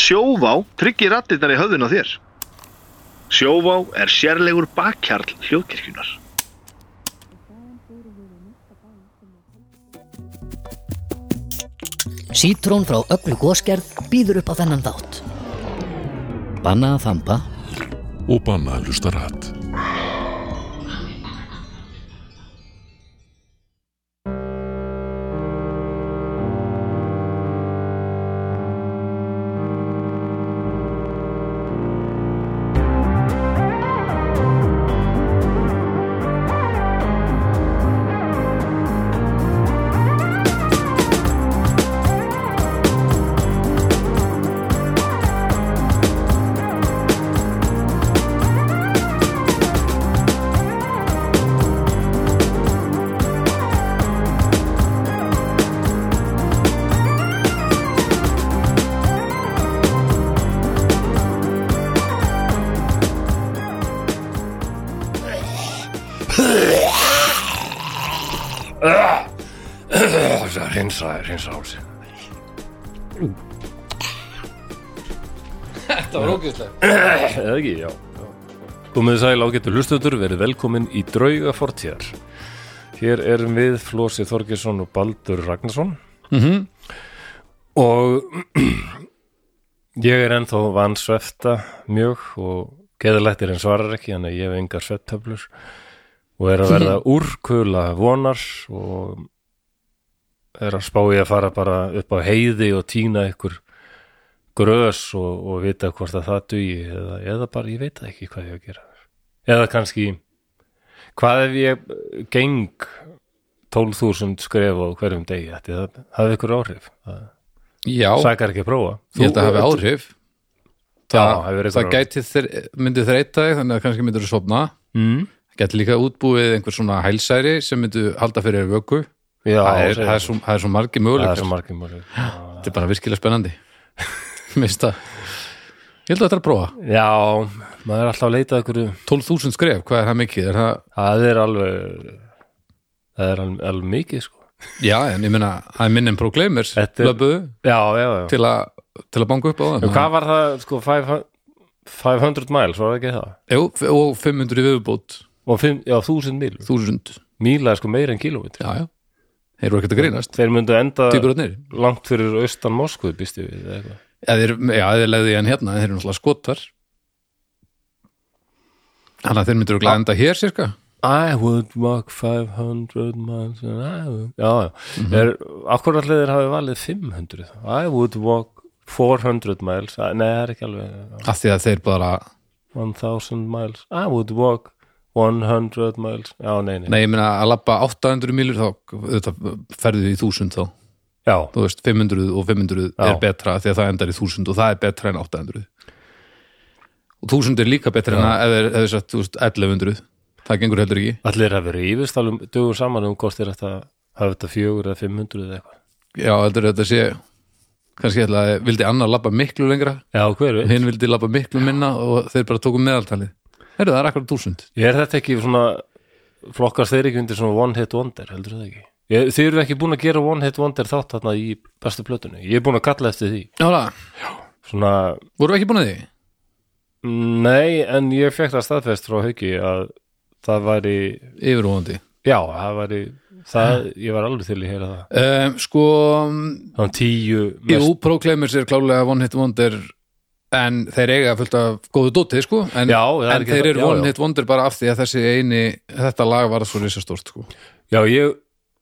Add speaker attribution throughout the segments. Speaker 1: Sjóvá tryggir rattirnar í höfðun á þér. Sjóvá er sérlegur bakkjarl hljóðkirkjunar.
Speaker 2: Sítrón frá öllu góskerð býður upp á þennan þátt. Banna að þampa
Speaker 3: og banna að hlusta rætt.
Speaker 4: Það er hinsa, hinsa hálsinn.
Speaker 5: Þetta var ógjöfslega
Speaker 4: Eða ekki, já. Komið sæl ágættu hlustundur, verið velkomin í Drauga fortíðar. Hér erum við Flósi Þorgesson og Baldur Ragnarsson. -hmm. Og ég er ennþá vansvefta mjög og geðalættir en svarar ekki, þannig að ég hef engar svepptöflur og er að verða úrkula vonar og er að spá ég að fara bara upp á heiði og týna ykkur grös og, og vita hvort að það dugi eða, eða bara ég veit það ekki hvað ég á að gera eða kannski hvað ef ég geng 12.000 skref á hverjum degi ætti það hafði ykkur áhrif það
Speaker 5: Já,
Speaker 4: sakar ekki að prófa
Speaker 5: ég held að hafi áhrif
Speaker 4: Já,
Speaker 5: Það,
Speaker 4: hafi verið
Speaker 5: það
Speaker 4: áhrif.
Speaker 5: gæti þeir, myndi þreita þig þannig að kannski myndir þú sofna
Speaker 4: mm?
Speaker 5: Gæti líka útbúið einhver svona hælsæri sem myndu halda fyrir þér vöku
Speaker 4: Já,
Speaker 5: það, er,
Speaker 4: segir
Speaker 5: það, er
Speaker 4: þú.
Speaker 5: svo, það er svo margir
Speaker 4: það er
Speaker 5: möguleikar
Speaker 4: svo margir mjög
Speaker 5: Þetta er bara virkilega spennandi Mista Ég held að þetta er að prófa
Speaker 4: Já, maður er alltaf að leita að ykkur
Speaker 5: 12.000 skref, hvað er það mikið? Er það,
Speaker 4: það er alveg það er alveg, alveg mikið sko
Speaker 5: já, en ég meina að minnum Proclaimers
Speaker 4: Þetta er-
Speaker 5: löpuðu
Speaker 4: Já, já, já
Speaker 5: til, að- til að banka upp á
Speaker 4: En
Speaker 5: það
Speaker 4: hvað var það, sko, 500 500 miles, var það ekki það?
Speaker 5: Jú, f- og 500 í viðbútt
Speaker 4: Og fimm, já, 1000 mil
Speaker 5: 1000,
Speaker 4: Míla er sko meira en kilómetri
Speaker 5: já, já Þeir eru ekkert að grínast,
Speaker 4: Þeir myndu enda
Speaker 5: týpurarnir
Speaker 4: langt fyrir austan Moskvu, býst ég við eða eitthvað.
Speaker 5: Já, þeir, já, þeir leiði hann hérna, en þeir eru náttúrulega skotar Þannig að þeir myndir að enda hér sirka
Speaker 4: I would walk 500 miles and I would... Já, já mm -hmm. Akkurallega þeir hafi valið 500 I would walk 400 miles Æ, Nei, það er ekki alveg
Speaker 5: af því að þeir bara,
Speaker 4: 1000 miles I would walk 100 miles Já, nei, nei,
Speaker 5: nei, ég meina að labba 800 mílur þá, þetta ferðu í 1000 þá
Speaker 4: Já,
Speaker 5: þú veist, 500 og 500
Speaker 4: Já.
Speaker 5: er betra því að það endar í 1000 og það er betra en 800 og 1000 er líka betra en að ef þess að, þú veist, 1100 það gengur heldur ekki
Speaker 4: allir hafi rífist alveg dögum saman um hvort þeir ættu að hafa þetta 400 eða 500 eða eitthvað
Speaker 5: já, heldur þetta sé kannski ætla að vildi annar labba miklu lengra
Speaker 4: Já, hver veit?
Speaker 5: hinn vildi labba miklu minna og þeir bara tóku meðaltalið Heyrðu, það er akkur 1000
Speaker 4: Er þetta ekki svona flokkast þeir ekki undir svona one hit wonder, heldur það ekki? Ég, þið eru ekki búin að gera one hit wonder þátt þarna í bestu plötunni. Ég er búin að kalla eftir því.
Speaker 5: Já, það,
Speaker 4: Svona,
Speaker 5: voru ekki búin að því?
Speaker 4: nei, en ég fekk það staðfest frá Hauki að það væri,
Speaker 5: Yfirvóðandi
Speaker 4: já, það væri, það, ég var alveg til í heyra það.
Speaker 5: um, Sko,
Speaker 4: Þannig tíu mest,
Speaker 5: jú, Proclaimers er klálega One Hit Wonder en þeir eiga fullt af góðu dóti, sko en,
Speaker 4: Já, það er
Speaker 5: en
Speaker 4: ekki
Speaker 5: þeir
Speaker 4: það-
Speaker 5: eru
Speaker 4: já,
Speaker 5: One
Speaker 4: já.
Speaker 5: Hit Wonder bara af því að þessi eini þetta lag var svo risastórt, sko
Speaker 4: já, ég,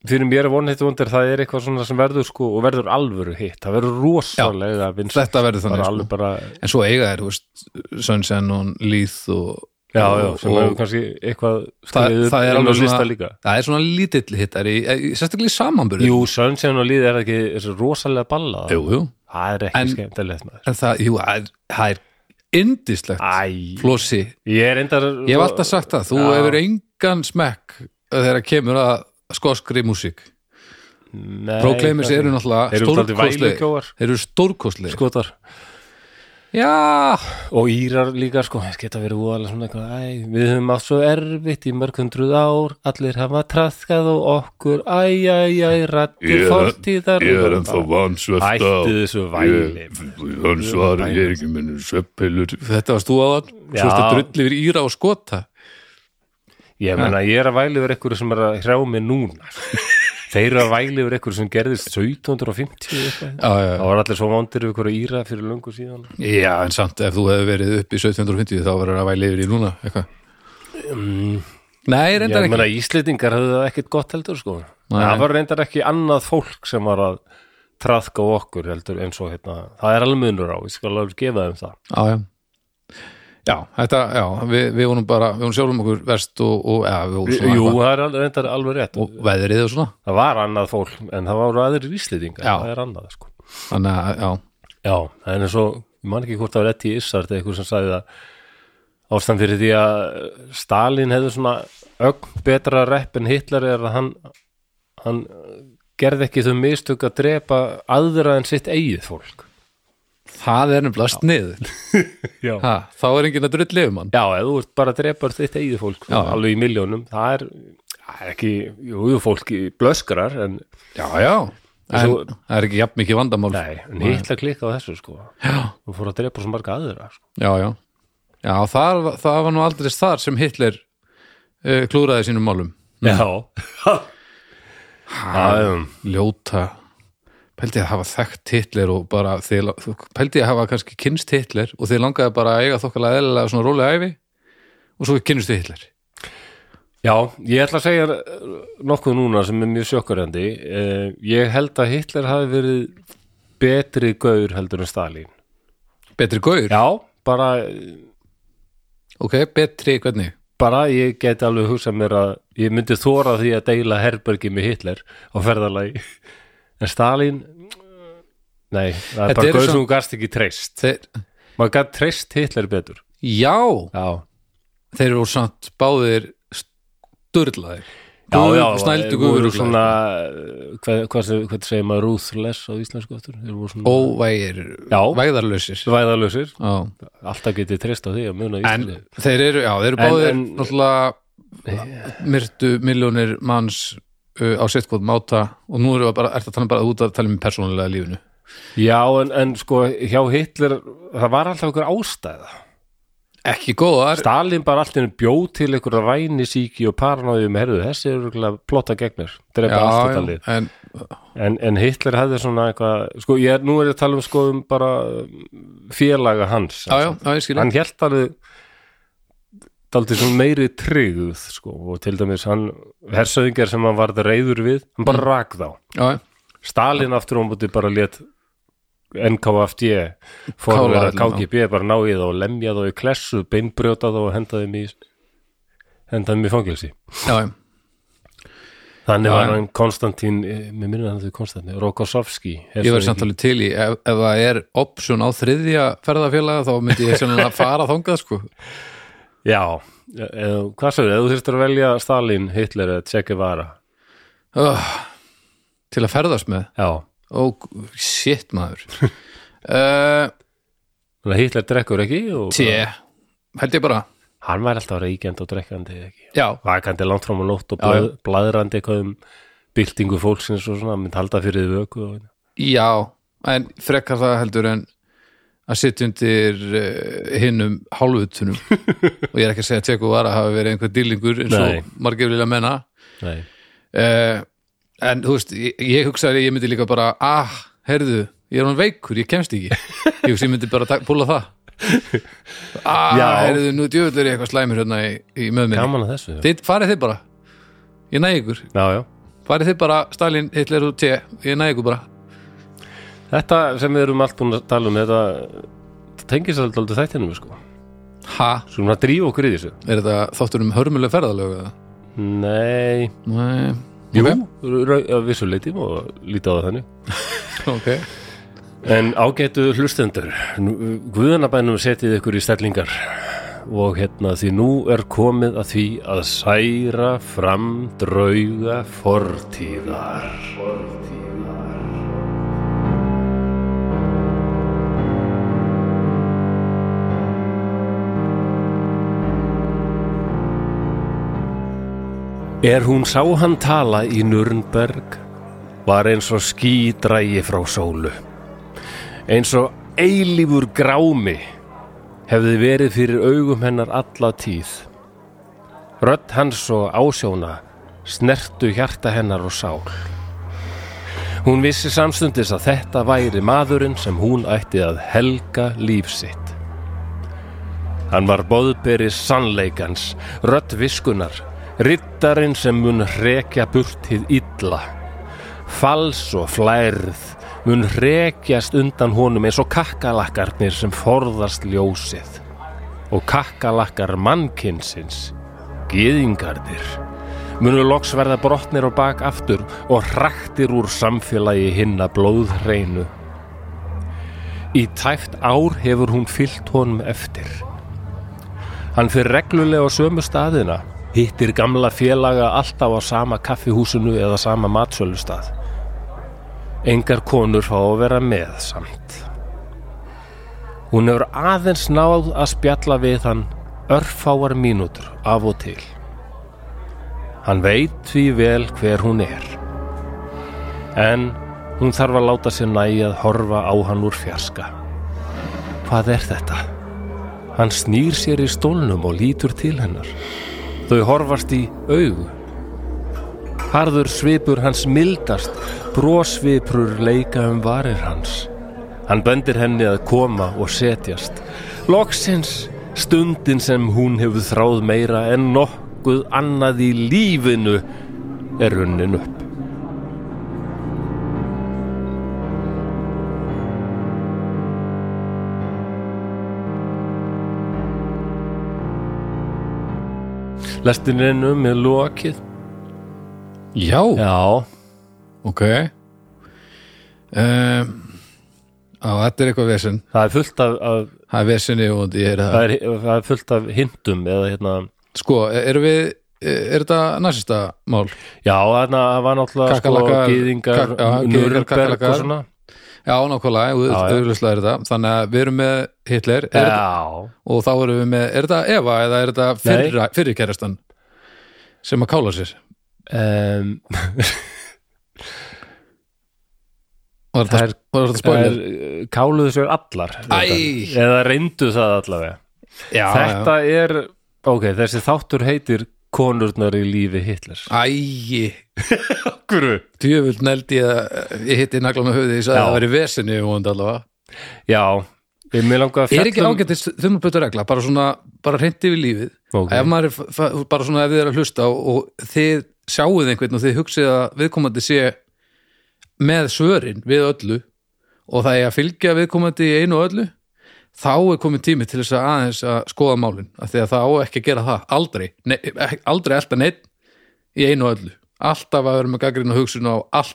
Speaker 4: fyrir mér er one hit wonder, það er eitthvað svona sem verður sko og verður alvöru hitt. Það verður rosalega vinsælt.
Speaker 5: Þetta verður
Speaker 4: bara
Speaker 5: þannig,
Speaker 4: alveg
Speaker 5: sko
Speaker 4: bara
Speaker 5: En svo eiga þeir, þú veist, Suns Ennon, Leith og
Speaker 4: já, já,
Speaker 5: og-
Speaker 4: sem hefur kannski eitthvað
Speaker 5: það,
Speaker 4: skriðið
Speaker 5: það er
Speaker 4: inn á
Speaker 5: alveg
Speaker 4: lista
Speaker 5: svona,
Speaker 4: líka
Speaker 5: það er svona lítill hittari, eh, sérstaklega í samanbyrði
Speaker 4: Jú, Sunshine og Líð er ekki er svo rosalega ballað
Speaker 5: jú, jú.
Speaker 4: það er ekki
Speaker 5: En-
Speaker 4: skemmtilegt maður
Speaker 5: En það, jú, það er- það er indislegt
Speaker 4: Æ,
Speaker 5: Flossi,
Speaker 4: ég er endar
Speaker 5: ég hef alltaf sagt það þú
Speaker 4: Já.
Speaker 5: hefur engan smekk þegar kemur að skoskri músík Proclaimers eru náttúrulega
Speaker 4: Eru svolítið Sko-
Speaker 5: stórkostlegir.
Speaker 4: vælukjóar?
Speaker 5: Þeir eru stórkostlegir
Speaker 4: skotar Já, og Írar líka sko, þess geta verið úalega svona eitthvað, æ, við höfum átt svo erfitt í mörg hundruð ár, allir hafa traðkað og okkur, æ, æ, æ, rættir fórtíðar.
Speaker 6: ég er ennþá vansvefta
Speaker 4: Hættu þessu væli.
Speaker 6: hann svarar ég er ekki minnur sveppilur
Speaker 5: Þetta varst þú á þann,
Speaker 4: Já.
Speaker 5: svo ertu að drulli yfir Íra og Skota
Speaker 4: Ég meina, ég er að væli yfir eitthvað sem er að hrjá mig núna. sko. Þeir eru að væli yfir eitthvað sem gerðist 1750 eitthvað.
Speaker 5: já, já,
Speaker 4: Það var allir svo vándir yfir eitthvað Íra fyrir löngu síðan.
Speaker 5: já, en samt ef þú hefði verið upp í 1750 þá verður að væli yfir í núna eitthvað Nei,
Speaker 4: Mm. Ég
Speaker 5: reyndar ekki
Speaker 4: meina, Íslendingar höfðu það ekkert gott heldur sko.
Speaker 5: Nei.
Speaker 4: Það var reyndar ekki annað fólk sem var að traðka á okkur heldur eins og hérna, það er alveg munur á, ég skal alveg gefa þeim það.
Speaker 5: Já, já Já, þetta, já, við, við vonum bara við vonum sjálfum okkur verst og, og ja, við vorum svona
Speaker 4: Jú,
Speaker 5: eitthvað-
Speaker 4: það er alveg, reyndar alveg rétt.
Speaker 5: og veðrið og svona
Speaker 4: Það var annað fólk, en það var aðrir íslendingar,
Speaker 5: Já.
Speaker 4: það er annað sko.
Speaker 5: Þannig að, já,
Speaker 4: Já, en eins og, ég man ekki hvort það var rétt í Issart eða eitthvað sem sagði það ástæðan fyrir því að Stalin hefði svona ögn betra rep en Hitler er að hann, hann gerði ekki þau mistök að drepa aðra en sitt eigið fólk.
Speaker 5: það er nefnilega snið
Speaker 4: Já.
Speaker 5: ha, Þá er enginn að drulli yfir mann
Speaker 4: Já, ef þú ert bara að drepa þitt eigið fólk
Speaker 5: Já.
Speaker 4: alveg í miljónum, það er, það er ekki, jú, jú, fólk í blöskrar en,
Speaker 5: Já, já, en
Speaker 4: svo-
Speaker 5: það er ekki jafn mikið vandamál
Speaker 4: nei, en hitla klikka á þessu sko,
Speaker 5: Já,
Speaker 4: og fór að drepa svo marga aðra sko.
Speaker 5: já, já Já, það, var- það var nú aldrei þar sem Hitler uh, klúraði sínum málum
Speaker 4: Já, já,
Speaker 5: Ljóta Pældi að hafa þekkt Hitler og bara þeir, Pældi að hafa kannski kynst Hitler og þeir langaði bara að eiga þokkalega eðlilega svona rólega æfi og svo kynstu Hitler
Speaker 4: já, ég ætla að segja eh, nokkuð núna sem er mjög sjokkarandi eh, ég held að Hitler hafi verið betri gaur heldur en Stalin
Speaker 5: Betri gaur?
Speaker 4: Já, bara
Speaker 5: Ok, betri hvernig?
Speaker 4: bara ég geti alveg hugsað mér að ég myndi þóra því að deila herbergi með Hitler á ferðalagi en Stalin nei, það
Speaker 5: Þetta
Speaker 4: er bara
Speaker 5: eru
Speaker 4: gauð
Speaker 5: svo-
Speaker 4: sem hún gast ekki treyst
Speaker 5: Þeir,
Speaker 4: maður gætt treyst Hitler betur
Speaker 5: já,
Speaker 4: já,
Speaker 5: þeir eru samt báðir sturlaðir
Speaker 4: já, já
Speaker 5: Snældu
Speaker 4: þeir voru
Speaker 5: guður
Speaker 4: svona eh, hvað, hvað, sem- hvað segir maður ruthless á íslensku aftur Þeir voru svona
Speaker 5: Óvægir,
Speaker 4: Já.
Speaker 5: vægðarlausir
Speaker 4: væðalösir,
Speaker 5: Já.
Speaker 4: alltaf getið treyst á því að muna
Speaker 5: En
Speaker 4: Íslandi
Speaker 5: þeir eru, já, þeir eru
Speaker 4: En-
Speaker 5: báðir en,
Speaker 4: en-
Speaker 5: náttúrulega myrtu miljónir manns uh, á sitt góð máta og nú erum við bara, ert að tala bara út að tala um persónulega lífinu
Speaker 4: já, en, en sko hjá Hitler, það var alltaf einhver ástæða
Speaker 5: Ekki góðar,
Speaker 4: Stalin bara allt henni bjóð til einhverja vænisíki og paranoið með herðu þessi er örugglega að plotta gegn mér drepa allt þetta
Speaker 5: já, já,
Speaker 4: lið
Speaker 5: en
Speaker 4: en, en Hitler hefði svona eitthvað sko ég er, nú er ég að tala um sko um bara um, félaga hans
Speaker 5: Já, já, já, ég skil
Speaker 4: hann hélt alveg daldið svona meiri tryggð sko og til dæmis hann hersöðingar sem hann varð reyður við hann
Speaker 5: Mm.
Speaker 4: bara rak þá
Speaker 5: já, já.
Speaker 4: Stalin aftur á múti bara let NKFD fórverða
Speaker 5: Kála öllum,
Speaker 4: KGB bara ná í það og lemja þá í klessu, beinbrjóta þá og henda þeim í henda þeim í fangelsi
Speaker 5: já, já.
Speaker 4: þannig
Speaker 5: Já,
Speaker 4: var
Speaker 5: já.
Speaker 4: hann Konstantín eh, mér minnir hann þau Konstantín, Rokossovski
Speaker 5: Ég verði samtalið til í, ef, ef það er option á þriðja ferðafélaga þá myndi ég sennilega að fara þangað sko
Speaker 4: já, e- eða, hvað sagði, ef þú þurftir að velja Stalin, Hitler eða Che Guevara
Speaker 5: oh, til að ferðast með
Speaker 4: já,
Speaker 5: og shit maður uh,
Speaker 4: þannig að Hitler drekkur ekki og
Speaker 5: T held ég bara
Speaker 4: hann væri alltaf reykjandi og drekkandi eða ekki
Speaker 5: já,
Speaker 4: vakandi langt fram á nótt og
Speaker 5: Já, já.
Speaker 4: blað, bladrandi eitthvað um byltingu fólksins og svona, mynd halda fyrir því vöku og
Speaker 5: já en frekar það heldur en að sitja undir uh, hinnum hálfutunum og ég er ekki að segja að teku var að hafa verið einhver dýlingur eins
Speaker 4: Nei.
Speaker 5: og margir vilja menna
Speaker 4: Nei.
Speaker 5: uh, en þú veist, ég, ég hugsaði að ég myndi líka bara, ah, herðu ég er hann veikur, ég kemst ekki ég hugsa ég myndi bara tak- púla það ah,
Speaker 4: Já.
Speaker 5: herðu, nú djöfull er ég eitthvað slæmur hérna í, í möðminni
Speaker 4: Gaman að þessu já.
Speaker 5: þið, farið þið bara, ég næg ykkur
Speaker 4: já, já.
Speaker 5: farið þið bara, Stalin, Hitler og T ég næg ykkur bara,
Speaker 4: Þetta sem við erum allt búin að tala um þetta þetta tengist alltaf aldrei þættinum sko.
Speaker 5: ha,
Speaker 4: Skulum að drífa okkur í þessu
Speaker 5: er þetta þáttur um hörmuleg ferðalög eða?
Speaker 4: Nei,
Speaker 5: Nei,
Speaker 4: jú, okay. að vissu leiti og líta á það þannig
Speaker 5: ok
Speaker 4: En ágætu hlustendur nú- Guðanabænum setið ykkur í stellingar og hérna því nú er komið að því að særa fram drauga fortíðar Fortíðar Er hún sá hann tala í Nürnberg var eins og ský drægi frá sólu. Eins og eilífur grámi hefði verið fyrir augum hennar alla tíð. Rödd hans og ásjóna snertu hjarta hennar og sál. Hún vissi samstundis að þetta væri maðurinn sem hún ætti að helga líf sitt. Hann var boðberi sannleikans, rödd viskunar, rittarinn sem mun hrekja burt hið illa. Fals og flærð mun hrekjast undan honum eins og kakkalakkarnir sem forðast ljósið. Og kakkalakkar mannkinsins, gyðingarnir, munu loks verða brotnir og bak aftur og hraktir úr samfélagi hinna blóðhreinu. Í tæft ár hefur hún fyllt honum eftir. Hann fyrir reglulega á sömu staðina, hittir gamla félaga alltaf á sama kaffihúsinu eða sama matsölustað. Engar konur fá að vera með samt. Hún hefur aðeins náð að spjalla við hann örfáar mínútur af og til. Hann veit því vel hver hún er. En hún þarf að láta sér nægi að horfa á hann úr fjarska. Hvað er þetta? Hann snýr sér í stólnum og lítur til hennar. Þau horfast í augu. Harður svipur hans mildast, brosvipur leika um varir hans. Hann bendir henni að koma og setjast. Loksins stundin sem hún hefur þráð meira en nokkuð annað í lífinu er runnin upp. Lestininn um er lokið.
Speaker 5: Já,
Speaker 4: Já,
Speaker 5: ok um, Á, þetta er eitthvað vesen
Speaker 4: það er fullt af, af
Speaker 5: Það er vesenni og ég er
Speaker 4: það
Speaker 5: að
Speaker 4: er, það er fullt af hintum eða hérna,
Speaker 5: Sko, erum við, e- er þetta nasista mál?
Speaker 4: já þarna var náttúrulega sko
Speaker 5: Kakkalakkar,
Speaker 4: gýðingar,
Speaker 5: kak- já, gyðingar,
Speaker 4: nörberg og
Speaker 5: kakkalakkar.
Speaker 4: svona
Speaker 5: Já,
Speaker 4: Já,
Speaker 5: nákvæmlega,
Speaker 4: já.
Speaker 5: auðvitað er þetta Þannig að við erum með Hitler er,
Speaker 4: já,
Speaker 5: og þá erum við með, er þetta Eva eða er þetta fyrra, fyrri kærastan sem að kála sér?
Speaker 4: um,
Speaker 5: Var þetta,
Speaker 4: Það er-
Speaker 5: var þetta
Speaker 4: það
Speaker 5: spoiler?
Speaker 4: er, káluðu sér allar
Speaker 5: Æ.
Speaker 4: reyndar. eða reyndu það allavega
Speaker 5: já,
Speaker 4: þetta er, ok, þessi þáttur heitir konurnar í lífi Hitlers
Speaker 5: Æi,
Speaker 4: Akkurru?
Speaker 5: djöfull nældi ég að ég hitti nagla með höfuði, ég sagði
Speaker 4: Já.
Speaker 5: að það væri vesinni og hann allavega.
Speaker 4: Já, ég með langa að um-
Speaker 5: Er ekki ágættis þumlbötu regla, bara svona, bara reyndi við lífið.
Speaker 4: Ok.
Speaker 5: Ef maður er, f- f- bara svona ef þið er að hlusta og, og þið sjáuð einhvern og þið hugsið að viðkomandi sé með svörin við öllu og það er að fylgja viðkomandi í einu og öllu, þá er komið tími til þess að aðeins að skoða málin, af því að það á ekki að gera það, aldrei, ne, ek- aldrei elta neitt í einu og öllu. Alltaf að vera með gaggrinn og hugsun á all,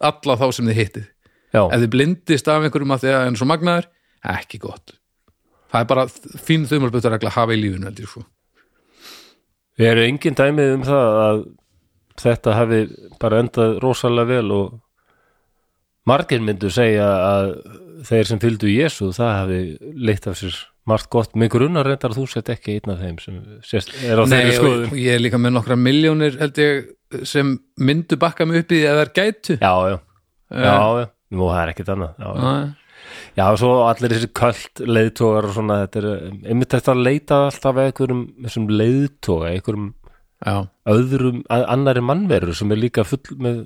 Speaker 5: alla þá sem þið hittið ef
Speaker 4: já,
Speaker 5: þið blindist af einhverjum að því að hann er svo magnaður ekki gott það er bara fín þumalbutaregla að hafa í lífinu heldur, sko.
Speaker 4: eru engin dæmið um það að þetta hafi bara endað rosalega vel og margir myndu segja að þeir sem fylgdu Jésu það hafi leitt af sér margt gott mig grunar reyndar að þú sett ekki einn af þeim sem sést, er á þeirri
Speaker 5: og,
Speaker 4: skoðum
Speaker 5: og ég er líka með nokkra miljónir held ég, sem myndu bakka mig upp í því að þær gætu
Speaker 4: já, já, já, já. Nú, það er ekkert annað já, já.
Speaker 5: Nei.
Speaker 4: já, svo allir þessi költ leiðtógar og svona, þetta er um, einmitt þetta að leita alltaf að einhverjum þessum leiðtóga, einhverjum
Speaker 5: já,
Speaker 4: öðrum, að, annari mannveru sem er líka full, með,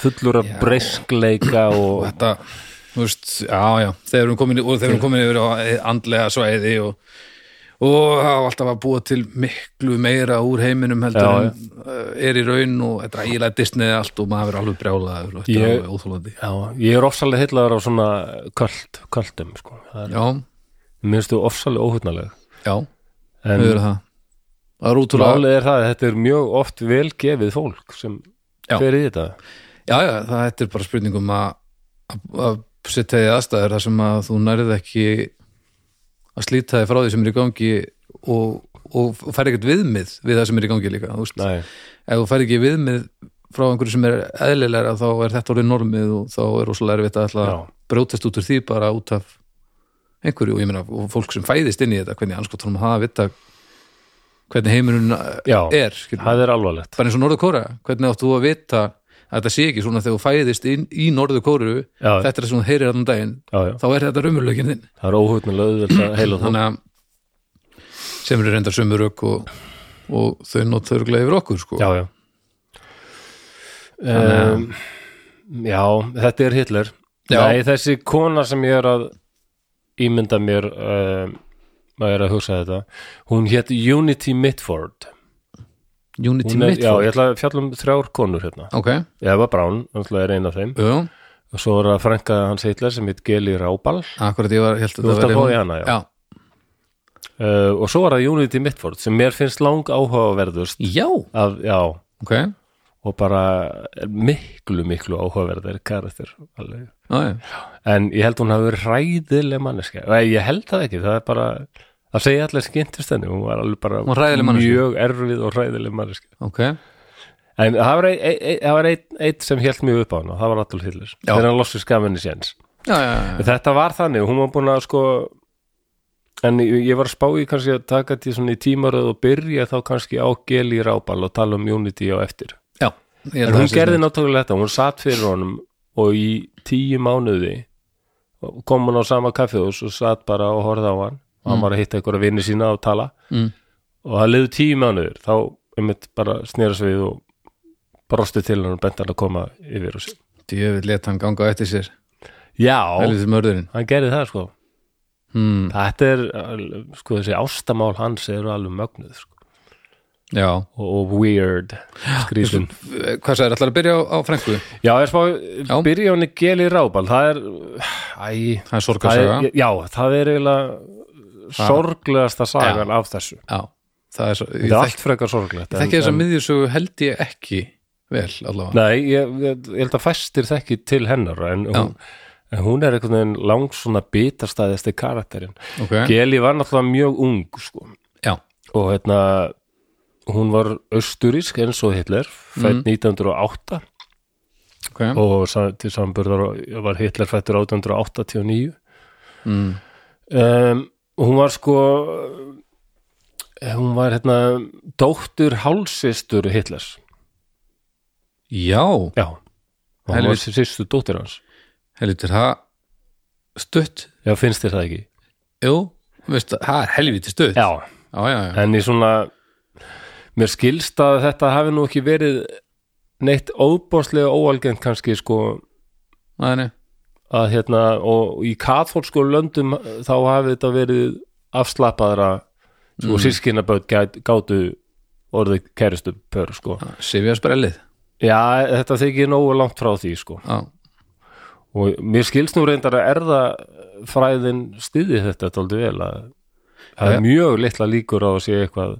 Speaker 4: fullur af
Speaker 5: Já.
Speaker 4: breyskleika
Speaker 5: og
Speaker 4: og
Speaker 5: þetta þú veist, já, já, þegar við erum komin, og þegar við erum komin yfir á andlega svæði og, og það á alltaf að búa til miklu meira úr heiminum heldur
Speaker 4: Já,
Speaker 5: en uh, er í raun og þetta er ægilega Disney allt og maður er alveg brjálaður og þetta er
Speaker 4: Ég-
Speaker 5: alveg óþólandi
Speaker 4: já, ég er ofsalega heillaður á svona költ, költum sko. Það er-
Speaker 5: já,
Speaker 4: mér finnst þú ofsalega óhutnalega
Speaker 5: já
Speaker 4: en
Speaker 5: Þau eru það Það er útrúlega
Speaker 4: málið er það að þetta er mjög oft vel gefið fólk sem
Speaker 5: Já.
Speaker 4: fer í þetta
Speaker 5: Já, já, það þetta er bara spurningum að, að- að setja því aðstæður þar sem að þú nærið ekki að slíta því frá því sem er í gangi og, og fær ekkert viðmið við það sem er í gangi líka þú veist.
Speaker 4: Nei.
Speaker 5: Ef þú fær ekki viðmið frá einhverju sem er eðlilega þá er þetta orðið normið og þá er rosalega erfitt að ætla að
Speaker 4: Já.
Speaker 5: brjótast út úr því bara út af einhverju og ég meina og fólk sem fæðist inn í þetta hvernig anskotunum hafa að vita hvernig heimurinn eh,
Speaker 4: Já,
Speaker 5: er skilur.
Speaker 4: það er alvarlegt
Speaker 5: bara eins og Norður Kóra, hvernig áttu að vita að þetta sé ekki svona þegar þú fæðist inn, í Norður Kóru,
Speaker 4: Já.
Speaker 5: þetta er sem þú heyrir allan daginn,
Speaker 4: já, já.
Speaker 5: þá er þetta raumurlögin þinn
Speaker 4: Það er óhugnulega auðvelt að heila það
Speaker 5: þannig að sem eru reyndar sömu rök og, og þau nótt þörglega yfir okkur sko.
Speaker 4: Já, já um, Já, þetta er Hitler
Speaker 5: Já.
Speaker 4: Nei, þessi kona sem ég er að ímynda mér um, maður er að hugsa þetta hún hétt Unity Mitford
Speaker 5: Unity
Speaker 4: Hún er,
Speaker 5: mitt sko.
Speaker 4: Já, ég ætla að fjalla um þrjár konur hérna
Speaker 5: ok,
Speaker 4: Eva Brown, náttúrulega er ein af þeim
Speaker 5: jú,
Speaker 4: og svo er það frænka hans Hitler sem heit Geli Rábal
Speaker 5: akkurat ég var held
Speaker 4: Þú ert að fá í hana, já.
Speaker 5: já,
Speaker 4: uh, og svo er það Unity Mitford sem mér finnst lang áhugaverðust
Speaker 5: já,
Speaker 4: af, já,
Speaker 5: ok já,
Speaker 4: og bara er miklu, miklu áhugaverðar karakter alveg
Speaker 5: já.
Speaker 4: en ég held hún hafi verið hræðileg manneska Nei, ég held það ekki, það er bara það segja allir sem kynntist henni hún var alveg bara
Speaker 5: Hún var hræðileg manneskja.
Speaker 4: mjög erfið og hræðileg manneska
Speaker 5: ok,
Speaker 4: en það var ein- ein- ein- það var einn ein, ein sem held mjög upp á hana það var Adolf Hitler,
Speaker 5: Já.
Speaker 4: þegar hann lossi skaminni séns
Speaker 5: já, já, já,
Speaker 4: þetta var þannig, hún var búin að sko en ég ég var að spá í kannski að taka til svona í tímaröð og byrja þá kannski á geli rábal og tala um Unity á eftir
Speaker 5: já. Ég held
Speaker 4: En
Speaker 5: að
Speaker 4: hún
Speaker 5: það sé
Speaker 4: gerði
Speaker 5: sniðugt.
Speaker 4: náttúrulega þetta, hún satt fyrir honum og í tíu mánuði kom hún á sama kaffihús og satt bara og horfði á hann og hann var að hitta einhverja vini sína og tala
Speaker 5: Mm.
Speaker 4: og það liðu tíu mánuðir þá einmitt bara snýra sig við og brosti til hann og benti hann að koma yfir og sér.
Speaker 5: djöfitt let hann ganga á eftir sér
Speaker 4: Já,
Speaker 5: helviti mörðurinn
Speaker 4: hann gerði það sko
Speaker 5: hmm.
Speaker 4: þetta er, al- sko þessi ástamál hans eru alveg mögnuð sko.
Speaker 5: já,
Speaker 4: og, og weird skrýtum
Speaker 5: hvað sagði, ætlar að byrja á, á frænku
Speaker 4: Já, ég spá,
Speaker 5: Já.
Speaker 4: byrja hún í geli rábal það er, æ,
Speaker 5: það er
Speaker 4: það
Speaker 5: sorgarsaga
Speaker 4: er, já, það er eiginlega sorglegasta sagan af þessu
Speaker 5: já, það er, svo-
Speaker 4: þetta
Speaker 5: ég
Speaker 4: er
Speaker 5: þekki-
Speaker 4: allt frekar sorglegt en-
Speaker 5: þekki þess að
Speaker 4: en-
Speaker 5: miðjusögu held ég ekki vel allavega
Speaker 4: nei, ég, ég, ég held að fæstir þekki til hennar en hún, en hún er einhvern veginn lang svona bitastæðisti karakterin
Speaker 5: ok,
Speaker 4: Geli var náttúrulega mjög ung sko.
Speaker 5: já,
Speaker 4: og hérna hún var austurísk eins og Hitler
Speaker 5: Mhm.
Speaker 4: fætt 1908
Speaker 5: ok,
Speaker 4: og sa- til samburðar og- var Hitler fættur 1889
Speaker 5: Mm.
Speaker 4: um, hún var sko eh, hún var hérna dóttur hálsistur Hitlers
Speaker 5: já
Speaker 4: já, hún var
Speaker 5: Helvíti.
Speaker 4: sýstu dóttir hans
Speaker 5: helvitir, það stutt
Speaker 4: já, finnst þér það ekki?
Speaker 5: jú, veist, það er helviti stutt
Speaker 4: já,
Speaker 5: já, já, já,
Speaker 4: en í svona mér skilst að þetta hafi nú ekki verið neitt óbóðslega óalgengt kannski sko
Speaker 5: Nei, nei.
Speaker 4: að hérna og í katholsku löndum eh, þá hafi þetta verið afslappaðra mm. og sískinaböld gátu orðið kæristu pör sko.
Speaker 5: sifja sprellið
Speaker 4: Já, þetta þykir nógu langt frá því sko.
Speaker 5: já,
Speaker 4: og mér skilst nú reyndar að erða fræðin styði þetta tóldi vel að það
Speaker 5: Já.
Speaker 4: er mjög litla líkur á að sé eitthvað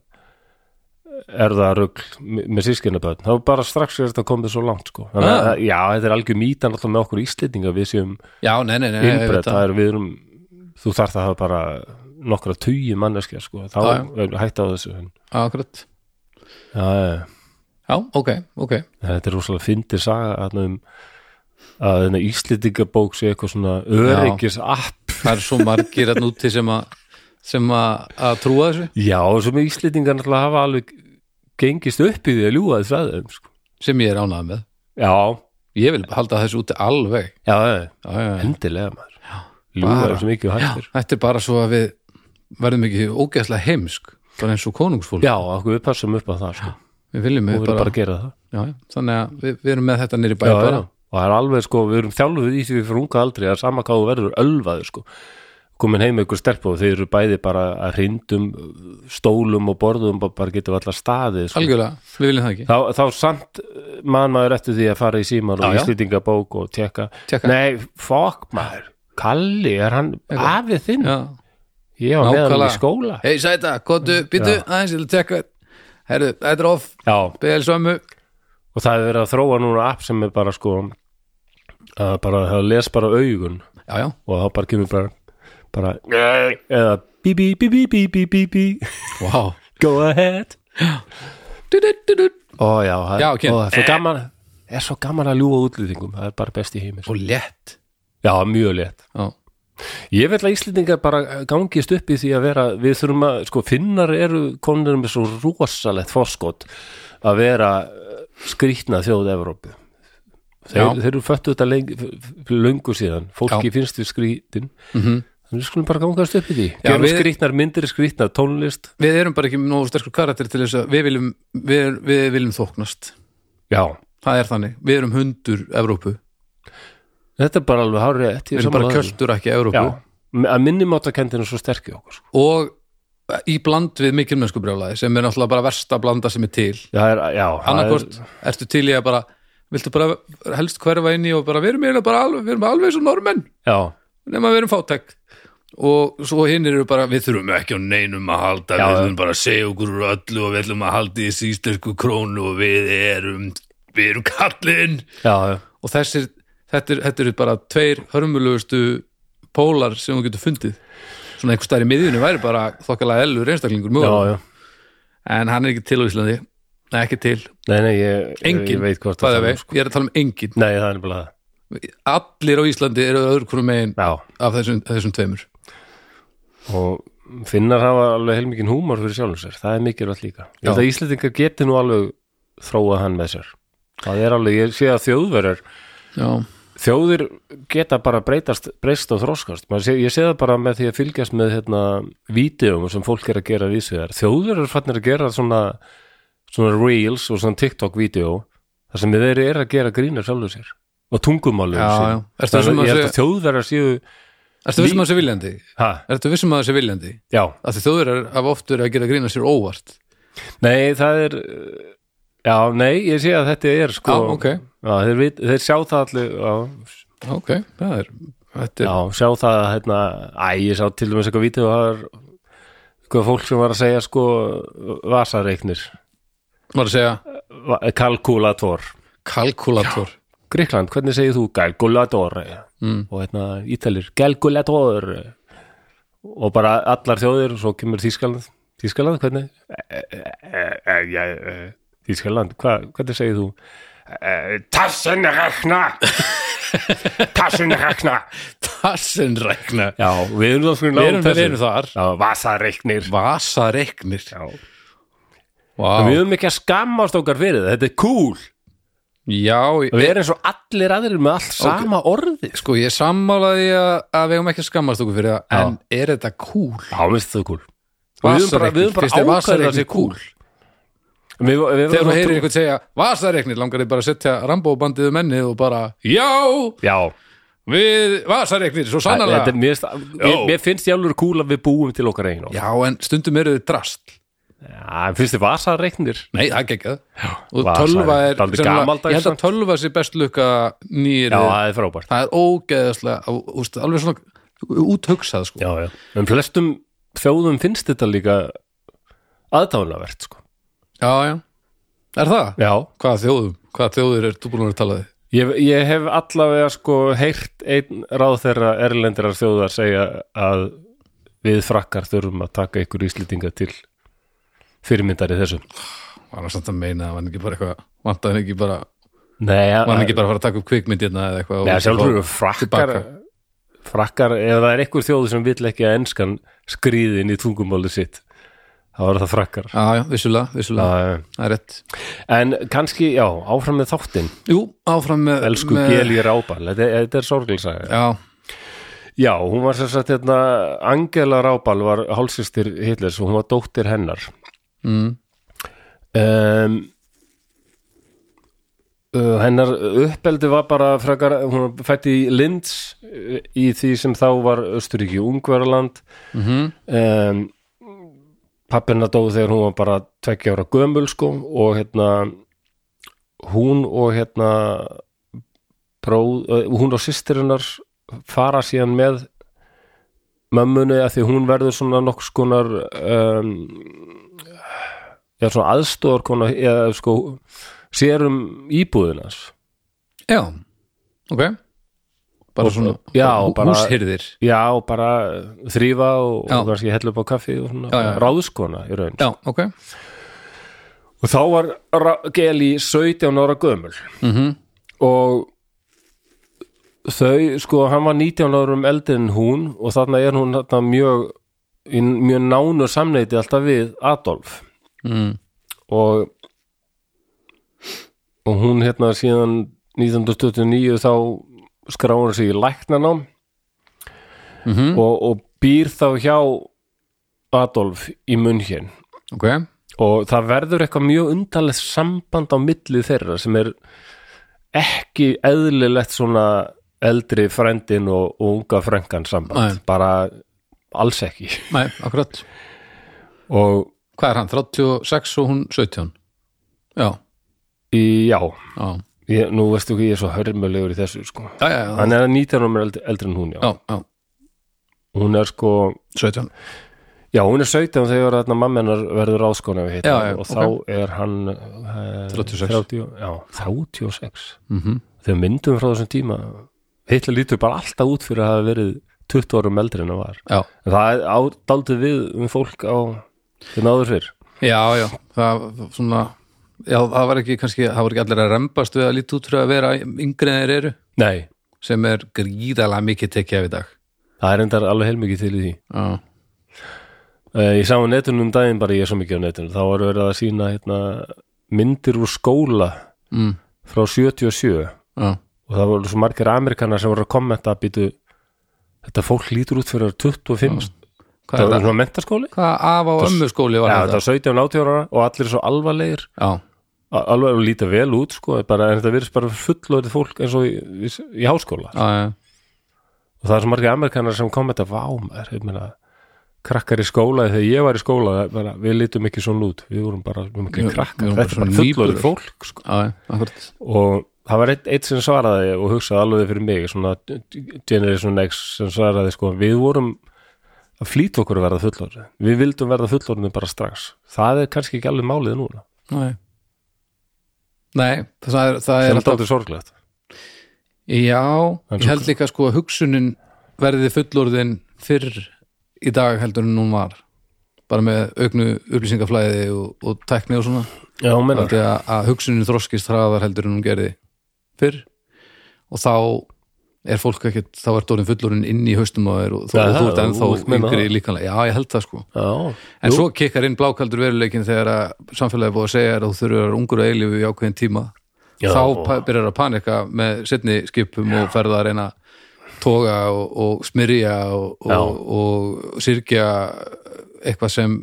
Speaker 4: erðarugl með sískinaböld það var bara strax er þetta komið svo langt sko. Þannig að,
Speaker 5: Ah.
Speaker 4: já, þetta er algjör mýtan alltaf með okkur Íslendinga við séum
Speaker 5: já, nei, nei, nei, nei ég veit
Speaker 4: innbreytt, það er við erum þú þarft að hafa bara nokkra tugi manneskja sko, þá
Speaker 5: Já,
Speaker 4: er hægt á þessu en,
Speaker 5: akkurat
Speaker 4: já, já,
Speaker 5: já, ok, ok,
Speaker 4: þetta er rosalega fyndi saga þarna um að þenni Íslendingabók sé eitthvað svona öryggis app
Speaker 5: það er svo margir að núti sem að sem að að trúa þessu
Speaker 4: já, og sem Íslendingar náttúrulega hafa alveg gengist upp í því að ljúga þess aðeins sko.
Speaker 5: sem ég er ánægð með
Speaker 4: já,
Speaker 5: ég vil halda þessu úti alveg
Speaker 4: já, já,
Speaker 5: já, já, já.
Speaker 4: endilega maður ljúga
Speaker 5: bara.
Speaker 4: þessu mikið og hættir
Speaker 5: þetta er bara svo að við verðum ekki ógeðslega heimsk bara eins og konungsfólk
Speaker 4: já, okkur við passum upp á það sko.
Speaker 5: við viljum
Speaker 4: og
Speaker 5: við
Speaker 4: við
Speaker 5: bara,
Speaker 4: bara að gera það
Speaker 5: já, já, þannig að við, við erum með þetta nýri bæ
Speaker 4: já,
Speaker 5: bara
Speaker 4: já. og það er alveg sko, við erum þjálfuð í því fyrir unga aldrei að sama hvað þú verður ölvaður sko komin heim með ykkur stelpu og þeir eru bæði bara að hrindum stólum og borðum og bara getum allar staðið sko.
Speaker 5: algjörlega, við viljum það ekki
Speaker 4: þá, þá samt eh, man maður eftir því að fara í síman
Speaker 5: Já,
Speaker 4: og
Speaker 5: já.
Speaker 4: íslýtingabók og tekka
Speaker 5: Tékka.
Speaker 4: nei, fokk maður Kalli, er hann afið þinn?
Speaker 5: já.
Speaker 4: Ég var með hann í
Speaker 5: Nákvæmlega.
Speaker 4: skóla
Speaker 5: hei sæta, kóttu, býtu, aðeins ég vil tekka herru, þetta er off,
Speaker 4: Já,
Speaker 5: beðal sömu
Speaker 4: og það er verið að þróa núna app sem er bara sko að bara, það les bara augun
Speaker 5: já, já,
Speaker 4: og þá bara kemur bara, bara eða bí bí bí bí bí bí bí bí
Speaker 5: wow
Speaker 4: go ahead
Speaker 5: du, du, du, du.
Speaker 4: ó já, það,
Speaker 5: Já, ok.
Speaker 4: ó, það er svo gaman er svo gaman að ljúga útlýtingum, það er bara best í heimir
Speaker 5: og létt
Speaker 4: já, sko. mjög létt
Speaker 5: já,
Speaker 4: Ég vil að Íslendingar bara eh, gangist upp í því að vera, við þurfum að, sko, finnar eru konur með svo rosalegt fórskot að vera eh, skrýtna þjóð Evrópu.
Speaker 5: Já.
Speaker 4: Þeir, þeir eru föttu þetta leng, löngu síðan, fólki finnst við skrýtin,
Speaker 5: Mhm.
Speaker 4: þannig við skulum bara gangast upp í því.
Speaker 5: Já,
Speaker 4: Gerum
Speaker 5: við-
Speaker 4: skrýtnar myndir, skrýtnar tónlist,
Speaker 5: Við erum bara ekki nógu sterkur karakter til þess að við viljum, við, við viljum þóknast
Speaker 4: já,
Speaker 5: Það er þannig, við erum hundur Evrópu,
Speaker 4: þetta er bara alveg hárið eftir.
Speaker 5: við erum bara kjöldur ekki Evrópu
Speaker 4: Já, að minnumáttakendin er svo sterk í okkur. sko.
Speaker 5: og í bland við mikilmennsku brjálæði sem er náttúrulega bara versta blanda sem er til
Speaker 4: Já, það er, já, það er-
Speaker 5: annarkvort ertu til í að bara viltu bara helst hverfa inn í og bara við erum, eiginlega bara alveg, við erum alveg svo normenn
Speaker 4: já,
Speaker 5: nema við erum fátæk og svo hinn eru bara við þurfum ekki á neinum að halda
Speaker 4: Já.
Speaker 5: við þurfum bara að segja okkur úr öllu og við ætlum að halda í þessi íslensku krónu og við erum við erum kallinn
Speaker 4: já, já.
Speaker 5: og þessir, þetta, er, þetta eru bara tveir hörmulegustu pólar sem þú getur fundið svona einhver stær í miðjunni væri bara þokkalega elur einstaklingur
Speaker 4: já,
Speaker 5: mjög
Speaker 4: já.
Speaker 5: en hann er ekki til á Íslandi Nei, ekki til,
Speaker 4: Nei, nei, ég,
Speaker 5: engin,
Speaker 4: ég veit hvort
Speaker 5: by the way.
Speaker 4: er, sko.
Speaker 5: ég er að tala um engin
Speaker 4: Nei, það er bara
Speaker 5: allir á Íslandi eru öðru hverju megin
Speaker 4: það Já,
Speaker 5: af þessum, þessum tveimur
Speaker 4: og finnar hafa alveg heilmikinn húmor fyrir sjálfum sér Það er mikilvægt líka Ég held
Speaker 5: Já.
Speaker 4: að Íslendingar geti nú alveg þróað hann með sér Það er alveg, ég sé að þjóðverjar
Speaker 5: Já,
Speaker 4: Þjóðir geta bara breytast, breyst og þróskast Maður sé, Ég sé það bara með því að fylgjast með hérna, vídeum sem fólk er að gera vísvegar Þjóðir eru fannir að gera svona, svona reels og svona TikTok-vídeó þar sem þeir eru að gera grína sjálfum sér og tungumálum
Speaker 5: Já, já.
Speaker 4: sér
Speaker 5: Ertu
Speaker 4: Þannig
Speaker 5: vissum
Speaker 4: að
Speaker 5: að
Speaker 4: Ég held
Speaker 5: sé-
Speaker 4: að þjóðverjar séu
Speaker 5: ertu vissum að það sé viljandi?
Speaker 4: Ha,
Speaker 5: Ertu vissum að það sé viljandi?
Speaker 4: já,
Speaker 5: Af því þjóðverjar hafa oft verið að gera grína sér óvart
Speaker 4: nei, það er uh, Já, nei, ég sé að þetta er sko
Speaker 5: Já, ok.
Speaker 4: já, þeir, vit, þeir sjá það allir já,
Speaker 5: Ok, það er, þetta er
Speaker 4: já, sjá það að hérna, æ, ég sá til dæmis eitthvað vítið og það er eitthvað fólk sem var að segja sko vasareiknir,
Speaker 5: maður að segja
Speaker 4: va kalkulator
Speaker 5: kalkulator
Speaker 4: Gríkland, hvernig segir þú kalkulator mm. og hérna ítalir kalkulator og bara allar þjóðir og svo kemur Þískaland Þískaland, hvernig? E- e- e- e- ja, e- Þískaland, hva, hvernig segir þú? E, Tassenrekna Tassenrekna
Speaker 5: Tassenrækna
Speaker 4: Já, við erum það
Speaker 5: Við erum, við erum þar
Speaker 4: Já, vasareiknir
Speaker 5: Vasareiknir
Speaker 4: Já.
Speaker 5: wow.
Speaker 4: Við erum ekki að skammast okkar fyrir það, þetta er cool
Speaker 5: Já, ég,
Speaker 4: Við erum eins og allir aðrir með allt sama orði
Speaker 5: sko ég sammálaði að, að við erum ekki að skammast okkur fyrir það En er þetta cool?
Speaker 4: Já, mér finnst það cool Við höfum bara, við höfum
Speaker 5: Vasareiknir,
Speaker 4: bara
Speaker 5: finnst
Speaker 4: ákveðið
Speaker 5: þér
Speaker 4: að
Speaker 5: vasareiknir
Speaker 4: það sé cool
Speaker 5: cool?
Speaker 4: Við, við
Speaker 5: Þegar þú heyrir einhvern segja Vasareiknir langar þið bara að setja rambóbandið um mennið og bara Já,
Speaker 4: Já,
Speaker 5: við vasareiknir, svo
Speaker 4: þetta
Speaker 5: sannarlega
Speaker 4: er- mér, finnst- mér, mér finnst ég alveg cool að við búum til okkar eigin orð.
Speaker 5: Já, en stundum eru þið drast
Speaker 4: Já, finnst þið vasareiknir?
Speaker 5: Nei, það geggjað Og
Speaker 4: vasareiknir,
Speaker 5: tölva er,
Speaker 4: dálítið
Speaker 5: sennilega-
Speaker 4: gamaldags
Speaker 5: ég held
Speaker 4: samt.
Speaker 5: að tölva sér best lukka nýri
Speaker 4: Já, það er frábært
Speaker 5: Það er ógeðaslega, úst, alveg svona úthugsað sko
Speaker 4: Já, já, en flestum þjóðum finnst þetta líka aðdánavert, sko
Speaker 5: Já, já. Er það?
Speaker 4: Já,
Speaker 5: Hvaða þjóðum? Hvaða þjóðir er þú búin að tala þið?
Speaker 4: ég, ég hef allavega sko heyrt einn ráð þeirra erlendirar þjóðar segja að við frakkar þurfum að taka ykkur íslendinga til fyrirmyndari þessu
Speaker 5: Var hann samt að meina að var hann ekki bara eitthvað vantaði hann ekki bara,
Speaker 4: Nei,
Speaker 5: var hann ekki bara að fara að taka upp kvikmyndirna eða eitthvað og-
Speaker 4: Nei, sjálfur eru frakkar
Speaker 5: tilbaka.
Speaker 4: frakkar, ef það er einhver þjóð sem vill ekki að enskan skrýðin í tungumáli sitt þá er það frakkar
Speaker 5: Já, já, vissulega, vissulega,
Speaker 4: uh,
Speaker 5: það er rétt
Speaker 4: En kannski, já, áfram með þáttinn
Speaker 5: Jú, áfram með
Speaker 4: Elsku
Speaker 5: með,
Speaker 4: Geli Rábal, þetta, þetta er sorgilsaga
Speaker 5: Já,
Speaker 4: Já, hún var sem sagt hérna, Angela Rábal var hálsistir Hitlers og hún var dóttir hennar
Speaker 5: mm,
Speaker 4: um, uh, hennar uppeldi var bara frekar, hún var fætt í Linz uh, í því sem þá var Östuríki Ungverland mm -hmm. um, pappina dóð þegar hún var bara tveggja ára gömul sko og hérna hún og hérna bró, uh, hún og systirinnar fara síðan með mömmunni að því hún verður svona nokks konar um, eða svona aðstóðar konar eða sko sér um íbúðunas
Speaker 5: já Ok Bara svona
Speaker 4: já,
Speaker 5: hú-
Speaker 4: bara-
Speaker 5: húshirðir
Speaker 4: já og bara þrýfa og,
Speaker 5: Já.
Speaker 4: og kannski hella upp á kaffi og svona
Speaker 5: Já, já, já.
Speaker 4: ráðskona í raun
Speaker 5: Já, ok
Speaker 4: og þá var Ra- Geli 17 ára gömul
Speaker 5: Mhm.
Speaker 4: og þau, sko, hann var 19 árum eldri en hún og þarna er hún þarna mjög í mjög nánu samneiti alltaf við Adolf
Speaker 5: mm.
Speaker 4: og og hún hérna síðan 1929 þá skráður sig í læknanám
Speaker 5: Mhm.
Speaker 4: og, og býr þá hjá Adolf í München
Speaker 5: ok,
Speaker 4: og það verður eitthvað mjög undarlegt samband á milli þeirra sem er ekki eðlilegt svona eldri frændin og, og unga frænkan samband
Speaker 5: Nei.
Speaker 4: bara alls ekki
Speaker 5: nei, akkurat
Speaker 4: og
Speaker 5: hvað er hann, 36 og hún 17 já,
Speaker 4: í, já,
Speaker 5: já,
Speaker 4: ég, nú veistu ekki ég er svo hörmulegur í þessu sko
Speaker 5: já, já, já,
Speaker 4: hann er 19 árum eldri, eldri en hún já.
Speaker 5: já, já.
Speaker 4: hún er sko,
Speaker 5: 17
Speaker 4: já hún er 17 þegar þarna mamma hennar verður ráðskona við hittum
Speaker 5: Já, já,
Speaker 4: og
Speaker 5: ok.
Speaker 4: þá er hann eh,
Speaker 5: 36.
Speaker 4: 30, já, 36
Speaker 5: Mhm,
Speaker 4: þegar myndum frá þessum tíma Hitler lítur bara alltaf út fyrir að hafa verið 20 árum eldri en það var
Speaker 5: já,
Speaker 4: En það er ádaldið við um fólk á þeir náður fyrr
Speaker 5: já, já, það var svona já, það var ekki kannski, það var ekki allir að rembast við að líti út fyrir að vera yngri en þeir eru
Speaker 4: Nei,
Speaker 5: sem er gríðalega mikið tekið af í dag
Speaker 4: það er endar alveg heilmikið til í því
Speaker 5: já,
Speaker 4: Eh, Ég sá á netunum um daginn bara ég er svo mikið á netunum þá var verið að sína hérna, myndir úr skóla
Speaker 5: mm,
Speaker 4: frá 77
Speaker 5: já,
Speaker 4: og það voru svo margir amerikanar sem voru að kommenta að býtu þetta fólk lítur út fyrir að vera 25
Speaker 5: hvað
Speaker 4: það
Speaker 5: er
Speaker 4: var
Speaker 5: það?
Speaker 4: svona mentaskóli
Speaker 5: Hvað af á ömmu skóli var
Speaker 4: Já, þetta
Speaker 5: þetta?
Speaker 4: var 17 og 18 ára og allir svo alvarlegir
Speaker 5: Já,
Speaker 4: A- alveg að líta vel út sko, bara, en þetta virðist bara fullorðið fólk eins og í, í, í háskóla
Speaker 5: já, já,
Speaker 4: og það er svo margir amerikanar sem kom þetta vá maður, ég meina krakkar í skóla, þegar ég var í skóla það er bara, við lítum ekki svona út, við vorum bara við vorum ekki
Speaker 5: Við- við
Speaker 4: krakkar,
Speaker 5: vorum bara
Speaker 4: þetta er
Speaker 5: svona
Speaker 4: bara
Speaker 5: nýburar.
Speaker 4: fullorðið fólk sko.
Speaker 5: já, já, akkurat
Speaker 4: og það var eitt, eitt sem svaraði og hugsaði alveg fyrir mig svona Generation X sem svaraði sko, við vorum að flýta okkur að verða fullorðið, við vildum verða fullorðið bara strax, það er kannski ekki alveg málið núna,
Speaker 5: Nei, Nei það er, það
Speaker 4: sem
Speaker 5: er
Speaker 4: er
Speaker 5: alltaf
Speaker 4: alltaf sorglegt
Speaker 5: Já,
Speaker 4: En
Speaker 5: ég held líka sko að hugsunin verði fullorðin fyrr í dag heldur en hún var bara með auknu upplýsingaflæði og, og tekni og svona
Speaker 4: Já, meina,
Speaker 5: Haldi að, að hugsunin þroskist hraðar heldur en hún gerði fyrr og þá er fólk ekkert, þá er dórinn fullorinn inn í haustum á þér og þú,
Speaker 4: Já,
Speaker 5: og þú
Speaker 4: það-
Speaker 5: ert ennþá
Speaker 4: þú meinar
Speaker 5: yngri
Speaker 4: það.
Speaker 5: líkanlega, já ég held það sko
Speaker 4: já,
Speaker 5: en
Speaker 4: Jú.
Speaker 5: svo kikkar inn blákaldur veruleikin þegar að samfélagi er búið að segja þér að þú þurfur að vera ungur að eilífu í ákveðin tíma
Speaker 4: Já,
Speaker 5: þá
Speaker 4: og-
Speaker 5: og... byrjar að panika með setni skipum og ferða að reyna að toga og, og smyrja og,
Speaker 4: Já.
Speaker 5: og, og syrgja eitthvað sem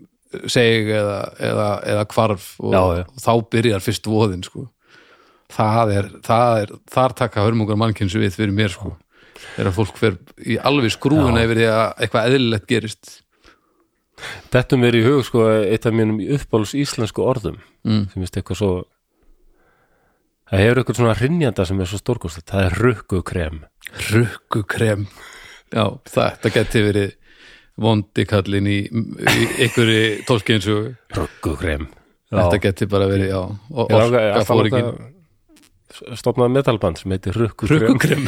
Speaker 5: seg eða, eða, eða hvarf og,
Speaker 4: Já, já.
Speaker 5: og þá byrjar fyrst voðin sko. það, er, það er þar taka hörmungar mannkynsu við fyrir mér sko. þegar fólk fer í alveg skrúuna yfir því að eitthvað eðlilegt gerist
Speaker 4: Þetta mér í hug sko eitt af mínum uppáls íslensku orðum
Speaker 5: Mm.
Speaker 4: sem veist eitthvað svo það hefur eitthvað svona hrynjanda sem er svo stórkostið, það er rukkukrem
Speaker 5: rukkukrem já, þetta geti verið vondi kallin í, í einhverju tólkinsug
Speaker 4: rukkukrem
Speaker 5: þetta geti bara verið, já og
Speaker 4: Ég langa-
Speaker 5: orka
Speaker 4: alltaf
Speaker 5: fóringin
Speaker 4: langa- stofnaði metalband sem heitir rukkukrem
Speaker 5: rukkukrem,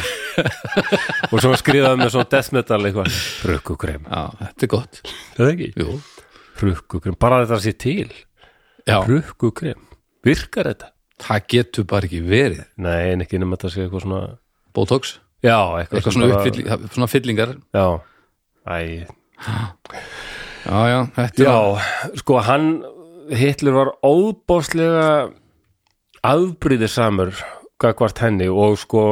Speaker 4: og svo skrifaði með svona death metal eitthvað rukkukrem,
Speaker 5: já, þetta er gott
Speaker 4: er það ekki?
Speaker 5: jú,
Speaker 4: rukkukrem, bara þetta sé til
Speaker 5: já,
Speaker 4: rukkukrem, virkar þetta?
Speaker 5: það getur bara ekki verið
Speaker 4: Nei, en ekki nema þetta sé eitthvað svona
Speaker 5: botox,
Speaker 4: já, eitthvað,
Speaker 5: eitthvað
Speaker 4: sem
Speaker 5: svona,
Speaker 4: bara-
Speaker 5: uppfylling, svona fyllingar
Speaker 4: já, æ,
Speaker 5: já, já, þetta er
Speaker 4: Já, sko hann Hitler var óbóðslega afbríðisamur gagvart henni og sko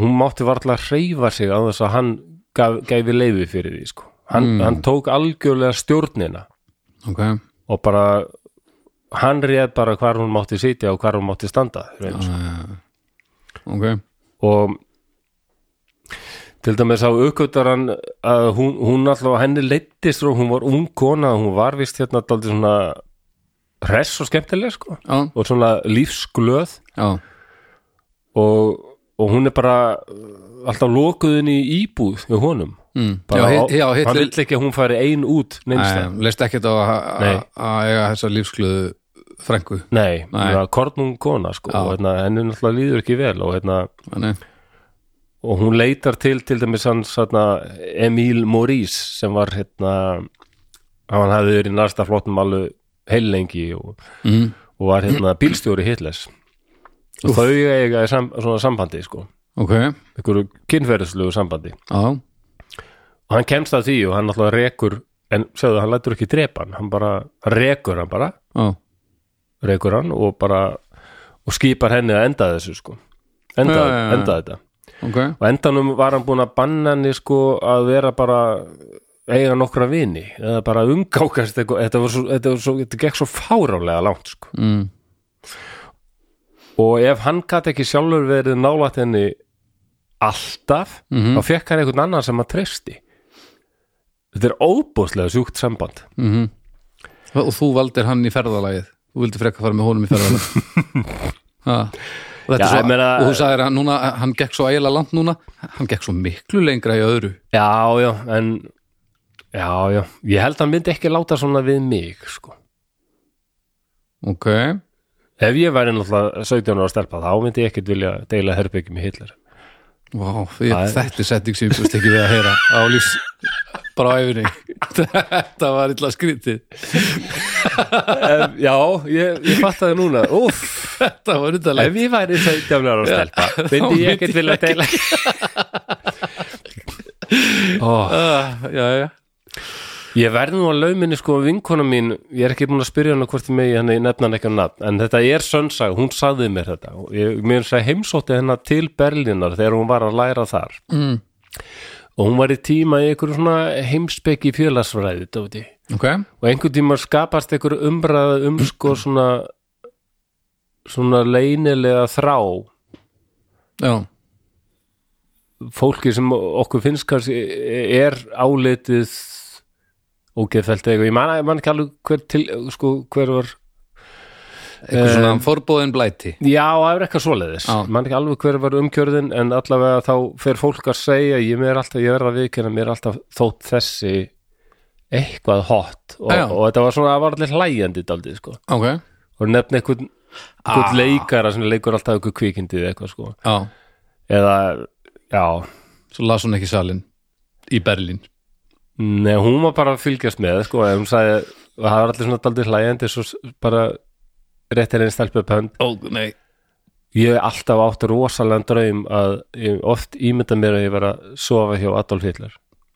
Speaker 4: hún mátti varla hreyfa sig á þess að hann gaf, gæfi leiði fyrir því sko. hann, hann tók algjörlega stjórnina
Speaker 5: ok,
Speaker 4: og bara hann réð bara hvar hún mátti sitja og hvar hún mátti standa ja.
Speaker 5: ok
Speaker 4: og til dæmis á aukvöldar hann að hún, hún alltaf henni leittist og hún var ung kona hún var vist hérna daldið svona hress og skemmtileg sko
Speaker 5: já,
Speaker 4: og svona lífsglöð
Speaker 5: já,
Speaker 4: og, og hún er bara uh, alltaf lokuðin í íbúð hjá honum
Speaker 5: mm. já,
Speaker 4: bara,
Speaker 5: hit- já
Speaker 4: hann
Speaker 5: Hitler
Speaker 4: vill ekki að hún færi ein út neinstæð
Speaker 5: Nei, leist ekkert á að- að
Speaker 4: Nei.
Speaker 5: að eiga þessa lífskluðu frængu
Speaker 4: Nei,
Speaker 5: Nei.
Speaker 4: Nei. kornung kona sko,
Speaker 5: Já.
Speaker 4: og hérna, henni náttúrulega líður ekki vel og, hérna,
Speaker 5: Þannig.
Speaker 4: og hún leitar til til dæmis hans hérna, Emil Maurice sem var hérna, hann hafði verið í næsta flottum alveg heillengi og,
Speaker 5: Mm.
Speaker 4: og var hérna, bílstjóri Hitlers og þau eiga í sam, svona sambandi sko.
Speaker 5: ok,
Speaker 4: einhverju kynferðislegu sambandi
Speaker 5: á,
Speaker 4: og hann kemst að því og hann náttúrulega rekur en segðu hann lætur ekki drepa hann hann bara hann rekur hann bara
Speaker 5: á
Speaker 4: rekur hann og bara og skipar henni að enda þessu sko enda,
Speaker 5: Já, já, já.
Speaker 4: enda þetta
Speaker 5: ok,
Speaker 4: og endanum var hann búin að banna henni sko að vera bara eiga nokkra vini eða bara umgákast eitthvað þetta, var svo, þetta, var svo, þetta gekk svo fárálega langt sko
Speaker 5: mm.
Speaker 4: og ef hann gat ekki sjálfur verið nálætt henni alltaf þá fekk hann einhvern annan sem hann treysti þetta er óbúslega sjúkt samband
Speaker 5: mhm. og þú valdir hann í ferðalagið þú vildi frekka fara með honum í ferðalagið Ha. og þetta
Speaker 4: Já,
Speaker 5: er svo
Speaker 4: ég meina-
Speaker 5: og þú sagðir að núna, hann gekk svo ægilega langt núna hann gekk svo miklu lengra í öðru
Speaker 4: já, já, en já, já, ég held hann myndi ekki láta svona við mig, sko
Speaker 5: ok,
Speaker 4: ef ég væri náttúrulega 17 ára stelpa þá myndi ég ekkit vilja deila herbyggjum í Hitler
Speaker 5: wow, því,
Speaker 4: Það er-
Speaker 5: þetta er setting sem ég búst ekki við að heyra á lífs bara á æfinni þetta var illa skrítið
Speaker 4: ef, já, ég, ég fattaði núna úff,
Speaker 5: þetta var undarlega
Speaker 4: ef ég væri 17 ára stelpa myndi ég ekkit vilja deila oh,
Speaker 5: uh, já, já,
Speaker 4: Ég verði nú að lauminni sko vinkona mín, ég er ekki búin að spyrja hana hvort ég megi henni nefna hann ekki um nafn en þetta er sönsag, hún sagði mér þetta og ég mér sagði heimsótti hennar til Berlínar þegar hún var að læra þar mm. og hún var í tíma í einhverju svona heimspeki fjölasfræði Dóti.
Speaker 5: ok
Speaker 4: og einhver tíma skapast einhverju umræða um sko svona svona leynilega þrá
Speaker 5: já,
Speaker 4: fólki sem okkur finnst kannski er álitið ógeðfælt eitthvað, ég man, ég man ekki alveg hver til, sko, hver var
Speaker 5: eitthvað svona forbóðin blæti
Speaker 4: já, það er eitthvað svoleiðis,
Speaker 5: Já.
Speaker 4: ég man ekki alveg hver var umkjörðin en allavega þá fer fólk að segja ég, mér er alltaf, ég verð að viðkynna, mér er alltaf þótt þessi eitthvað hot og,
Speaker 5: Já.
Speaker 4: og þetta var svona, það var allir hlægjandi daldið, sko,
Speaker 5: ok,
Speaker 4: og nefna einhvern einhvern
Speaker 5: Ah.
Speaker 4: leikara sem leikur alltaf einhver kvikindið eitthvað, sko,
Speaker 5: já,
Speaker 4: eða já,
Speaker 5: svo las hún ekki salin í Berlín
Speaker 4: Nei, hún var bara að fylgjast með sko, en hún sagði, og það var allir svona daldið hlægjandi svo s- bara réttir einn stelpöp hönd
Speaker 5: ó, nei,
Speaker 4: ég hef alltaf átt rosalega draum að ég hef oft ímynda mér að ég vera að sofa hjá Adolf Hitler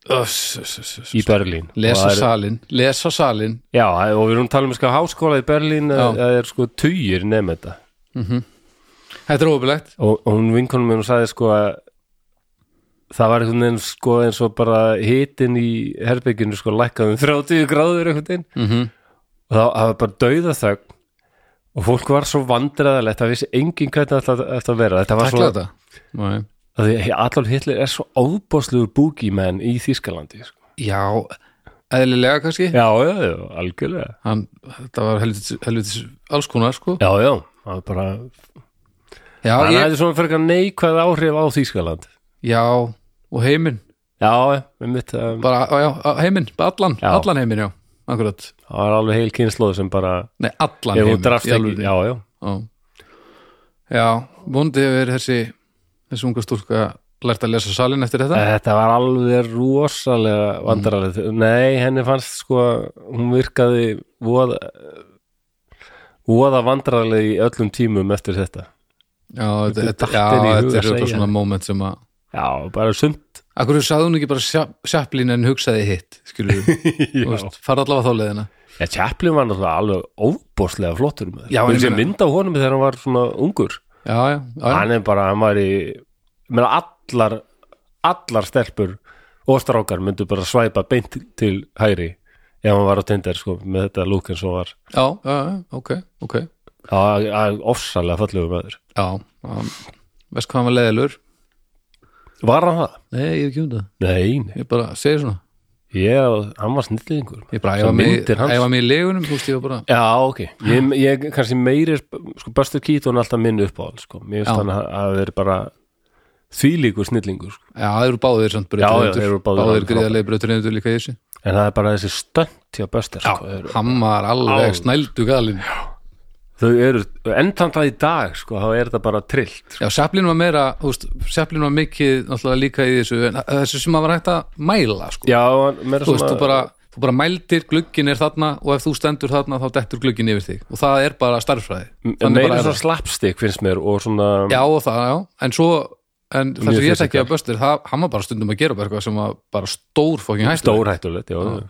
Speaker 5: öss, öss, öss, öss
Speaker 4: í Berlín
Speaker 5: lesa
Speaker 4: Og það er-
Speaker 5: salin, lesa salin
Speaker 4: Já, og við erum að tala um sko háskóla í Berlín
Speaker 5: Já.
Speaker 4: að það er sko tugir nefn þetta
Speaker 5: þetta er óbulegt
Speaker 4: og, og hún vinkonum mér hún sagði sko að það var einhvern veginn sko eins og bara hitin í herbygginu sko lækkaðum 30 gráður einhvern veginn
Speaker 5: Mhm.
Speaker 4: og það það var bara dauða þögn og fólk var svo vandræðalegt það vissi enginn hvernig þetta átti að- átti að vera þetta var
Speaker 5: Takla
Speaker 4: svo,
Speaker 5: þetta Nei.
Speaker 4: að því Adolf Hitler er svo ábáslugur búkimenn í Þýskalandi sko.
Speaker 5: Já, eðlilega kannski
Speaker 4: já, já, já, algjörlega
Speaker 5: Hann, Þetta var helvitis, helvitis alls konar sko
Speaker 4: já, já, það var bara
Speaker 5: Já,
Speaker 4: hann
Speaker 5: ég,
Speaker 4: hefði svona fyrir neikvæð áhrif á Þýskaland
Speaker 5: já og heiminn
Speaker 4: já, með mitt um,
Speaker 5: bara, á, já, á, heiminn, bara allan,
Speaker 4: Já.
Speaker 5: allan heiminn já, akkurat
Speaker 4: það var alveg heil kynnslóð sem bara
Speaker 5: Nei, allan
Speaker 4: ef hún
Speaker 5: heiminn
Speaker 4: drafst
Speaker 5: í alvöru.
Speaker 4: ekki, já, já
Speaker 5: Já, já vondi hefur þessi þessi unga stúlka lært að lesa salin eftir þetta
Speaker 4: Eh, Þetta var alveg rosalega vandrarlegt. Nei, henni fannst sko, hún virkaði voða, voða vandrarlega í öllum tímum eftir þetta.
Speaker 5: Já, þetta,
Speaker 4: þetta
Speaker 5: þetta,
Speaker 4: datt
Speaker 5: já,
Speaker 4: henni í hug
Speaker 5: þetta
Speaker 4: að
Speaker 5: er eitthvað
Speaker 4: segja
Speaker 5: svona
Speaker 4: þetta.
Speaker 5: moment sem að
Speaker 4: Já, bara sumt.
Speaker 5: Akkur sagði hún ekki bara sjaplín en hugsaði hitt skilur við, fara allavega þá leiðina
Speaker 4: Já, Chaplin var náttúrulega alveg óbóðslega flottur með það.
Speaker 5: Já, ég
Speaker 4: Hún sé
Speaker 5: meina-
Speaker 4: mynd á honum þegar hann var svona ungur.
Speaker 5: Já, já, já, já.
Speaker 4: Hann er bara, hann var í, meðan allar, allar stelpur og strákar myndu bara svæpa beint til hægri ef hann var á Tinder sko, með þetta lúk eins og var.
Speaker 5: já, já, já, ok, ok
Speaker 4: Já, ofsalega fallegu með þér.
Speaker 5: Já, um, veist hvað hann var leiðilur?
Speaker 4: Var hann það?
Speaker 5: Nei, ég hef ekki um það,
Speaker 4: Nei, nei,
Speaker 5: ég bara segi svona
Speaker 4: ég, hann var snillingur
Speaker 5: Ég bara,
Speaker 4: Svo
Speaker 5: ég var með,
Speaker 4: myndir hans
Speaker 5: ég var með í legunum, þú veist, ég var bara
Speaker 4: Já, ok, ég, ég kannski meiri sko, Buster Keaton er alltaf minn uppáhald sko. mér
Speaker 5: Já.
Speaker 4: finnst hann að- að vera bara þvílíkur snillingur sko.
Speaker 5: Já, þeir eru báðir samt
Speaker 4: Já, já, þeir eru báðir
Speaker 5: Báðir
Speaker 4: alveg
Speaker 5: gríðarlega brauturindur líka í þessu
Speaker 4: en það er bara þessi stönd hjá Buster sko. Þeir-
Speaker 5: Hann var alveg
Speaker 4: Á.
Speaker 5: snældu galinn
Speaker 4: þau eru, enn þann það í dag sko, þá er þetta bara trillt sko.
Speaker 5: Já, Sjaplin var meira, þú veist, Sjaplin var mikið náttúrulega líka í þessu en þessu sem að var hægt að mæla, sko
Speaker 4: Já, hann- meira
Speaker 5: Þú veist,
Speaker 4: svona
Speaker 5: þú bara, þú bara mældir, glugginn er þarna og ef þú stendur þarna, þá dettur glugginn yfir þig og það er bara starffræði
Speaker 4: meira
Speaker 5: bara er
Speaker 4: svona
Speaker 5: það.
Speaker 4: slapstick finnst mér og svona
Speaker 5: Já, og það, já, en svo en það
Speaker 4: Mjög
Speaker 5: sem ég þekki
Speaker 4: fysikal.
Speaker 5: að Buster, það, hann var bara stundum að gera bara eitthvað sem var bara stór fókin hægt
Speaker 4: Stór hættulegt, já Já,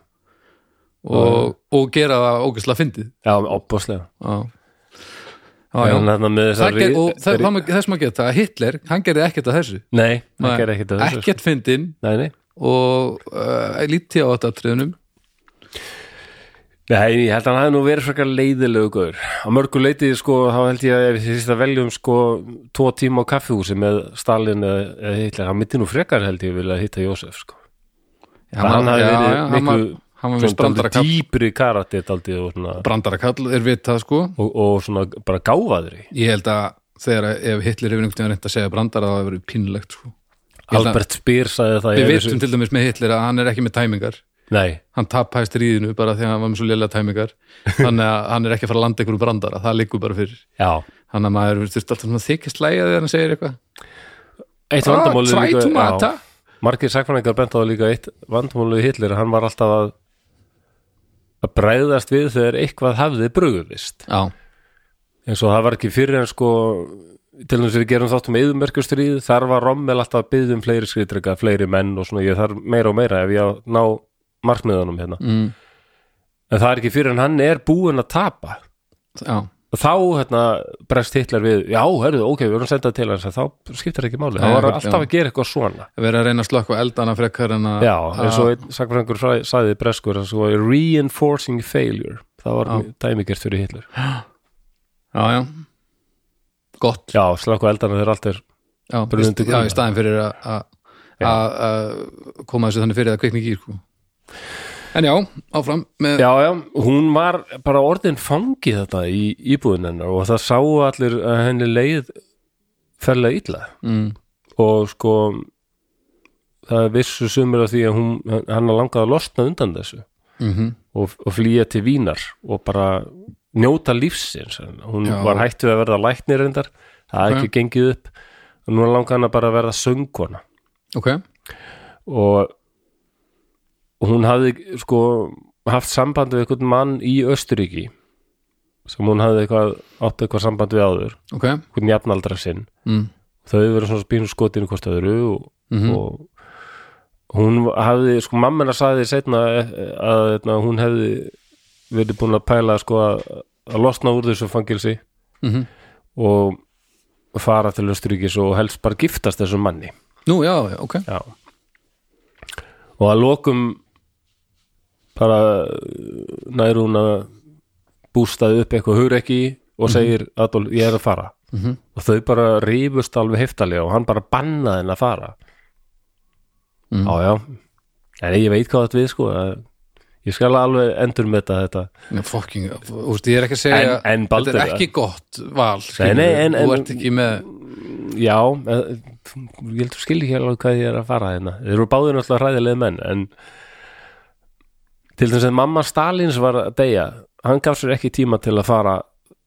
Speaker 5: og, og gera það ógeðslega fyndið
Speaker 4: já opbáslega
Speaker 5: Já. Já, já.
Speaker 4: En þarna með
Speaker 5: Það
Speaker 4: þessar
Speaker 5: ger- og það- það má- þess maður geta að Hitler, hann gerði ekkert að þessu
Speaker 4: Nei,
Speaker 5: Nei,
Speaker 4: það ger ekkert að þessu sko.
Speaker 5: ekkert fyndin
Speaker 4: Nei, nei
Speaker 5: og uh, lítið á þetta triðunum
Speaker 4: Nei, ég held að hann hafi nú verið frekar leiðilegu gaur. Á mörgu leiti, sko, þá held ég að ef þið sýst að veljum, sko, tvo tíma á kaffihúsi með Stalin eða, eða Hitler, hann myndi nú frekar held ég vilja hitta Jósef, sko.
Speaker 5: Já,
Speaker 4: Hann, hann hafi
Speaker 5: já,
Speaker 4: verið
Speaker 5: já, hann var-
Speaker 4: miklu,
Speaker 5: hann var
Speaker 4: svona,
Speaker 5: mjög brandara
Speaker 4: dálítið
Speaker 5: kall
Speaker 4: dýpri karatið daldið og svona,
Speaker 5: brandara kall er vitað sko
Speaker 4: og, og svona bara gáfaðri.
Speaker 5: ég held að þegar að- ef Hitler hefur einhvern veginn reynd að segja brandara það hefur verið pínlegt sko Ég held að-
Speaker 4: Albert Speer sagði það. í
Speaker 5: við
Speaker 4: einu
Speaker 5: vitum
Speaker 4: sinni-
Speaker 5: til dæmis með Hitler að hann er ekki með tæmingar
Speaker 4: Nei,
Speaker 5: hann tapæst ríðinu bara því að hann var með svo lélega tæmingar þannig að hann er ekki að fara að landa einhverju brandara það liggur bara fyrir
Speaker 4: já.
Speaker 5: þannig að maður þurft alltaf svona þykist lægja þegar hann segir eitthvað
Speaker 4: Eitt
Speaker 5: Ah,
Speaker 4: vandamálið
Speaker 5: try
Speaker 4: líka-
Speaker 5: to
Speaker 4: já.
Speaker 5: mata.
Speaker 4: Margir sakfræðingar bent á það líka eitt vandamálið við Hitler, að hann var alltaf að að bræðast við þegar eitthvað hafði brugðist
Speaker 5: já,
Speaker 4: eins og það var ekki fyrir en sko til þess að við gerum þáttum yðurmerkustríð þar var Rommel alltaf að byggja um fleiri skritrega fleiri menn og svona, ég þarf meira og meira ef ég á að ná markmiðunum hérna mm. en það er ekki fyrir en hann er búinn að tapa
Speaker 5: já,
Speaker 4: og þá hérna bregst Hitler við já, herðu, ok, við vorum sendað til hans þá skiptir ekki máli,
Speaker 5: Nei,
Speaker 4: það var
Speaker 5: já.
Speaker 4: alltaf að gera eitthvað svona
Speaker 5: verið að reyna að slökka eldana frekar en að
Speaker 4: já, eins og einn sakfræðingur fra- sagði breskur, það svo reinforcing failure, það var dæmigert fyrir Hitler
Speaker 5: já, já. gott
Speaker 4: já, slökku eldana þegar allt er
Speaker 5: já,
Speaker 4: Bara undir
Speaker 5: í- já,
Speaker 4: grunna.
Speaker 5: í staðin fyrir að- að að- að koma þessu þannig fyrir að kveikni gýr sko. en já, áfram með,
Speaker 4: Já, já, hún var bara orðin fangið þetta í íbúðin hennar og það sáu allir að henni leið ferlega illa mm. og sko það vissu sumir af því að hún, hann langaði að losna undan þessu -hmm.
Speaker 5: Mhm.
Speaker 4: og, og flýja til vínar og bara njóta lífsins hún
Speaker 5: Já.
Speaker 4: var hætt við að verða læknir reyndar, það hafði ekki gengið upp og nú langaði hann að bara verða söngkona
Speaker 5: ok
Speaker 4: og og hún hafði sko haft samband við einhvern mann í Östuríki sem hún hafði eitthvað átt eitthvað samband við áður
Speaker 5: ok,
Speaker 4: einhvern jafnaldra sinn
Speaker 5: mm. Mhm.
Speaker 4: þau hefur verið svona spínu skotinu hvort öðru og, og hún hafði sko mammina saði setna e, að eitna, hún hefði verið búin að pæla sko að, að losna úr þessu fangilsi
Speaker 5: Mhm.
Speaker 4: og fara til Östuríkis og helst bara giftast þessum manni
Speaker 5: nú já, já, ok
Speaker 4: Já. Og að lokum bara næru hún að bústaði upp eitthvað hugreiki og segir Adolf, ég er að fara. -hmm. Og þau bara rífust alveg heftalega og hann bara bannaði henn að fara. Mm. Já, já. En ég veit hvað þetta við, sko. að- Ég skal alveg endur með þetta. þetta.
Speaker 5: Nei, fucking, úst, ég er ekki að segja
Speaker 4: En- en Baldur-
Speaker 5: þetta er ekki gott val
Speaker 4: Nei,
Speaker 5: skilur,
Speaker 4: nei, en-
Speaker 5: þú
Speaker 4: en-
Speaker 5: ert ekki með
Speaker 4: Já, eh, ég heldur skil ekki alveg hvað ég er að fara hérna. Þeir eru báðir náttúrulega hræðilega menn, en til þess að mamma Stalins var að deyja, hann gaf sér ekki tíma til að fara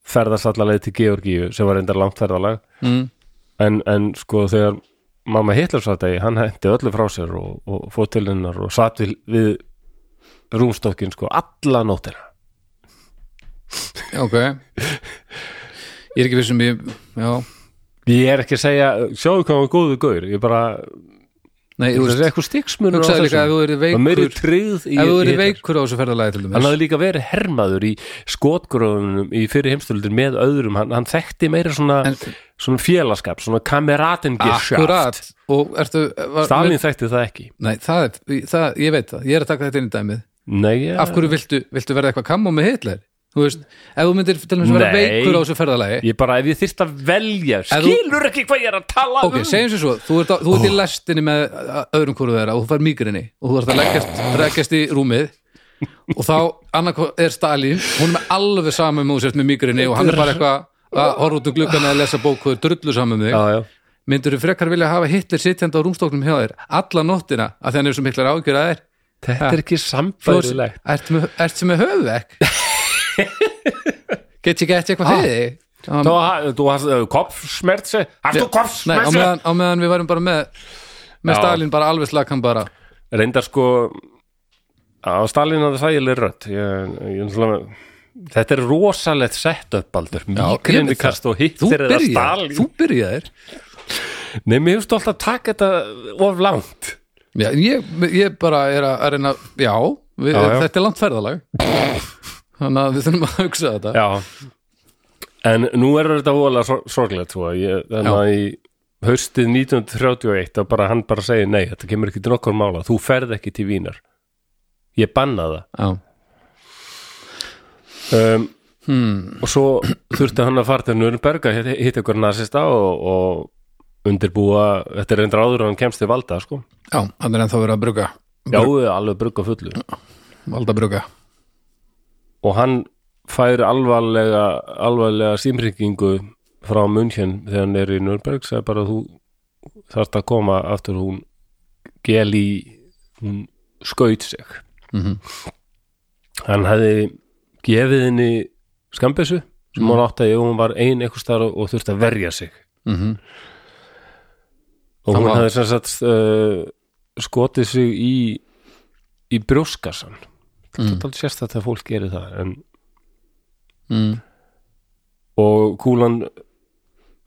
Speaker 4: ferðast allaveg til Georgíu, sem var reyndar langt ferðalag,
Speaker 5: mm,
Speaker 4: en, en sko þegar mamma Hitler satt að deyja, hann hætti öllu frá sér og, og fótt til hennar og satt við, við rúmstokkin sko alla nótina.
Speaker 5: ok ég er ekki vissum ég, já,
Speaker 4: Ég er ekki að segja, sjáðu hvað hann var góðu gaur, ég bara,
Speaker 5: nei,
Speaker 4: þú
Speaker 5: þú
Speaker 4: veist,
Speaker 5: veist
Speaker 4: eitthvað stiksmunur
Speaker 5: hugsaði líka ef þú verið
Speaker 4: Það er meiri
Speaker 5: veikur
Speaker 4: tryggð í
Speaker 5: ef þú verið
Speaker 4: Hitler.
Speaker 5: veikur á þessu ferðalagi til
Speaker 4: hann
Speaker 5: dæmis
Speaker 4: hafði líka verið hermaður í skotgróðunum í fyrir heimstöldur með öðrum hann, hann þekkti meira svona,
Speaker 5: En-
Speaker 4: svona félaskap, svona kameratengishaft
Speaker 5: akkurat og ertu var,
Speaker 4: Stalin þekkti það ekki
Speaker 5: Nei, það er, það, ég veit það, ég er að taka þetta inn í dæmið
Speaker 4: Nei, ja.
Speaker 5: Af hverju viltu, viltu verða eitthvað kammo með Hitler? Þú veist, ef þú myndir til þess að vera
Speaker 4: Nei.
Speaker 5: veikur á þessu ferðalagi
Speaker 4: ég bara, ef ég þyrst að velja
Speaker 5: Ef þú-
Speaker 4: skilur ekki hvað ég er að tala
Speaker 5: Ok,
Speaker 4: um
Speaker 5: segjum sér svo, þú ert, á, þú ert í lestinni með uh, öðrum hverju þeirra og þú fær mýgrinni og þú ert að leggjast, leggjast í rúmið og þá annarkoð er Stalin hún er með alveg saman með þú sért með mýgrinni og hann er bara eitthvað að horfa út um gluggan að lesa bók og er drullu saman með
Speaker 4: já,
Speaker 5: þig
Speaker 4: já.
Speaker 5: myndur þú frekar vilja hafa Hitler sitjandi á rúmstoknum hjá þér alla nóttina að þannig er svo miklar ágjör að þér
Speaker 4: þetta er ekki sambærilegt
Speaker 5: Ertu með, ertu með höfuvekk? Get ég gett eitthvað
Speaker 4: Ah.
Speaker 5: fyrir þig? Um,
Speaker 4: Þú ha- þú hast uh, kopfsmertse Hast þú
Speaker 5: nei, á
Speaker 4: kopfsmertse?
Speaker 5: meðan, á meðan við varum bara með með
Speaker 4: Já.
Speaker 5: Stalin bara alveg slakan bara
Speaker 4: Reyndar sko á Stalin hafði þægileg rödd ég, ég, svona, Þetta er rosalegt sett upp aldur
Speaker 5: ég veit það.
Speaker 4: Mígrinnukast og
Speaker 5: þú
Speaker 4: hittir eða
Speaker 5: byrjaðir,
Speaker 4: Stalin
Speaker 5: þú byrjaðir
Speaker 4: Nei, mér hefst alltaf að taka þetta of langt
Speaker 5: Já, ég, ég bara er að, að reyna já, við,
Speaker 4: Já, já.
Speaker 5: þetta er langt ferðalag þannig að við þurfum að hugsa þetta
Speaker 4: Já En nú er þetta voðalega sor- sorglegt sko. Ég- Þannig að í haustið 1931 að bara hann bara segir nei, þetta kemur ekki til nokkur mála þú ferð ekki til Vínar ég banna það
Speaker 5: já.
Speaker 4: um, hmm. og svo þurfti hann að fara til Nürnberg að hitta- hitta ykkur nasista og, og undirbúa þetta er endur áður og hann kemst til valda sko.
Speaker 5: já, hann er ennþá verið að bruga
Speaker 4: já, alveg brugga fullu
Speaker 5: valda bruga
Speaker 4: og hann fær alvarlega alvarlega símringingu frá München þegar hann er í Nürnberg sagði bara þú þarft að koma aftur hún geli hún skaut sig hann hefði gefið henni skambessu sem hún átti að ef hún var ein eitthvað starf og þurfti að verja sig og hún
Speaker 5: var-
Speaker 4: hefði sem sagt uh, skotið sig í í brjóskassan mm. þetta sérst að það fólk gerir það en
Speaker 5: Mm.
Speaker 4: og kúlan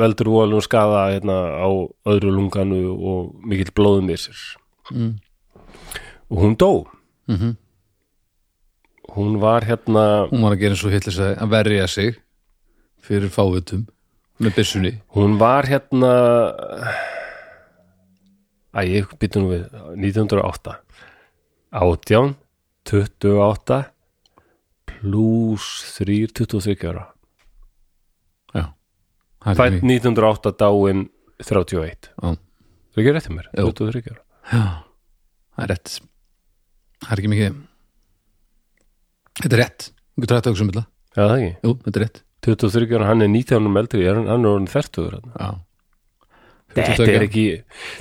Speaker 4: veldur voðalum skaða hérna, á öðru lunganu og mikill blóðum í sér og hún dó
Speaker 5: Mhm.
Speaker 4: hún var hérna
Speaker 5: hún var að gera eins og hitlis að verja sig fyrir fávitum með byssunni
Speaker 4: hún var hérna að ég býtu nú við 1908 18 28 pluss 3 23 ára
Speaker 5: já, það er
Speaker 4: fætt
Speaker 5: ekki
Speaker 4: 1908 dáin 31
Speaker 5: Já.
Speaker 4: Það er ekki rétt hjá mér,
Speaker 5: Jú.
Speaker 4: 23 ára
Speaker 5: já, það er rétt það er ekki mikið þetta er rétt, þú getur hægt að hugsa um þetta
Speaker 4: Já, það ekki,
Speaker 5: jú, þetta er rétt
Speaker 4: 23 ára, hann er 19 árum eldri er hann, hann er orðin 30 ára
Speaker 5: já.
Speaker 4: Þetta er ekki,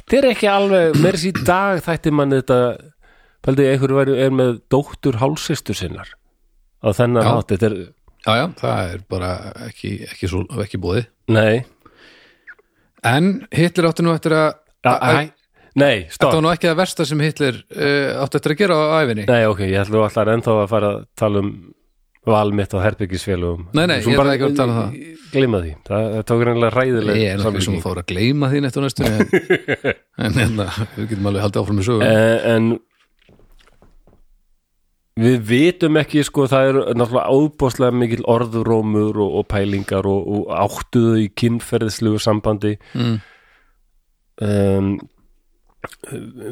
Speaker 4: þetta er ekki alveg mér sér í dag þætti mann þetta pældi ég einhverju væri- er með dóttur hálsistur sinnar á þennan
Speaker 5: Já.
Speaker 4: hátt, þetta er,
Speaker 5: já, já, það er bara ekki, ekki, svo, ekki búið
Speaker 4: nei
Speaker 5: En Hitler átti nú eftir að
Speaker 4: A-
Speaker 5: að-
Speaker 4: æ, Nei,
Speaker 5: Þetta
Speaker 4: stopp
Speaker 5: var nú ekki það versta sem Hitler uh, átti eftir að gera á æfinni
Speaker 4: Nei, ok, ég ætla allar ennþá að fara að tala um val mitt og herbyggisfélugum
Speaker 5: Nei, nei, ég ætla ekki að tala um það.
Speaker 4: Glima því, það, það tók reynilega ræðileg
Speaker 5: Ég er náttúrulega sem
Speaker 4: samlíking.
Speaker 5: að fóra að gleyma því nættu næstu en, en hérna, við getum alveg haldið áfram í sögu
Speaker 4: Eh, en við vitum ekki sko það er náttúrulega óbóðslega mikil orðrómur og, og pælingar og, og áttuðu í kynferðislegu sambandi
Speaker 5: Mm.
Speaker 4: um,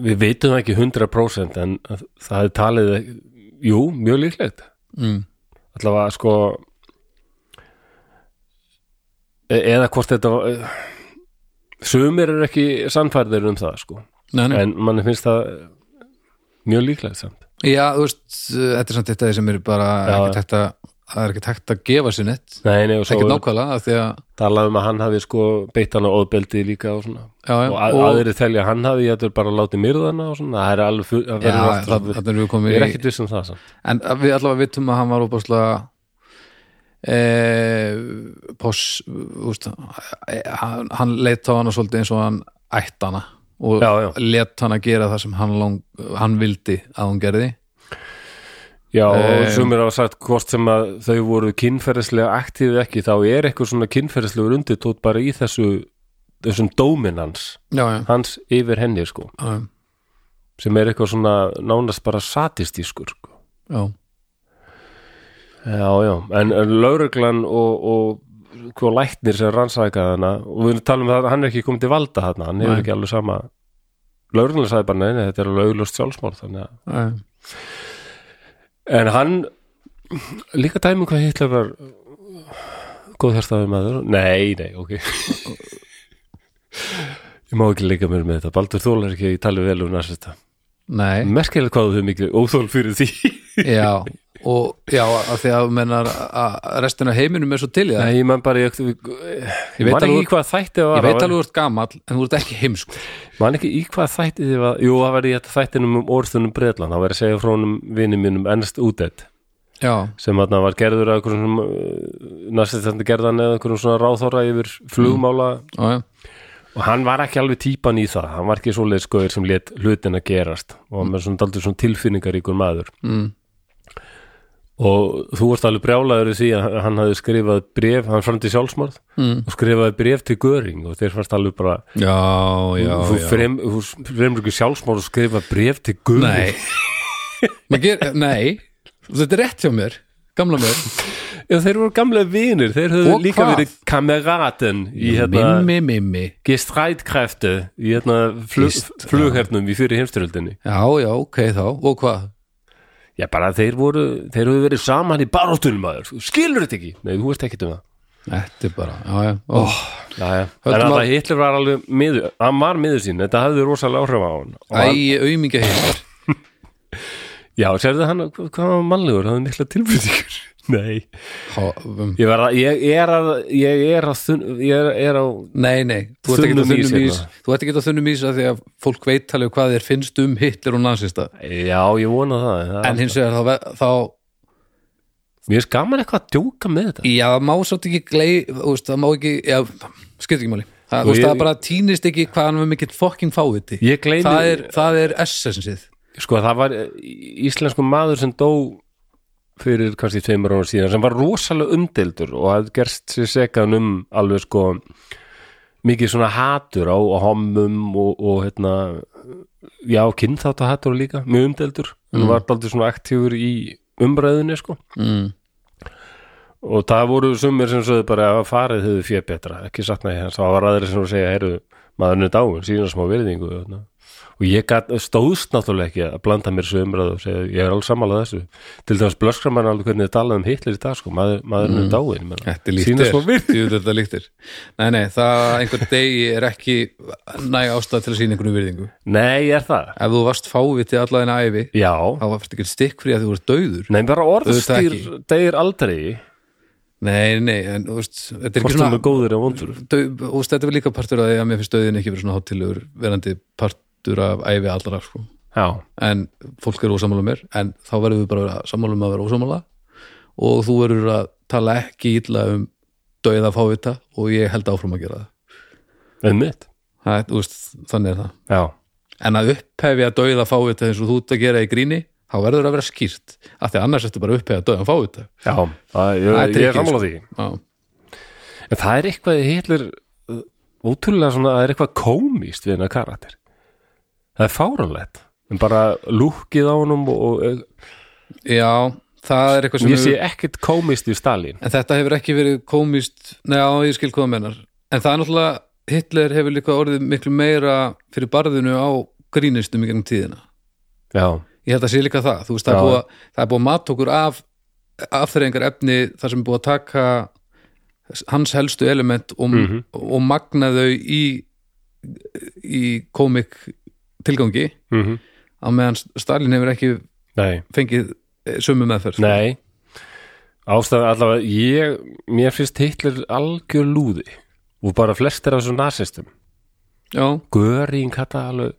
Speaker 4: við vitum ekki 100% en að- það er talið jú, mjög líklegt
Speaker 5: mm.
Speaker 4: allavega sko e- eða hvort þetta var- sumir eru ekki sannfærðir um það sko
Speaker 5: Nei, nei,
Speaker 4: en mann finnst það mjög líklegt samt
Speaker 5: já, þú veist eh, þetta er samt þetta sem er bara
Speaker 4: Já.
Speaker 5: ekki tækt að það er ekki tækt að gefa sér neitt
Speaker 4: nei, nei, og svo
Speaker 5: ekki nákvæmlega, af því að
Speaker 4: talaði um að hann hafi sko beitt hann á óðbeldi líka og svona
Speaker 5: já, já,
Speaker 4: og, að,
Speaker 5: og-
Speaker 4: aðri telja að hann hafi ég ætlur bara að láti myrðana og svona það er alveg full, það
Speaker 5: já,
Speaker 4: verður allt
Speaker 5: það,
Speaker 4: svona-
Speaker 5: þannig erum við komin
Speaker 4: ég er
Speaker 5: í-
Speaker 4: ekkert viss um það samt
Speaker 5: En við allavega vitum að hann var óbáslega e, poss úst, hann, hann leitt á hana svolítið eins og hann ætti hana og
Speaker 4: Já, já.
Speaker 5: let hana gera það sem hann, lang, hann vildi að hún gerði
Speaker 4: já, og sumir hafa sagt hvort sem að þau voru kynferðislega aktífið ekki þá er eitthvað svona kynferðislegur undirtótt bara í þessu þessum dóminans
Speaker 5: Já, já,
Speaker 4: hans yfir henni sko
Speaker 5: já,
Speaker 4: sem er eitthvað svona nánast bara satistískur sko
Speaker 5: já.
Speaker 4: Já, já, en lauruglan og, og hvað læknir sem rannsæka þarna og við talum um það að hann er ekki komið til valda þarna, hann hefur
Speaker 5: Nei.
Speaker 4: ekki alveg sama lauruglan sagði bara, nei, nei, þetta er alveg auglust sjálfsmál þannig að,
Speaker 5: já.
Speaker 4: en hann líka dæmi um hvað Hitler var góð hérstaði maður nei, nei, ok ég má ekki leika mér með þetta Baldur Þól er ekki, ég tali vel um næst þetta
Speaker 5: Nei,
Speaker 4: merkilega hvað þú er mikið óþól fyrir því
Speaker 5: já og já, af því að þú mennar að restin af heiminum er svo til í það
Speaker 4: nei, ég menn bara, ég, ég,
Speaker 5: Ég veit
Speaker 4: man
Speaker 5: alveg-
Speaker 4: ekki hvað þætti það var
Speaker 5: Ég veit
Speaker 4: það var-
Speaker 5: alveg þú ert gamall, en þú ert ekki heimsku
Speaker 4: Man ekki í hvað þætti þið var Jú, það var í þetta þættinum um orðunum Bretland Það var að segja frá honum vini mínum Ernst Údett
Speaker 5: Já,
Speaker 4: sem hann var gerður að einhverjum uh, næstistandi gerðan eða einhverjum svona ráðþóra yfir flugmála
Speaker 5: já, já,
Speaker 4: og hann var ekki alveg típan í það hann var ekki svoleiðis skoður sem let hlutina gerast og hann var svona daldur svona tilfinningaríkur maður mm. og þú varst alveg brjálaður í því að hann hafði skrifað bref, hann framdi sjálfsmörð mm. og skrifaði bref til Göring og þeir fannst alveg bara
Speaker 5: Já, já,
Speaker 4: þú
Speaker 5: já
Speaker 4: frem- þú fremur ekki sjálfsmörð og skrifa bref til Göring
Speaker 5: Nei Maður ger, Nei, þetta er rétt hjá mér Gamla mér
Speaker 4: Já, þeir voru gamlega vinir, þeir höfðu
Speaker 5: Og
Speaker 4: líka
Speaker 5: hvað?
Speaker 4: verið kameraten í hérna
Speaker 5: Mimmi, mimmi
Speaker 4: gestrætkræftu í hérna flug,
Speaker 5: Gist-
Speaker 4: flughernum í fyrir heimstyröldinni
Speaker 5: Já, já, ok þá Og hvað?
Speaker 4: Já, bara þeir voru, þeir höfðu verið saman í baróttunum aður, skilur þetta ekki Nei, þú veist ekki um það
Speaker 5: Þetta er bara, já, já Ó,
Speaker 4: Já, já,
Speaker 5: Höldum
Speaker 4: en
Speaker 5: að-
Speaker 4: alltaf Hitler var alveg miður, hann var miður sín, þetta hafði rosalega áhrif á hann Og hann
Speaker 5: Æ, aumingja heimir
Speaker 4: Já, sérðu hann, hvað hvað var hann mannlegur, hafði mikla tilbyrðingur Nei,
Speaker 5: um,
Speaker 4: ég, var, að- ég er að, ég er að, þun- ég er, er á
Speaker 5: Nei, nei, þú ert ekki á
Speaker 4: Þunnum ís
Speaker 5: þunnum ís
Speaker 4: hérna.
Speaker 5: Þú ert ekki á þunnum ís af því að fólk veit alveg hvað þér finnst um Hitler og nazista
Speaker 4: Já, ég vona það, en það
Speaker 5: En hins vegar þá, ve- þá
Speaker 4: Mér er gaman eitthvað að djóka með þetta
Speaker 5: Já, það má svolítið ekki glei þú veist, það má ekki, já, skiptir ekki máli
Speaker 4: Og
Speaker 5: það, þú veist,
Speaker 4: ég-
Speaker 5: það bara týnist ekki hvað hann var mikill fokking fáviti
Speaker 4: Ég gleymi-
Speaker 5: það, er, það er essensið
Speaker 4: sko það var eh, íslensku maður sem dó fyrir kannski tveimur ára síðan sem var rosalega umdeildur og hafði gerst sér sekan um alveg sko mikið svona hatur á, á hommum og, og hérna já, kynþátt og hatur líka, mjög umdeildur en var daldið svona aktífur í umræðunni sko
Speaker 5: mm.
Speaker 4: og það voru sumir sem sögðu bara að farið hefðu fjö betra, ekki sakna ég hans það var aðri sem voru að segja, heyrðu, maðurinn er dáin síðan smá virðingu þarna. og ég gat, stóðst náttúrulega ekki að blanda mér svo umræðu og segja, ég er alveg sammálað þessu til þess blöskra mann alveg hvernig þið talað um Hitler í dag, sko, maður, maðurinn er dáin ég meina.
Speaker 5: Mm. Þetta
Speaker 4: Sýna
Speaker 5: líktir,
Speaker 4: smá virðingu.
Speaker 5: Jú, þetta líktir Nei, nei, það einhver degi er ekki næg ástæð til að sína einhvern virðingu
Speaker 4: nei, er það?
Speaker 5: Ef þú varst fáviti alla þina ævi
Speaker 4: Já,
Speaker 5: þá var þetta ekki stikk fyrir að þú voru dauður
Speaker 4: nei, bara
Speaker 5: Auðvitað
Speaker 4: orðstýr
Speaker 5: ekki.
Speaker 4: degir aldrei,
Speaker 5: Nei, nei, en þú veist, þetta er ekki
Speaker 4: hvort það er
Speaker 5: svona
Speaker 4: góður eða vondur
Speaker 5: dau, þú veist, Þetta er líka partur að því að mér finnst dauðin ekki verið svona hátilegur verandi partur af ævi allra sko.
Speaker 4: já,
Speaker 5: en fólk eru ósamála mér en þá verðum við bara að vera sammála um að vera ósamála og þú verður að tala ekki illa um dauða fávita og ég held áfram að gera það,
Speaker 4: einmitt
Speaker 5: það er, þú veist, þannig er það
Speaker 4: já,
Speaker 5: en að upphefja dauða fávita eins og þú ert að gera í gríni þá verður að vera skýrt af því að annars ertu bara að upphefja dauðan fávita
Speaker 4: já, það, ég,
Speaker 5: Það er
Speaker 4: ég
Speaker 5: tricky,
Speaker 4: er sammálað því
Speaker 5: Já.
Speaker 4: En það er eitthvað í Hitler uh, ótrúlega svona, það er eitthvað komist við hennar karakter það er fáranlegt en bara lúkið á honum og, og,
Speaker 5: já, það er eitthvað
Speaker 4: og
Speaker 5: sem
Speaker 4: ég sé
Speaker 5: hefur-
Speaker 4: ekkert komist í Stalin
Speaker 5: en þetta hefur ekki verið komist neða, ég skil hvað það mennar en það er náttúrulega, Hitler hefur líka orðið miklu meira fyrir barðinu á grínistum í gengum tíðina
Speaker 4: já,
Speaker 5: ég held að sé líka það, þú veist, það er
Speaker 4: Já.
Speaker 5: búið að- það er búið að mat okkur af afþreyingar efni þar sem er búið að taka hans helstu element og,
Speaker 4: Mhm.
Speaker 5: og magna þau í í komik tilgangi
Speaker 4: mm
Speaker 5: á meðan Stalin hefur ekki
Speaker 4: nei,
Speaker 5: fengið eh, sömu meðferð
Speaker 4: nei ástæðan allavega, ég mér finnst Hitler algjör lúði og bara flestir af þessum nasistum
Speaker 5: Já,
Speaker 4: Göring kalla alveg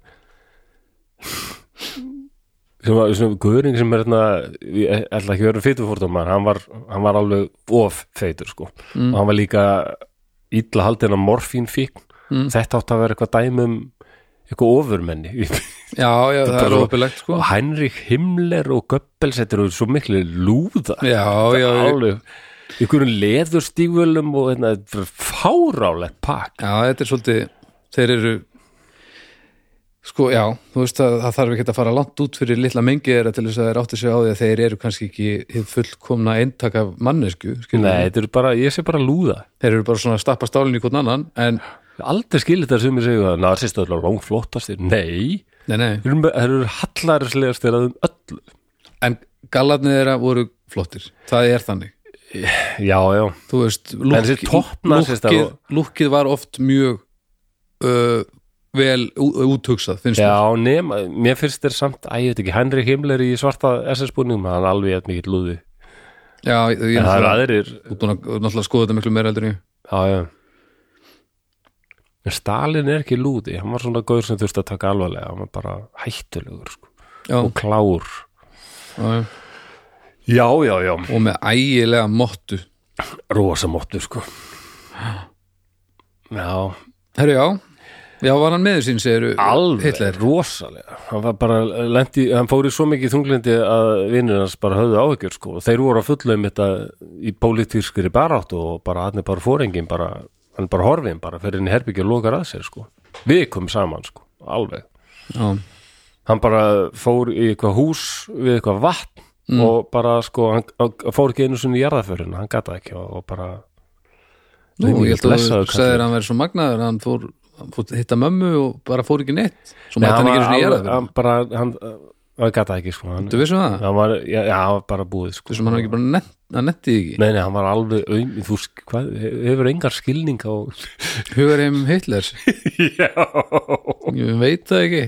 Speaker 4: sem, var- sem Göring sem er hérna ég ætla ekki að vera feitur fórtumar hann var, hann var alveg of feitur sko
Speaker 5: Mm.
Speaker 4: og hann var líka illa haldin af morfín fíkn
Speaker 5: Mm.
Speaker 4: þetta átti að vera eitthvað dæmum eitthvað ofurmenni
Speaker 5: já, já það er
Speaker 4: bara-
Speaker 5: opilegt sko
Speaker 4: og Heinrich Himmler og Goebbels þetta eru svo miklu lúða
Speaker 5: Já, já, já,
Speaker 4: alveg ykkur leðurstígvölum og hérna, þetta er fárálegt pakk
Speaker 5: já, þetta er svolítið þeir eru sko, já, þú veist að það þarf ekki að fara langt út fyrir litla mengi þeirra til þess að þeir átti sig á því að þeir eru kannski ekki hið fullkomna eintak af mannesku skilur
Speaker 4: Nei,
Speaker 5: við.
Speaker 4: þetta eru bara, ég sé bara lúða
Speaker 5: þeir eru bara svona að stappa stálinu í hvern annan en,
Speaker 4: Aldrei skilir þetta sem ég segja að narsista er langflottastir. Nei,
Speaker 5: nei, nei,
Speaker 4: þeir eru með- þeir eru hallarislegastir að um öllu.
Speaker 5: en gallarnir þeirra voru flottir, það er þannig
Speaker 4: Já, já.
Speaker 5: þú veist,
Speaker 4: þessi
Speaker 5: lúkki-
Speaker 4: toppnasistar
Speaker 5: lúkkið
Speaker 4: og-
Speaker 5: lúkkið var oft mjög uh, vel ú- úthugsað, finnst mér.
Speaker 4: Já, nema, mér finnst þér samt, æ, ég veit ekki, Henry Himmler í svarta SS-búningum, hann er alveg eitthvað mikið lúði.
Speaker 5: já, ég, ég
Speaker 4: En það eru
Speaker 5: náttúrulega,
Speaker 4: aðrir,
Speaker 5: þú ert búin að- náttúrulega skoða þetta miklu meira heldur en ég
Speaker 4: já, já. En Stalin er ekki lúði, hann var svona gaur sem þurfti að taka alvarlega, hann var bara hættulegur, sko,
Speaker 5: já,
Speaker 4: og klár.
Speaker 5: já, já.
Speaker 4: Já, já, já.
Speaker 5: og með ægilega mottu
Speaker 4: Rosa móttur, sko. Já,
Speaker 5: Herru já, Já, var hann meður sín, segir
Speaker 4: alveg
Speaker 5: Hitler
Speaker 4: rosalega hann, var bara, lendi, hann fór í svo mikið þunglindi að vinnur hans bara höfðu áhyggjur sko. og þeir voru að fulla um þetta í pólitískri barátt og bara hann er bara fóringin bara, hann er bara horfin bara fyrir henni herbyggja og lokar að sér sko. við komum saman sko, alveg
Speaker 5: Já,
Speaker 4: hann bara fór í eitthvað hús við eitthvað vatn
Speaker 5: Mm.
Speaker 4: og bara sko, hann, hann fór ekki einu sinni í jarðaförun hann gata ekki og, og bara
Speaker 5: nú,
Speaker 4: Nei,
Speaker 5: ég held að
Speaker 4: blessaður
Speaker 5: þú sagðir
Speaker 4: kallinn.
Speaker 5: að hann verið svo magnaður hann fór, hann fór hitta mömmu og bara fór ekki neitt svo
Speaker 4: Nei,
Speaker 5: mætti hann
Speaker 4: var alveg-
Speaker 5: ekki svona gera það
Speaker 4: hann bara, hann, hann gata ekki sko, hann,
Speaker 5: Þú vissum um það?
Speaker 4: hann var, já, já, hann var bara búið sko.
Speaker 5: Þú sem hann var ekki bara nett, hann netti því
Speaker 4: Nei, nei, hann var alveg aum, þú sk- hvað, hefur engar skilning á
Speaker 5: ekki Hugar heim Hitler Ég veit það ekki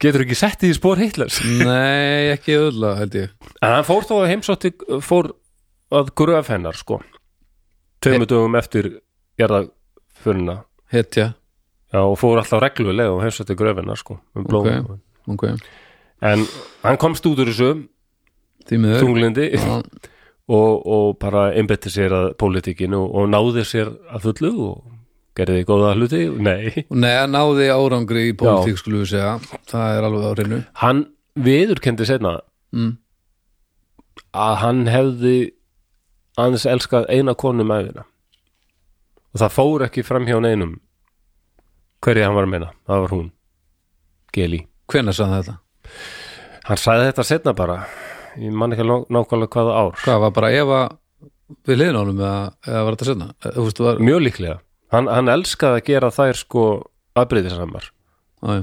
Speaker 4: Getur ekki sett í spór Hitlers
Speaker 5: Nei, ekki öðla, held ég
Speaker 4: En hann fór þó að heimsótti fór að gröf hennar, sko Tveimur dögum eftir jarðaföruna
Speaker 5: Hetja,
Speaker 4: Já, og fór alltaf reglulega og heimsótti gröf hennar, sko um
Speaker 5: ok,
Speaker 4: blóm
Speaker 5: ok
Speaker 4: En hann komst út úr þessu
Speaker 5: Því miður
Speaker 4: þunglindi
Speaker 5: Já.
Speaker 4: og, og bara einbetti sér að pólitíkinu og, og náði sér að fullu og gerði góða hluti Nei,
Speaker 5: Nei, hann náði árangri í pólitík skulum við segja Það er alveg á reynu
Speaker 4: hann viðurkendi setna
Speaker 5: Mm.
Speaker 4: að hann hefði aðeins elskað eina konu með þeirna og það fór ekki fram hjá neinum hverja hann var að meina, það var hún Geli,
Speaker 5: Hvenær sagði þetta?
Speaker 4: hann sagði þetta setna bara ég man ekki lá- nákvæmlega hvaða ár
Speaker 5: Hvað, var bara Eva við liðin ánum eða, eða var þetta setna? Þú veist, var,
Speaker 4: mjög líklega, hann, hann elskaði að gera þær sko afbreyðisamar
Speaker 5: á, já.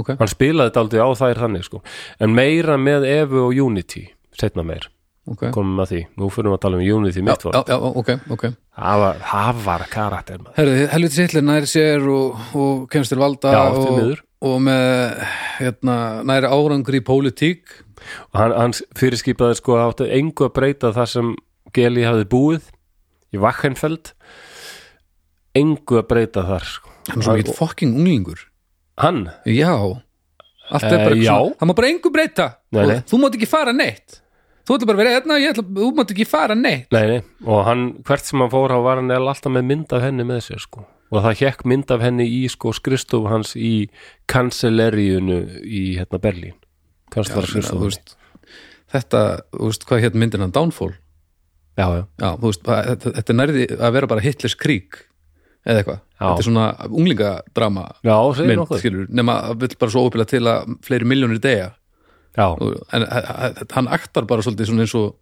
Speaker 5: ok,
Speaker 4: hann spilaði þetta aldrei á þær þannig sko en meira með Evu og Unity setna meir,
Speaker 5: ok
Speaker 4: komum að því nú fyrir við að tala um Unity
Speaker 5: já,
Speaker 4: mitt
Speaker 5: já,
Speaker 4: var
Speaker 5: já, ok, ok
Speaker 4: það var, það var karakter maður
Speaker 5: Herðu, helviti Hitler nær sér og, og kemst til valda
Speaker 4: Já, því
Speaker 5: og,
Speaker 4: miður.
Speaker 5: og með hérna, næri árangri í pólitík
Speaker 4: og hann, hann fyrirskipaði sko að átti engu að breyta það sem Geli hafði búið í Vakkenfeld engu að breyta þar sko.
Speaker 5: hann er svo mikið fucking unglingur
Speaker 4: hann,
Speaker 5: já, allt er
Speaker 4: Eh,
Speaker 5: bara
Speaker 4: já.
Speaker 5: svona, hann má bara engu breyta
Speaker 4: Nei, nei.
Speaker 5: Og þú mátt ekki fara neitt þú ætla bara að vera hérna, ég ætla, þú mátt ekki fara neitt
Speaker 4: nei, nei, og hann hvert sem hann fór á var hann eiginlega alltaf með mynd af henni með sér sko og það hekk mynd af henni í sko skristof hans í kanselleríunu í hérna Berlín kannski það
Speaker 5: Þú
Speaker 4: skristof
Speaker 5: veist, þetta, þú veist, hvað hérna myndir hann Downfall
Speaker 4: já, já,
Speaker 5: Já, þú veist, að- þetta, þetta er nærði að vera bara Hitlers krík eða eitthvað,
Speaker 4: Já.
Speaker 5: þetta er svona unglingadrama
Speaker 4: já, segir
Speaker 5: mynd,
Speaker 4: nokkuð
Speaker 5: skilur, nema að vill bara svo ópilega til að fleiri miljónir deyja
Speaker 4: já,
Speaker 5: Og- en e, a- a- hann aktar bara svolítið svona eins og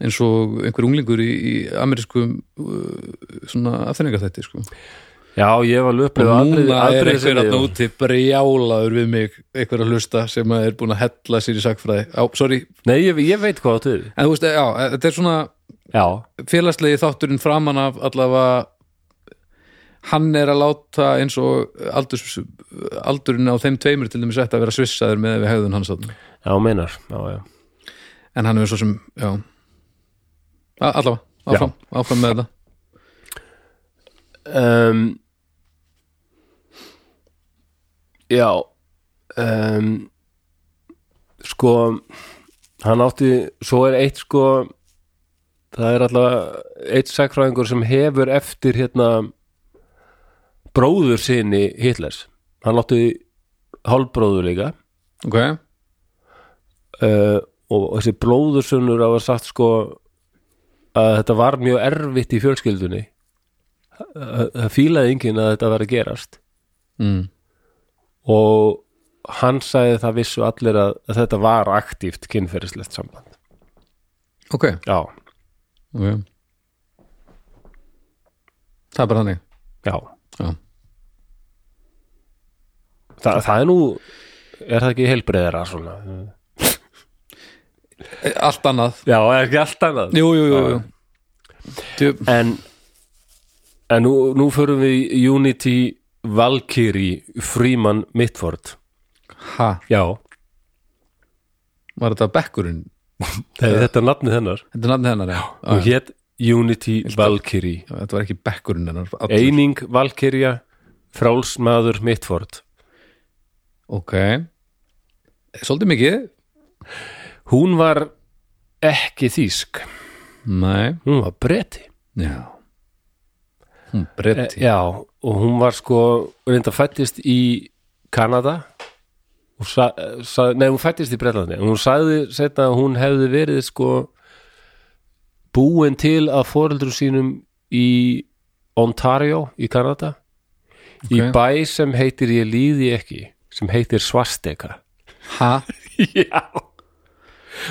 Speaker 5: eins og einhver unglingur í, í amerískum uh, svona afþenningar þetta sko.
Speaker 4: já, ég var
Speaker 5: og
Speaker 4: löpið
Speaker 5: núna er einhver að núti brjálaður við mig, einhver að hlusta sem að er búin að hella sér í sakfræði á, sorry,
Speaker 4: nei, ég, ég veit hvað áttu við.
Speaker 5: en þú veist, já, e, þetta er svona
Speaker 4: já,
Speaker 5: félagslegi þátturinn framan af allavega hann er að láta eins og aldurs, aldurinn á þeim tveimur til dæmis ætti að vera svissaður með við hegðun hans þarna.
Speaker 4: já, meinar já, já
Speaker 5: en hann er svo sem, já A- allavega, áfram, áfram með þetta
Speaker 4: um, já um, sko hann átti, svo er eitt sko það er alltaf eitt sakfræðingur sem hefur eftir hérna bróður sinni Hitlers hann átti hálfbróður líka
Speaker 5: ok,
Speaker 4: uh, og þessi blóðursunnur hafa sagt sko að þetta var mjög erfitt í fjölskyldunni það það fílaði enginn að þetta var að gerast
Speaker 5: mm.
Speaker 4: og hann sagði það vissu allir að, að þetta var aktíft kynferðislegt samband
Speaker 5: ok,
Speaker 4: já,
Speaker 5: ok það er bara þannig
Speaker 4: já
Speaker 5: já,
Speaker 4: Þa, það er nú, er það ekki heilbreyðara svona
Speaker 5: E, allt annað
Speaker 4: já, er ekki allt annað
Speaker 5: jú, jú, jú, jú. Djú,
Speaker 4: en, en nú, nú förum við í Unity Valkyrie Freeman Mitford
Speaker 5: ha,
Speaker 4: já,
Speaker 5: var þetta bekkurinn
Speaker 4: þetta er nafnið hennar
Speaker 5: þetta er nafnið hennar, já,
Speaker 4: hún
Speaker 5: já,
Speaker 4: hétt Unity Valkyrie
Speaker 5: já þetta var ekki bekkurinn hennar allur.
Speaker 4: Eining Valkyria Frálsmaður Mittford
Speaker 5: Ok Svolítið mikið?
Speaker 4: Hún var ekki þýsk
Speaker 5: Nei
Speaker 4: Hún var breti
Speaker 5: Já hún breytti
Speaker 4: Eh, Já, og hún var sko reynda fættist í Kanada og sa, sa, nei, hún fættist í Bretlandi og hún sagði setna að hún hefði verið sko búin til að foreldru sínum í Ontario í Kanada í
Speaker 5: Ok.
Speaker 4: bæ sem heitir ég líði ekki sem heitir Svasteka
Speaker 5: ha,
Speaker 4: Já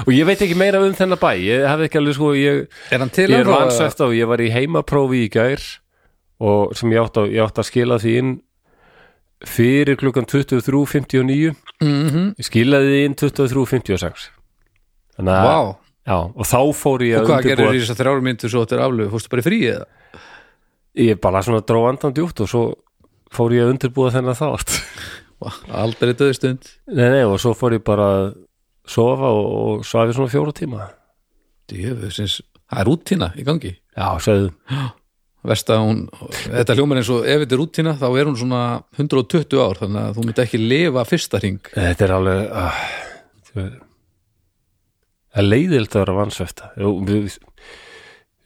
Speaker 4: og ég veit ekki meira um þennan bæ ég hef ekki alveg sko ég,
Speaker 5: er hann til
Speaker 4: ég er
Speaker 5: ennþá eða?
Speaker 4: vansæft á, ég var í heimaprófi í gær og sem ég átti að, ég átti að skila því inn fyrir klukkan 23.59
Speaker 5: Mhm.
Speaker 4: ég skilaði því inn 23.56 þannig að
Speaker 5: Vá.
Speaker 4: já, og þá fór ég
Speaker 5: og
Speaker 4: að
Speaker 5: hvað gerir
Speaker 4: undirbúa
Speaker 5: því þessar þrjár myndir svo þetta er aflöfu, fórstu bara í frí eða
Speaker 4: ég bara svona dró andan djúpt og svo fór ég að undirbúa þennan þátt
Speaker 5: Vá, aldrei döðstund
Speaker 4: nei, nei, og svo fór ég bara að sofa og, og svafi svona fjóra tíma
Speaker 5: djöfusins, það er rútina í gangi
Speaker 4: já, segðu
Speaker 5: Verst að hún, þetta hljómar eins og ef þetta er rútina þá er hún svona 120 ár þannig að þú myndi ekki lifa fyrsta hring
Speaker 4: Þetta er alveg ah, þetta er- það er leiðild að vera vansvefta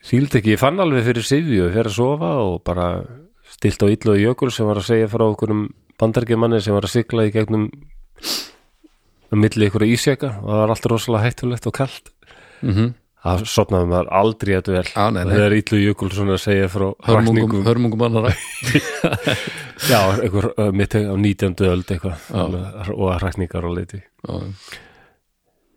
Speaker 4: síld ekki, ég fann alveg fyrir sifju fyrir að sofa og bara stilt á illu og jökul sem var að segja frá okkur um bandargemanni sem var að sigla í gegnum á milli ykkur ísjaka og það var allt rosalega hættulegt og kalt
Speaker 5: mm -hmm.
Speaker 4: það sopnaði maður aldrei að vel
Speaker 5: Á, nei, nei.
Speaker 4: það er illu jökul svona að segja frá
Speaker 5: hörmungum,
Speaker 4: hrakningum,
Speaker 5: hörmungum annara
Speaker 4: já, einhver uh, mitt á 19. öld eitthvað
Speaker 5: Já.
Speaker 4: Alveg- og hrakningar og leiti
Speaker 5: Já.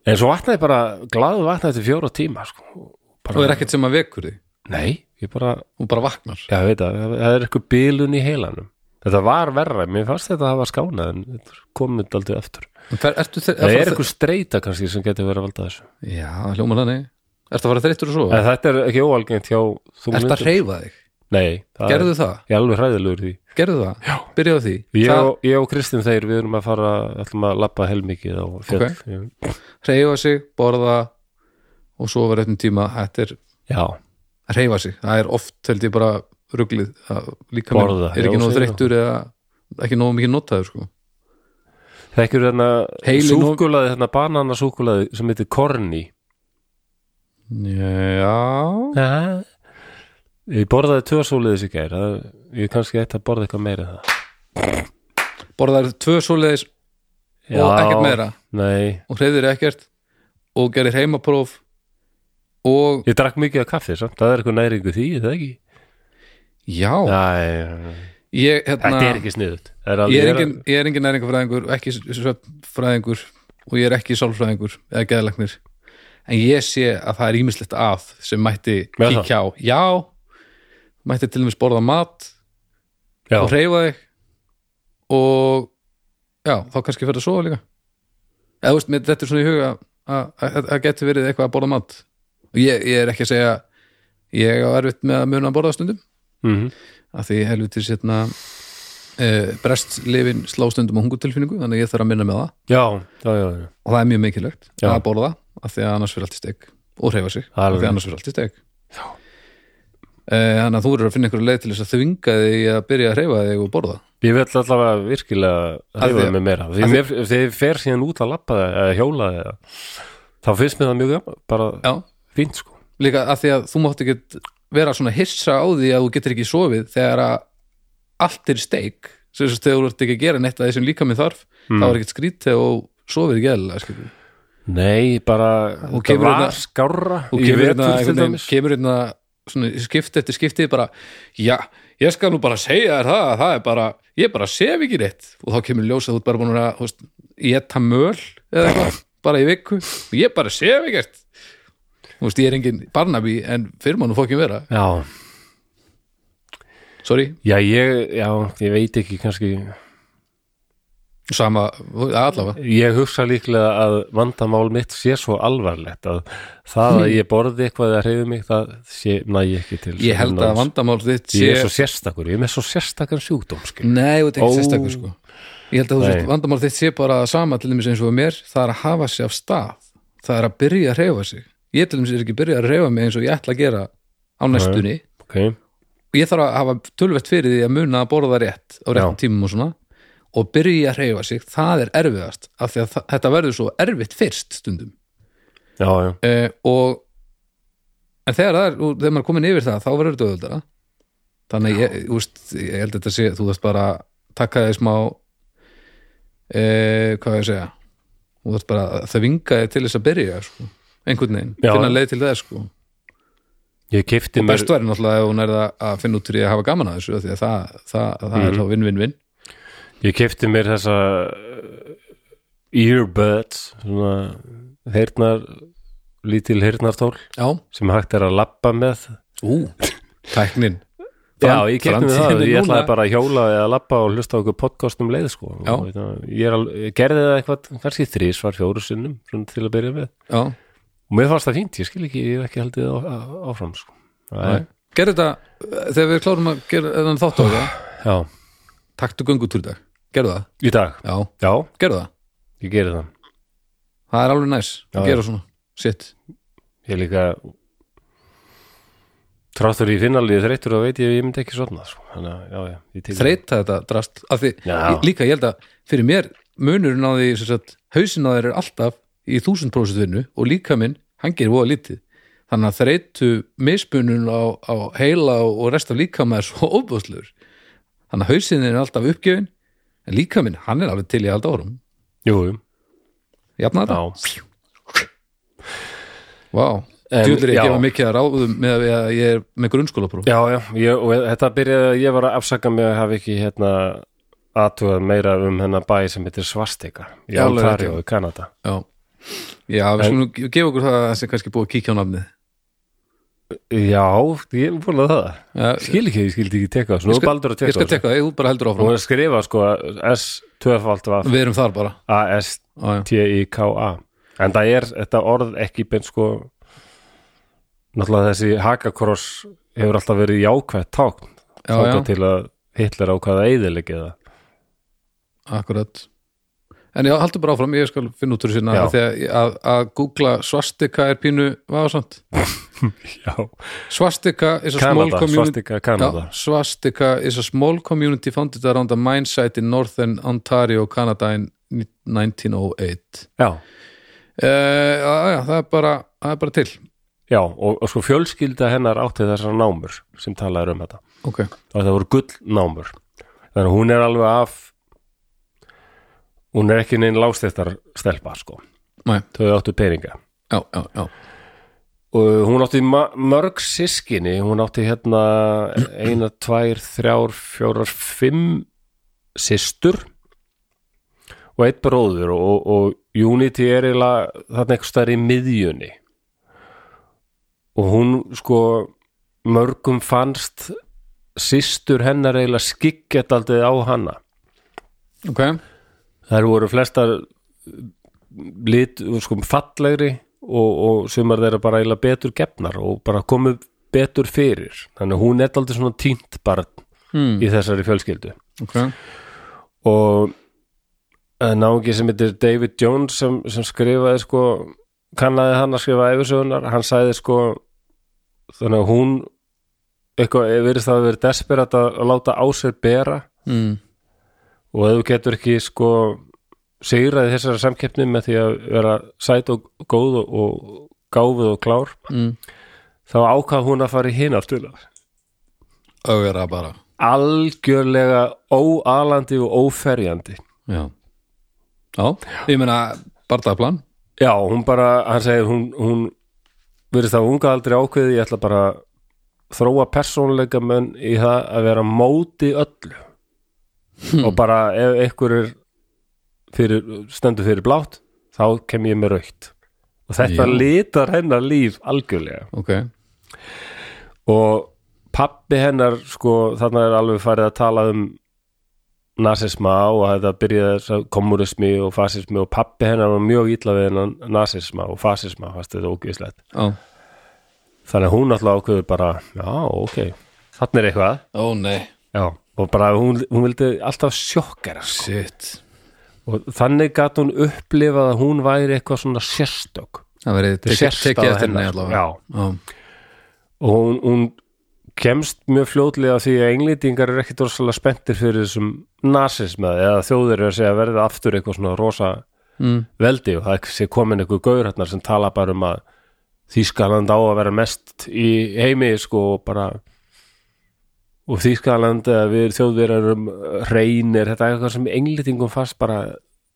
Speaker 4: En svo vatnaði bara, glaðu vatnaði til fjóra tíma sko. bara,
Speaker 5: og er ekkert sem að vekur þig
Speaker 4: Nei, ég bara,
Speaker 5: hún bara vaknar
Speaker 4: já, ég veit að það er eitthvað bilun í heilanum Þetta var verra, mér fannst þetta að hafa skánað en þetta er komið aldrei eftir
Speaker 5: En fer, ertu, þe-
Speaker 4: Það er
Speaker 5: fara-
Speaker 4: eitthvað streita kannski sem getur verið að valda þessu
Speaker 5: já, það hljómar þannig ertu að fara þreyttur og svo?
Speaker 4: En þetta er ekki óalgengt hjá þú
Speaker 5: ertu að reyfa þig?
Speaker 4: Nei, það
Speaker 5: gerðu
Speaker 4: er,
Speaker 5: það?
Speaker 4: ég er alveg hræðilegur í því
Speaker 5: gerðu það? já byrjaðu á því
Speaker 4: Ég,
Speaker 5: það,
Speaker 4: og, ég og Kristinn þeir, við erum að fara ætlum að labba helmikið á fjöll okay.
Speaker 5: reyfa sig, borða og svo var eitthvað tíma þetta er
Speaker 4: Já,
Speaker 5: reyfa sig, það er oft held ég bara ruglið, að líka
Speaker 4: Borða,
Speaker 5: er
Speaker 4: já,
Speaker 5: ekki nóg
Speaker 4: segir
Speaker 5: þreyttur eða ekki nóg mikið notaður sko
Speaker 4: þekkjur þarna
Speaker 5: Heilinn og-
Speaker 4: súkulaði, þarna bananasúkulaði sem heitir Korni
Speaker 5: já,
Speaker 4: Já. Ég borðaði tvö svoleiðis í gær það- Ég kannski ætti að borða eitthvað meira en það
Speaker 5: borðaður tvö svoleiðis og ekkert meira
Speaker 4: Nei,
Speaker 5: og hreyfðir ekkert og gerir heimapróf og
Speaker 4: ég drakk mikið af kaffi samt Það er eitthvað næringu því, er það ekki
Speaker 5: já,
Speaker 4: Næ,
Speaker 5: ég hérna
Speaker 4: Þetta er ekki sniðut er alveg-
Speaker 5: ég er engin, ég er engin næringafræðingur og ekki svefnfræðingur og ég er ekki sálfræðingur eða geðalagnir en ég sé að það er ímislegt að sem mætti
Speaker 4: Já, það.
Speaker 5: kíkja á já, mætti til dæmis borða mat
Speaker 4: Já,
Speaker 5: og hreyfa þig og já, þá kannski fyrir að sofa líka eða þú veist, mér þetta er svona í huga að- að það getur verið eitthvað að borða mat og ég, ég er ekki að segja ég á erfitt með að muna að borða stundum
Speaker 4: mhm.
Speaker 5: að því helvitis hérna e, brestlifin slá stundum á hungutilfinningu þannig að ég þarf að minna með það
Speaker 4: já, já, já, já.
Speaker 5: og það er mjög mikilvægt
Speaker 4: Já.
Speaker 5: að borða af því að annars fyrir allt í steg og hreyfa sig
Speaker 4: Alveg.
Speaker 5: af því að annars fyrir allt í steg e, þannig að þú eru að finna einhverju leið til þess að þvinga þig að byrja að hreyfa þig og borða
Speaker 4: Ég vil allavega virkilega
Speaker 5: Að því
Speaker 4: reyfa
Speaker 5: að-
Speaker 4: mig meira Því
Speaker 5: að því-
Speaker 4: mér, þegar ég fer síðan út að labba það eða hjóla það þá finnst mér það mjög gaman, bara
Speaker 5: já,
Speaker 4: fínt sko
Speaker 5: líka af því að þú mátt ekki vera svona hissa á því að þú getur ekki sofið þegar að allt er í steg sem þess að þegar þú ert ekki að gera neitt að því sem líka með þarf
Speaker 4: Hmm.
Speaker 5: þá er ekkert skrítið og sofir ekki eðlilega
Speaker 4: Nei, bara,
Speaker 5: Og
Speaker 4: þetta
Speaker 5: kemur
Speaker 4: var
Speaker 5: hérna-
Speaker 4: skárra
Speaker 5: og
Speaker 4: Ég
Speaker 5: kemur
Speaker 4: veit
Speaker 5: hérna,
Speaker 4: til
Speaker 5: einhvern veginn,
Speaker 4: dæmis.
Speaker 5: kemur hérna svona, í skipti eftir skipti bara, já, ég skal nú bara segja þér það, það er bara, ég bara sef ekki rétt og þá kemur ljósað út bara búin að þú veist, ég ta möl eða eitthvað, bara í viku, og ég bara sef ekki rétt þú veist, ég er engin barnabí en fyrir mann og fókjum vera,
Speaker 4: Já,
Speaker 5: sorry
Speaker 4: Já, ég, já, ég veit ekki kannski,
Speaker 5: sama, allavega,
Speaker 4: ég hugsa líklega að vandamál mitt sé svo alvarlegt að það að ég borði eitthvað eða hreyfi mig, það sé, næ ég ekki til
Speaker 5: Hmm. ég held að vandamál þitt
Speaker 4: sé... Ég er
Speaker 5: sé, Hmm.
Speaker 4: svo sérstakur, ég er með svo sérstakan sjúkdóm skil.
Speaker 5: nei, þú veit ekki
Speaker 4: Ó.
Speaker 5: sérstakur sko ég held að þú
Speaker 4: Nei.
Speaker 5: veist, vandamál þitt sé bara sama til dæmis eins og mér, það er að hafa sig af stað það er að byrja að reyfa sig ég til dæmis er ekki byrja að reyfa mig eins og ég ætla að gera á næstunni
Speaker 4: ok,
Speaker 5: og ég þarf að hafa tölvett fyrir því að muna að borða rétt á réttum tímum og svona og byrja að reyfa sig, það er erfiðast af því að þa- þetta verður svo erfitt fyrst stundum
Speaker 4: já, já,
Speaker 5: eh, og en þegar, það er, og þegar maður er komin yfir það, þá verður þetta auðvitað þannig ég, úst, ég held að þetta sé þú þarft bara að taka þig smá e, hvað á ég að segja þú þarft bara að það vinga þig til þess að byrja sko. einhvern veginn,
Speaker 4: Já.
Speaker 5: finna leið til þess sko.
Speaker 4: Ég kefti mér,
Speaker 5: best væri náttúrulega ef hún er það að finna út fyrir að hafa gaman að þessu af því að það, það, það
Speaker 4: Mhm.
Speaker 5: er þá vinn-vinn-vinn
Speaker 4: ég kefti mér þessa uh, earbuds svona heyrnar lítil heyrnartól
Speaker 5: já,
Speaker 4: sem hægt er að labba með
Speaker 5: ú, tæknin
Speaker 4: Já, ég kefti mér það,
Speaker 5: framtíðin
Speaker 4: ég
Speaker 5: er núna.
Speaker 4: ætlaði bara að hjóla eða labba og hlusta á okkur podcast um leið sko.
Speaker 5: Já.
Speaker 4: Og ég, er al, ég gerði það eitthvað kannski þrísvar fjóru sinnum svona, til að byrja með
Speaker 5: já,
Speaker 4: og mér fannst það fínt, ég skil ekki, ég hef ekki haldið á, á- áfram sko. Æ,
Speaker 5: gerðu þetta eh, þegar við klárum að gera þennan þátt á það
Speaker 4: Já,
Speaker 5: taktu göngutúr í dag, gerðu það
Speaker 4: í dag
Speaker 5: já,
Speaker 4: Já,
Speaker 5: gerðu það,
Speaker 4: ég gerði það
Speaker 5: það er alveg næs
Speaker 4: Já,
Speaker 5: að gera svona, sitt
Speaker 4: Ég er líka tráttur í finnalíði þreyttur og veit ég, ég myndi ekki svona sko. Þannig að, já, já, ég tek-
Speaker 5: þreita þetta drast af því,
Speaker 4: Já.
Speaker 5: ég- líka ég held að fyrir mér munurinn á því sem sagt, hausin á þér er alltaf í þúsund vinnu og líka minn, hann gerir voða lítið þannig að þreitu mismunurinn á, á heila og og rest af líkama er svo óbúðslegur þannig að hausin er alltaf uppgjöfin en líka minn, hann er alveg til í alltaf árum
Speaker 4: Jú, jú,
Speaker 5: jafna þetta,
Speaker 4: já
Speaker 5: vá
Speaker 4: En-
Speaker 5: djúlir ég
Speaker 4: já.
Speaker 5: að gefa mikið að ráðum með að við- að ég er með grunnskólapróf
Speaker 4: Já, já, ég, og þetta byrjaði að ég var að afsaka mig að hafa ekki hérna aðtugað meira um hennar bæ sem heitir Svastega í
Speaker 5: Já, alveg
Speaker 4: Ontario
Speaker 5: rétt,
Speaker 4: í Kanada
Speaker 5: já, já við skulum gefa okkur það að það sé kannski búið að kíkja á nafnið
Speaker 4: Já, ég er búin að það
Speaker 5: Já,
Speaker 4: Skil ekki, ég skildi ekki teka það, nú
Speaker 5: Ég
Speaker 4: er
Speaker 5: skal-
Speaker 4: baldur að
Speaker 5: ég
Speaker 4: teka
Speaker 5: skal teka það, þú bara heldur
Speaker 4: Nú
Speaker 5: áfram
Speaker 4: er að skrifa sko S-2-V
Speaker 5: við erum þar bara Á, já.
Speaker 4: A-S-T-I-K-A En það er þetta orð ekki beint sko náttúrulega þessi hakakross hefur alltaf verið jákvætt tákn
Speaker 5: Já,
Speaker 4: þangað
Speaker 5: já.
Speaker 4: til að Hitler ákvaða eðilegið það
Speaker 5: akkurat en já, haldur bara áfram, ég skal finna út úr sinna
Speaker 4: Já.
Speaker 5: af því að, að, að googla svastika er pínu, hvað var sant
Speaker 4: Já,
Speaker 5: svastika is a small
Speaker 4: Kanada,
Speaker 5: community
Speaker 4: Svastika, Kanada
Speaker 5: Já, svastika is a small community founded around a mine site in northern Ontario, Canada in 1908
Speaker 4: Já,
Speaker 5: uh, já, já, það er bara það er bara til
Speaker 4: já og, og sko fjölskylda hennar átti þessar námur sem talaður um þetta
Speaker 5: okay.
Speaker 4: og það voru gull námur þannig að hún er alveg af hún er ekki neinn lágstettar stelpa sko,
Speaker 5: Nei,
Speaker 4: þau áttu peninga
Speaker 5: já, já, já,
Speaker 4: og hún átti ma- mörg sískinni hún átti hérna eina, tvær, þrjár, fjórar, fimm systur og eitt bróður og, og Unity er eiginlega þarna eitthvað stær í miðjunni og hún sko mörgum fannst systur hennar eiginlega skikket aldrei á hana
Speaker 5: ok
Speaker 4: þær voru flestar lit, sko, fallegri og, og sumar þeirra bara eiginlega betur gefnar og bara komu betur fyrir þannig að hún er aldrei svona tínt barn
Speaker 5: Hmm.
Speaker 4: í þessari fjölskyldu
Speaker 5: ok,
Speaker 4: og það er náungi sem heitir David Jones sem, sem skrifaði sko kannaði hann að skrifa yfirsögunar hann sagði sko þannig að hún eitthvað verið það að verið desperat að að láta á sér bera
Speaker 5: mm.
Speaker 4: og ef þú getur ekki sko sigraði þessara samkeppni með því að vera sæt og góð og, og gáfuð og klár
Speaker 5: Mm.
Speaker 4: þá ákvað hún að fara í hinaftulega
Speaker 5: ögra bara
Speaker 4: algjörlega óalandi og óferjandi
Speaker 5: Já, já ég meina barndagaplan
Speaker 4: Já, hún bara, hann segir hún, hún verðist það unga aldrei ákveði ég ætla bara að þróa persónleika menn í það að vera á móti öllu og bara ef einhver er fyrir, stendur fyrir blátt þá kem ég með raukt og þetta
Speaker 5: Já.
Speaker 4: litar hennar líf algjörlega
Speaker 5: Ok,
Speaker 4: og pappi hennar sko, þarna er alveg farið að tala um nasisma og að þetta byrjaði þess að kommunismi og fasismi og pappi hennar var mjög illa við hennan nasisma og fasisma, fast þetta ógeðslegt
Speaker 5: já
Speaker 4: þannig að hún alltaf ákveður bara já, ok, þannig er eitthvað
Speaker 5: Ó nei,
Speaker 4: já. og bara hún, hún vildi alltaf sjokkera sko.
Speaker 5: shit
Speaker 4: og þannig gat hún upplifað að hún væri eitthvað svona sérstök
Speaker 5: Það verið tekið
Speaker 4: sérstaða
Speaker 5: tekið eftir henni
Speaker 4: hennar.
Speaker 5: allavega
Speaker 4: já,
Speaker 5: já,
Speaker 4: og hún, hún kemst mjög fljótlega því að englýtingar er ekkit rosalega spenntir fyrir þessum nasisma eða þjóðir er að segja að verða aftur eitthvað svona rosa
Speaker 5: Mm.
Speaker 4: veldi og það sé komin einhver gaur hérna sem tala bara um að Þýskaland á að vera mest í heimi sko og bara og Þýskaland eða við þjóðverjarum reynir, þetta er eitthvað sem englýtingum fast bara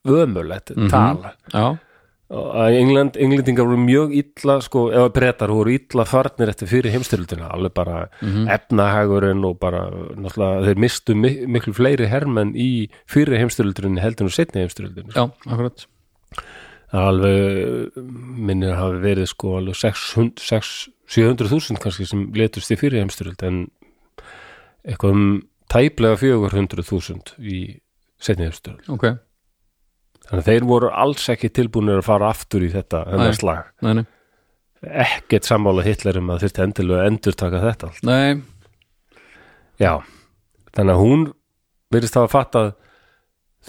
Speaker 4: vömmulegt mm tal
Speaker 5: já,
Speaker 4: Og að England, englendingar voru mjög illa sko, eða brettar voru illa farnir eftir fyrir heimstyrlutina, alveg bara
Speaker 5: Mhm.
Speaker 4: efnahagurinn og bara náttúrulega þeir mistu mik miklu fleiri hermenn í fyrir heimstyrlutinni heldur en setni heimstyrlutinni
Speaker 5: já, akkurat
Speaker 4: það er alveg mm, minnir að hafi verið sko alveg 600 600 700.000 kannski sem letust í fyrir heimstyrjöld en eitthvað um tæplega 400.000 í setni heimstyrjöld
Speaker 5: ok,
Speaker 4: þannig að þeir voru alls ekki tilbúinir að fara aftur í þetta
Speaker 5: Nei.
Speaker 4: þennan slag
Speaker 5: nei, nei,
Speaker 4: ekkert sammála hitlerum að þurfti endilega að endurtaka þetta allt
Speaker 5: nei
Speaker 4: já, þannig að hún virðist hafa fattað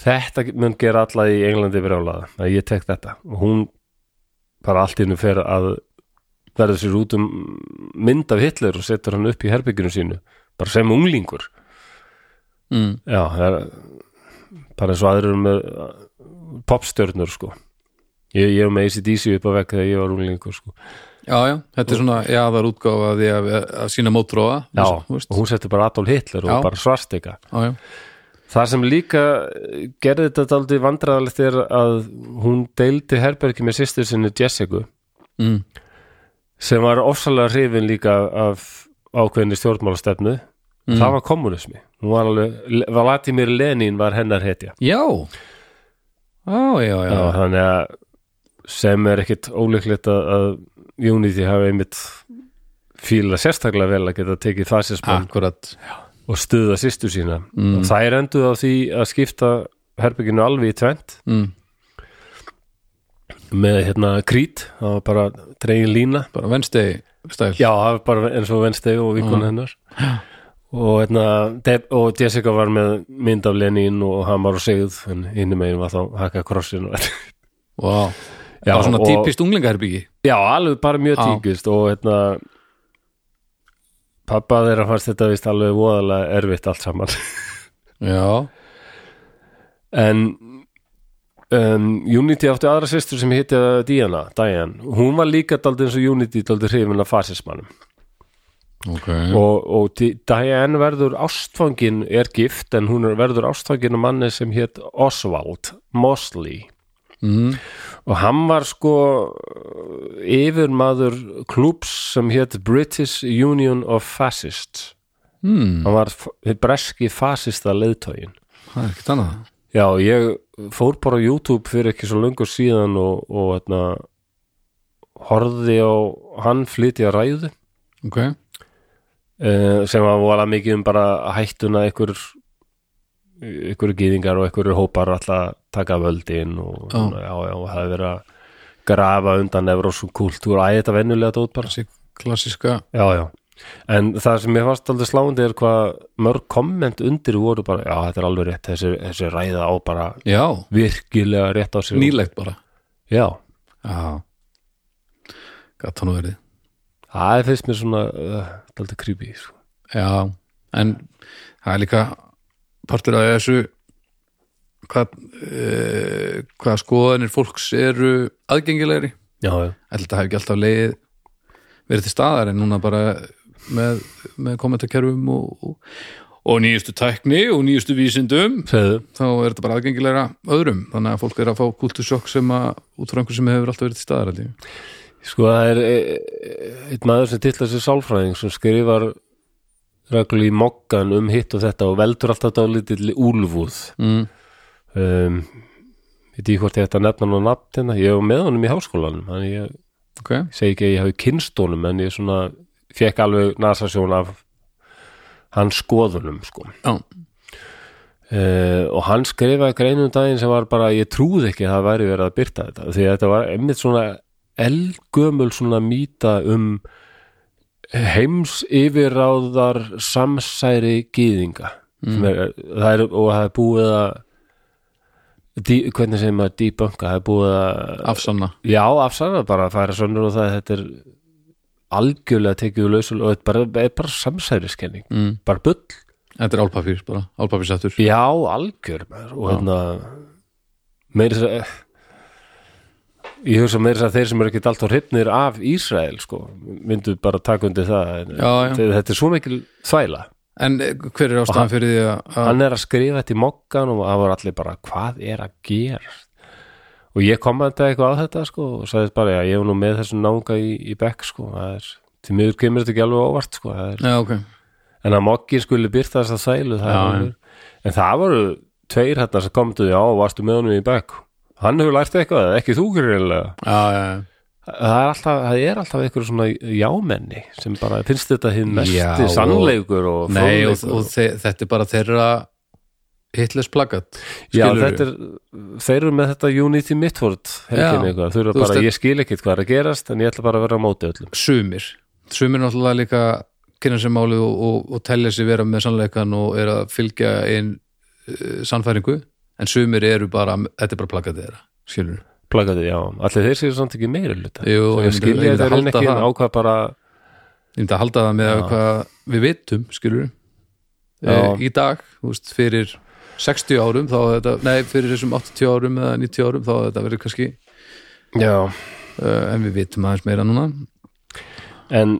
Speaker 4: þetta mun gera alla í Englandi brjálaða, að ég tek þetta og hún bara allt innu fer að verða sér út um mynd af Hitler og setur hann upp í herbygginu sínu, bara sem unglingur
Speaker 5: mm.
Speaker 4: já, það er bara eins og aðrir með popstjörnur sko ég, ég var með ACDC upp að vekk þegar ég var unglingur sko
Speaker 5: já, já, þetta er svona jaðar útgáfa því að, að sína mótróa
Speaker 4: Já,
Speaker 5: þú
Speaker 4: og
Speaker 5: veist.
Speaker 4: hún setti bara Adolf Hitler og
Speaker 5: Já.
Speaker 4: bara svarstika
Speaker 5: já, já,
Speaker 4: Það sem líka eh, gerði þetta aldrei vandræðalegt er að hún deildi herbergi með sýstur sinni Jessica
Speaker 5: mm.
Speaker 4: sem var ofsalega hrifin líka af ákveðinni stjórnmálastefnu það var kommunismi hún var alveg, Vladimir Lenin var hennar hetja
Speaker 5: já já, já, já,
Speaker 4: Já, þannig að sem er ekkit ólíklegt að, að Unity hafi einmitt fíla sérstaklega vel að geta tekið fasismann
Speaker 5: akkurat
Speaker 4: og stuða sýstu sína og þær enduð á því að skipta herbygginu alveg í tvent
Speaker 5: Mm.
Speaker 4: með hérna krít það var bara dregin lína
Speaker 5: bara venstegi stæl
Speaker 4: já, það var bara eins og vensteg og vikuna hennar og hérna Deb og Jessica var með mynd af Lenin og Hamar og Sigð en hinnum megin var þá Haka Krossin og
Speaker 5: Vá.
Speaker 4: Já,
Speaker 5: bara svona
Speaker 4: og-
Speaker 5: típist unglingaherbyggi
Speaker 4: Já, alveg bara mjög
Speaker 5: Já.
Speaker 4: tíkist og hérna pappa þeirra fannst þetta vist alveg voðalega erfitt allt saman
Speaker 5: já,
Speaker 4: en um, Unity átti aðra sýstur sem hitti Diana, Diane hún var líka daldið eins og Unity daldið hrifin af fasismannum
Speaker 5: ok
Speaker 4: og, og Di- Diane verður ástfangin er gift en hún er- verður ástfangin af manni sem hétt Oswald Mosley
Speaker 5: mm.
Speaker 4: og hann var sko uh, yfirmaður klúps sem hétt British Union of Fascists
Speaker 5: Mm.
Speaker 4: hann var f- breski fasista leiðtógin
Speaker 5: það er ekkert annað
Speaker 4: já, ég fór bara á YouTube fyrir ekki svo löngu síðan og, og hérna, horfði á hann flytja ræðu
Speaker 5: ok,
Speaker 4: uh, sem var vola mikið um bara hættuna ykkur ykkur gýðingar og ykkur hópar alltaf taka völdin og
Speaker 5: Já.
Speaker 4: svona, já, já, og það er verið að grafa undan evrósum kultúr, æ, þetta venjulega dót bara
Speaker 5: þessi klassiska
Speaker 4: já, já, en það sem mér fannst aldrei sláandi er hvað mörg komment undir voru bara, já, þetta er alveg rétt þessi, þessi ræða á bara
Speaker 5: já,
Speaker 4: virkilega rétt á sér
Speaker 5: nýlegt bara
Speaker 4: já,
Speaker 5: já gatt hann verið
Speaker 4: það finnst mér svona uh, daldið creepy, sko
Speaker 5: já, en það er líka partur af þessu hvað uh, hvað skoðanir fólks eru aðgengilegri
Speaker 4: já, já,
Speaker 5: ætli þetta hef ekki alltaf leið verið til staðar en núna bara með, með kommentarkerfum og, og, og nýjustu tækni og nýjustu vísindum
Speaker 4: segðu
Speaker 5: þá er þetta bara aðgengilegra öðrum þannig að fólk er að fá kultusjokk sem að út frá einhver sem hefur alltaf verið til staðar held ég.
Speaker 4: Sko það er e- einn maður sem titlar sér sálfræðing sem skrifar reglu í mokkan um hitt og þetta og veldur alltaf dálítill úlfúð
Speaker 5: mm.
Speaker 4: um, veit ekki hvort ég ætti að nefna hann á nafnina ég var með honum í háskólanum þannig ég
Speaker 5: ok,
Speaker 4: segi ekki að ég hafi kynst honum en ég svona fekk alveg nasasjón af hans skoðunum sko
Speaker 5: já,
Speaker 4: Uh, og hann skrifaði grein um daginn sem var bara, ég trúði ekki að það væri verið að byrta þetta, því að þetta var einmitt svona elgömul svona mýta um heims yfirráðar samsæri gýðinga mm. er, það er, og það er búið að dí, hvernig segir maður debunka, það er búið að
Speaker 5: afsanna
Speaker 4: já, afsannað bara að færa sönnur og það að þetta er algjörlega tekið úr lausul og þetta er bara, er bara samsæriskenning,
Speaker 5: Mm.
Speaker 4: bara bull
Speaker 5: þetta er álpapír bara, álpapírsættur
Speaker 4: Já, algjör maður og hérna meira þess að eh, ég hugsa meira þess að þeir sem eru ekkit alltaf hrifnir af Ísrael sko, myndu bara taka undir það en
Speaker 5: Já, já.
Speaker 4: Þeir, þetta er svo mikil þvæla
Speaker 5: en eh, hver er ástæðan fyrir því að- að
Speaker 4: hann er að skrifa þetta í mokkan og það voru allir bara, hvað er að gera og ég kommentaði eitthvað á þetta sko, og sagði bara, já, ég er nú með þessum nánga í, í bekk, sko, það er til miður kemur þetta ekki alveg óvart, sko það er,
Speaker 5: já, ok,
Speaker 4: en að mokkin skuli byrta þess að sælu það
Speaker 5: Já,
Speaker 4: er alveg, en það voru tveir hérna sem komdu, já, varstu með honum í bekk hann hefur lært eitthvað, ekki þú greinlega
Speaker 5: já, já, já
Speaker 4: það er alltaf, það er alltaf einhver svona jámenni sem bara finnst þetta hinn
Speaker 5: Já,
Speaker 4: mesti
Speaker 5: og-
Speaker 4: sannleikur og
Speaker 5: Nei, og,
Speaker 4: fróðleikur
Speaker 5: og þe þetta er bara þeirra hitless plakat
Speaker 4: Já, þetta er, þeir eru með þetta Unity Midford helgin
Speaker 5: Já,
Speaker 4: eitthvað, þau eru
Speaker 5: þú veist
Speaker 4: bara,
Speaker 5: að-
Speaker 4: ég skil ekkit hvað er að gerast en ég ætla bara að vera á móti öllum
Speaker 5: sumir sumir náttúrulega líka kynna sér málið og, og, og telja sér vera með sannleikan og er að fylgja einn uh, sannfæringu, en sumir eru bara, þetta er bara plakatið þeirra skilur,
Speaker 4: plakaði, já, allir þeir séu samt ekki meira hluta,
Speaker 5: Jú, ég
Speaker 4: þeir
Speaker 5: myndi-
Speaker 4: skilja
Speaker 5: ég myndi
Speaker 4: þetta
Speaker 5: halda
Speaker 4: hann ekki
Speaker 5: það.
Speaker 4: ákvað bara
Speaker 5: ég myndi að halda það með hvað við vitum, skilur
Speaker 4: Já.
Speaker 5: í dag, þú veist, fyrir 60 árum, þá er þetta nei, fyrir þessum 80 árum eða 90 árum þá er þetta verið kannski,
Speaker 4: já,
Speaker 5: uh, en við vitum aðeins meira núna
Speaker 4: en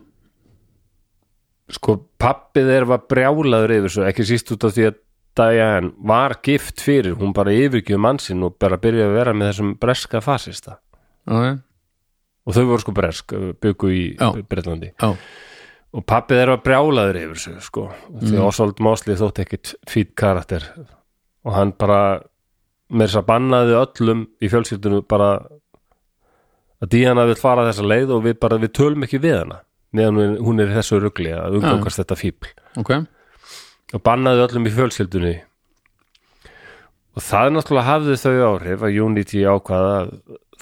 Speaker 4: sko, pappið þeir var brjálaður yfir svo, ekki síst út af því að Diane var gift fyrir hún bara yfirgjöf mannsinn og bara byrjaði að vera með þessum breska fasista
Speaker 5: okay.
Speaker 4: og þau voru sko bresk, byggu í
Speaker 5: Já.
Speaker 4: Breitlandi
Speaker 5: Já.
Speaker 4: og pappi þeirra var brjálaður yfir sig sko, því mm. Oswald Mosley þótt ekkit fýt karakter og hann bara með þess að bannaði öllum í fjölskyldunum bara að Díana vil fara þessa leið og við bara, við tölum ekki við hana meðan hún- hún er í þessu rugli að umgangast þetta fíbl
Speaker 5: ok,
Speaker 4: og bannaði öllum í fjölskyldunni og það náttúrulega hafði þau áhrif að Unity ákvaða að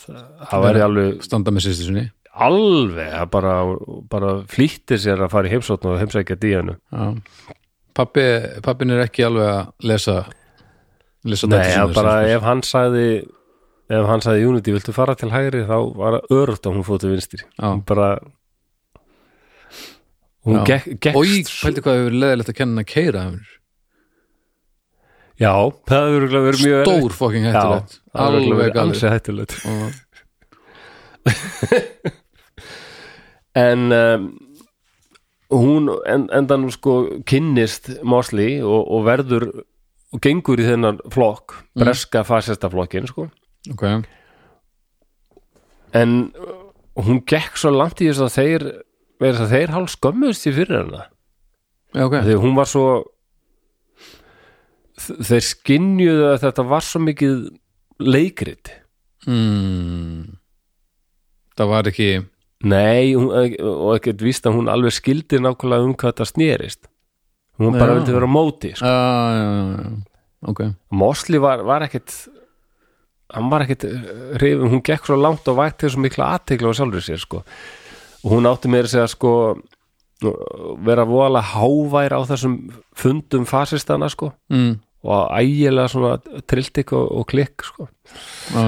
Speaker 4: það væri alveg
Speaker 5: standa með sýstu sinni
Speaker 4: alveg að bara, bara flýtti sér að fara í heimsókn og heimsækja díjanu
Speaker 5: Já. Pappi, pappin er ekki alveg að lesa lesa
Speaker 4: Nei,
Speaker 5: dætur
Speaker 4: að
Speaker 5: sínar,
Speaker 4: bara
Speaker 5: sem sagt.
Speaker 4: ef hann sagði ef hann sagði Unity, viltu fara til hægri þá var það örugt að hún fóðu til vinstri
Speaker 5: Já.
Speaker 4: hún bara hún
Speaker 5: Já.
Speaker 4: gekk,
Speaker 5: Oj,
Speaker 4: gekkst
Speaker 5: pældi hvað hefur leðilegt að kenna að keira
Speaker 4: já, það hefur örugglega verið mjög erfitt.
Speaker 5: Stór fokking hættulegt
Speaker 4: já, það hefur örugglega
Speaker 5: Alveg
Speaker 4: verið
Speaker 5: galið
Speaker 4: ansi hættulegt
Speaker 5: Og-
Speaker 4: en um, hún en, endan sko kynnist Mosley og, og verður og gengur í þennan flokk breska fasista flokkin sko
Speaker 5: Ok,
Speaker 4: en uh, hún gekk svo langt í þess að þeir verið að þeir hálf skömmuðst í fyrir hana
Speaker 5: já, ok
Speaker 4: þegar hún var svo þ- þeir skinjuðu að þetta var svo mikið leikrit
Speaker 5: mm. Það var ekki
Speaker 4: nei, hún, og ekkert víst að hún alveg skildi nákvæmlega um hvað þetta snerist hún bara
Speaker 5: Já.
Speaker 4: vildi vera á móti sko.
Speaker 5: Já, já, já, já. Ok,
Speaker 4: Mosli var, var ekkit hann var ekkit uh, hrifin, hún gekk svo langt og vægt til svo mikla aðtekla á sjálfur sér sko. og hún átti meira að segja sko vera voðalega hávær á þessum fundum fasistana sko
Speaker 5: mm.
Speaker 4: og ægilega svona trilltik og, og klikk sko
Speaker 5: já, já.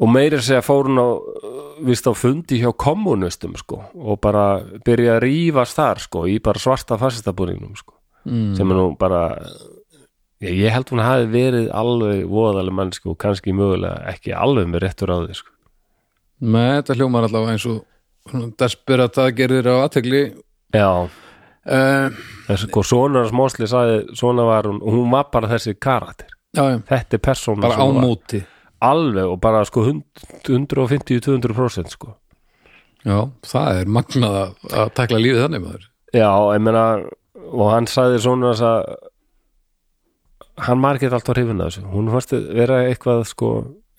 Speaker 4: og meira að segja fór hún á uh, víst á fundi hjá kommunistum sko og bara byrja að rífast þar sko í bara svarta fasistabúningnum sko
Speaker 5: Mm.
Speaker 4: sem er nú bara ég, ég held hún hafi verið alveg voðaleg mannsku og kannski mögulega ekki alveg með réttur á því sko.
Speaker 5: Nei, þetta hljómar allavega eins og svona desperat að gerðir á aðtegli
Speaker 4: já,
Speaker 5: uh,
Speaker 4: þess að svona smásli sagði, svona var hún, hún var bara þessi karakter,
Speaker 5: Já, já,
Speaker 4: þetta er persóna
Speaker 5: bara á
Speaker 4: sem hún var.
Speaker 5: móti
Speaker 4: alveg og bara sko 150-200% sko
Speaker 5: Já, það er magnað að, að takla lífið þannig maður
Speaker 4: já, ég meina og hann sagði svona þess að hann var ekki alltaf hrifin að þessu, hún fannst vera eitthvað sko,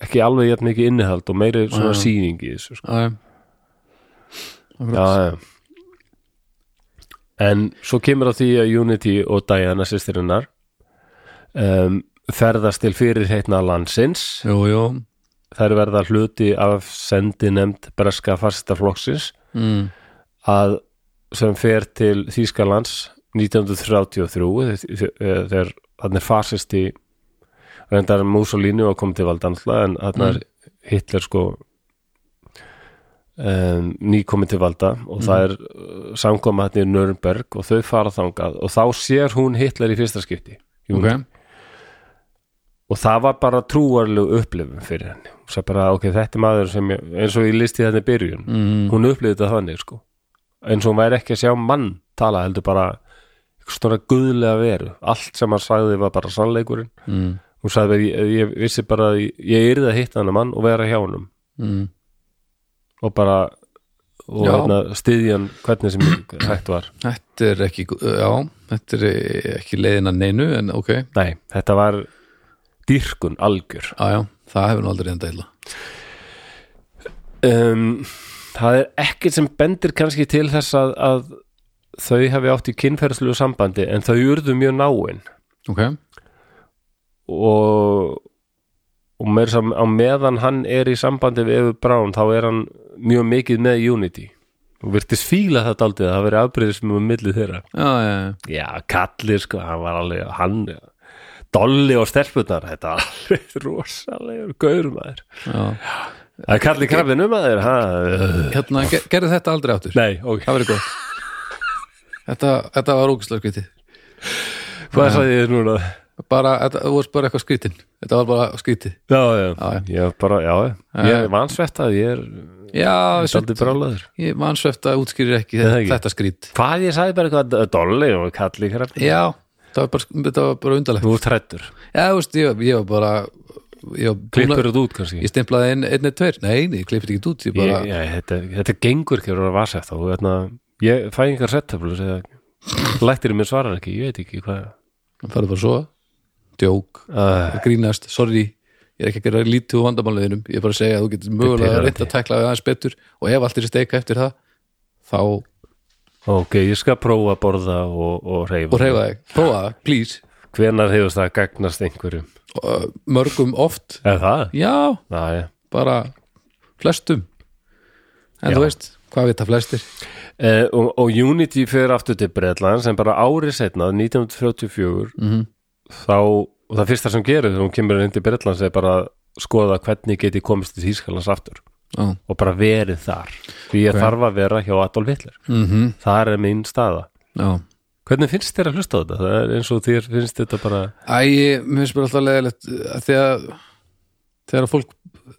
Speaker 4: ekki alveg jætt mikið innihald og meiri svona sýning í þessu sko.
Speaker 5: Já, já.
Speaker 4: já, já. en svo kemur á því að Unity og Diana sýstirinnar um, ferðast til fyrir heitna landsins
Speaker 5: Jú, jú
Speaker 4: þær verða hluti af sendinemnd breska fastaflokksins
Speaker 5: mm.
Speaker 4: að sem fer til Þýskalands 1933 þe- þe- eh, þegar hann er fasisti reyndar Mussolini og kom til valdansla en hann er Hitler sko um, nýkomin til valda og það er eh, samkoma hann í Nürnberg og þau fara þangað og þá sér hún Hitler í fyrsta skipti
Speaker 5: Ok,
Speaker 4: Júni. og það var bara trúarlegu upplifun fyrir henni og sagði bara ok, þetta er maður sem ég, eins og ég listi þetta í byrjun
Speaker 5: Mhm.
Speaker 4: mm. hún upplifði þetta þannig sko eins og hún væri ekki að sjá mann tala heldur bara eitthvað svona guðlega veru allt sem hann sagði var bara sannleikurinn mm. hún sagði bara, ég, ég vissi bara að ég, ég yrði að hitta hann mann og vera hjá honum
Speaker 5: Mm.
Speaker 4: og bara og
Speaker 5: Já.
Speaker 4: hérna, styðja hann hvernig sem hægt var
Speaker 5: Þetta er ekki, gó- já, þetta er ekki leiðin að neinu, en ok, já,
Speaker 4: nei, þetta var dýrkun algjör
Speaker 5: já, það hefur nú aldrei enda illa.
Speaker 4: um, það er ekkert sem bendir kannski til þess að, að þau hafi átt í kynferðslu sambandi en þau urðu mjög náin
Speaker 5: Ok,
Speaker 4: og og meir sem á meðan hann er í sambandi við Efu Brown þá er hann mjög mikið með Unity og virtist fíla þetta aldrei það verið afbreyðismum um millið þeirra
Speaker 5: já, já, já.
Speaker 4: já, kallir sko, hann var alveg hann, dolli og stelpunar þetta var alveg rosalegur gaur maður
Speaker 5: já.
Speaker 4: það er kalli krafinu maður ha?
Speaker 5: Hérna, ger, gerðu þetta aldrei áttur.
Speaker 4: nei, ok,
Speaker 5: Það verið góð. Þetta, þetta var ógislega skrítið.
Speaker 4: hvað sagði ég núna
Speaker 5: Bara, þetta þú varst bara eitthvað skrítin. Þetta var bara skrítið.
Speaker 4: já, já,
Speaker 5: Já, já.
Speaker 4: ég bara, já, já. ég er vansvettað ég er
Speaker 5: Já,
Speaker 4: aldrei brálaður
Speaker 5: ég mann sveft að útskýrir ekki,
Speaker 4: það
Speaker 5: þetta,
Speaker 4: ekki.
Speaker 5: þetta skrít.
Speaker 4: hvað ég sagði bara eitthvað dolli og kalli krafinu
Speaker 5: Já, það var bara, þetta var bara undarlegt.
Speaker 4: þú ert hrættur
Speaker 5: Já, þú veist, ég, ég var bara, ég var
Speaker 4: klippur þetta út kannski
Speaker 5: Ég stemplaði einn, einn eða tveir, nei, nei, ég klippið ekki út, ég bara,
Speaker 4: ég, ég, þetta, þetta gengur ekki að vera vasæft og þarna, ég fæ einhver settöflur eða lættir mér svarar ekki, ég veit ekki hvað
Speaker 5: farið bara svo djók,
Speaker 4: uh,
Speaker 5: grínast, sorry ég er ekki að gera lítið úr vandamáliðinum ég er bara að segja að þú getur mögulega
Speaker 4: pirrandi.
Speaker 5: reynt að tækla við aðeins betur og ef allt er í steika eftir það þá og
Speaker 4: ok, ég skal prófa að borða og, og reyfa
Speaker 5: reyfa þig, prófa það, please
Speaker 4: hvenær hefur það gagnast einhverjum
Speaker 5: Og, uh, mörgum oft,
Speaker 4: eða það?
Speaker 5: já,
Speaker 4: Já, já.
Speaker 5: bara flestum en
Speaker 4: Já.
Speaker 5: þú veist, hvað vita flestir
Speaker 4: Eh, og, og Unity fyrir aftur til Bretland sem bara ári setna 1934 -hmm. þá, og það fyrsta sem gerir þegar hún kemur inn til Bretlands er bara að skoða hvernig geti komist til Þýskalands aftur
Speaker 5: Já.
Speaker 4: og bara verið þar því ég þarf að vera hjá Adolf Hitler mm -hmm. þar er minn staða
Speaker 5: Mhm, já
Speaker 4: Hvernig finnst þér að hlusta á þetta? Það er eins og þér finnst þetta bara
Speaker 5: Æ, ég- mér finnst bara alltaf leðilegt þegar, þegar að fólk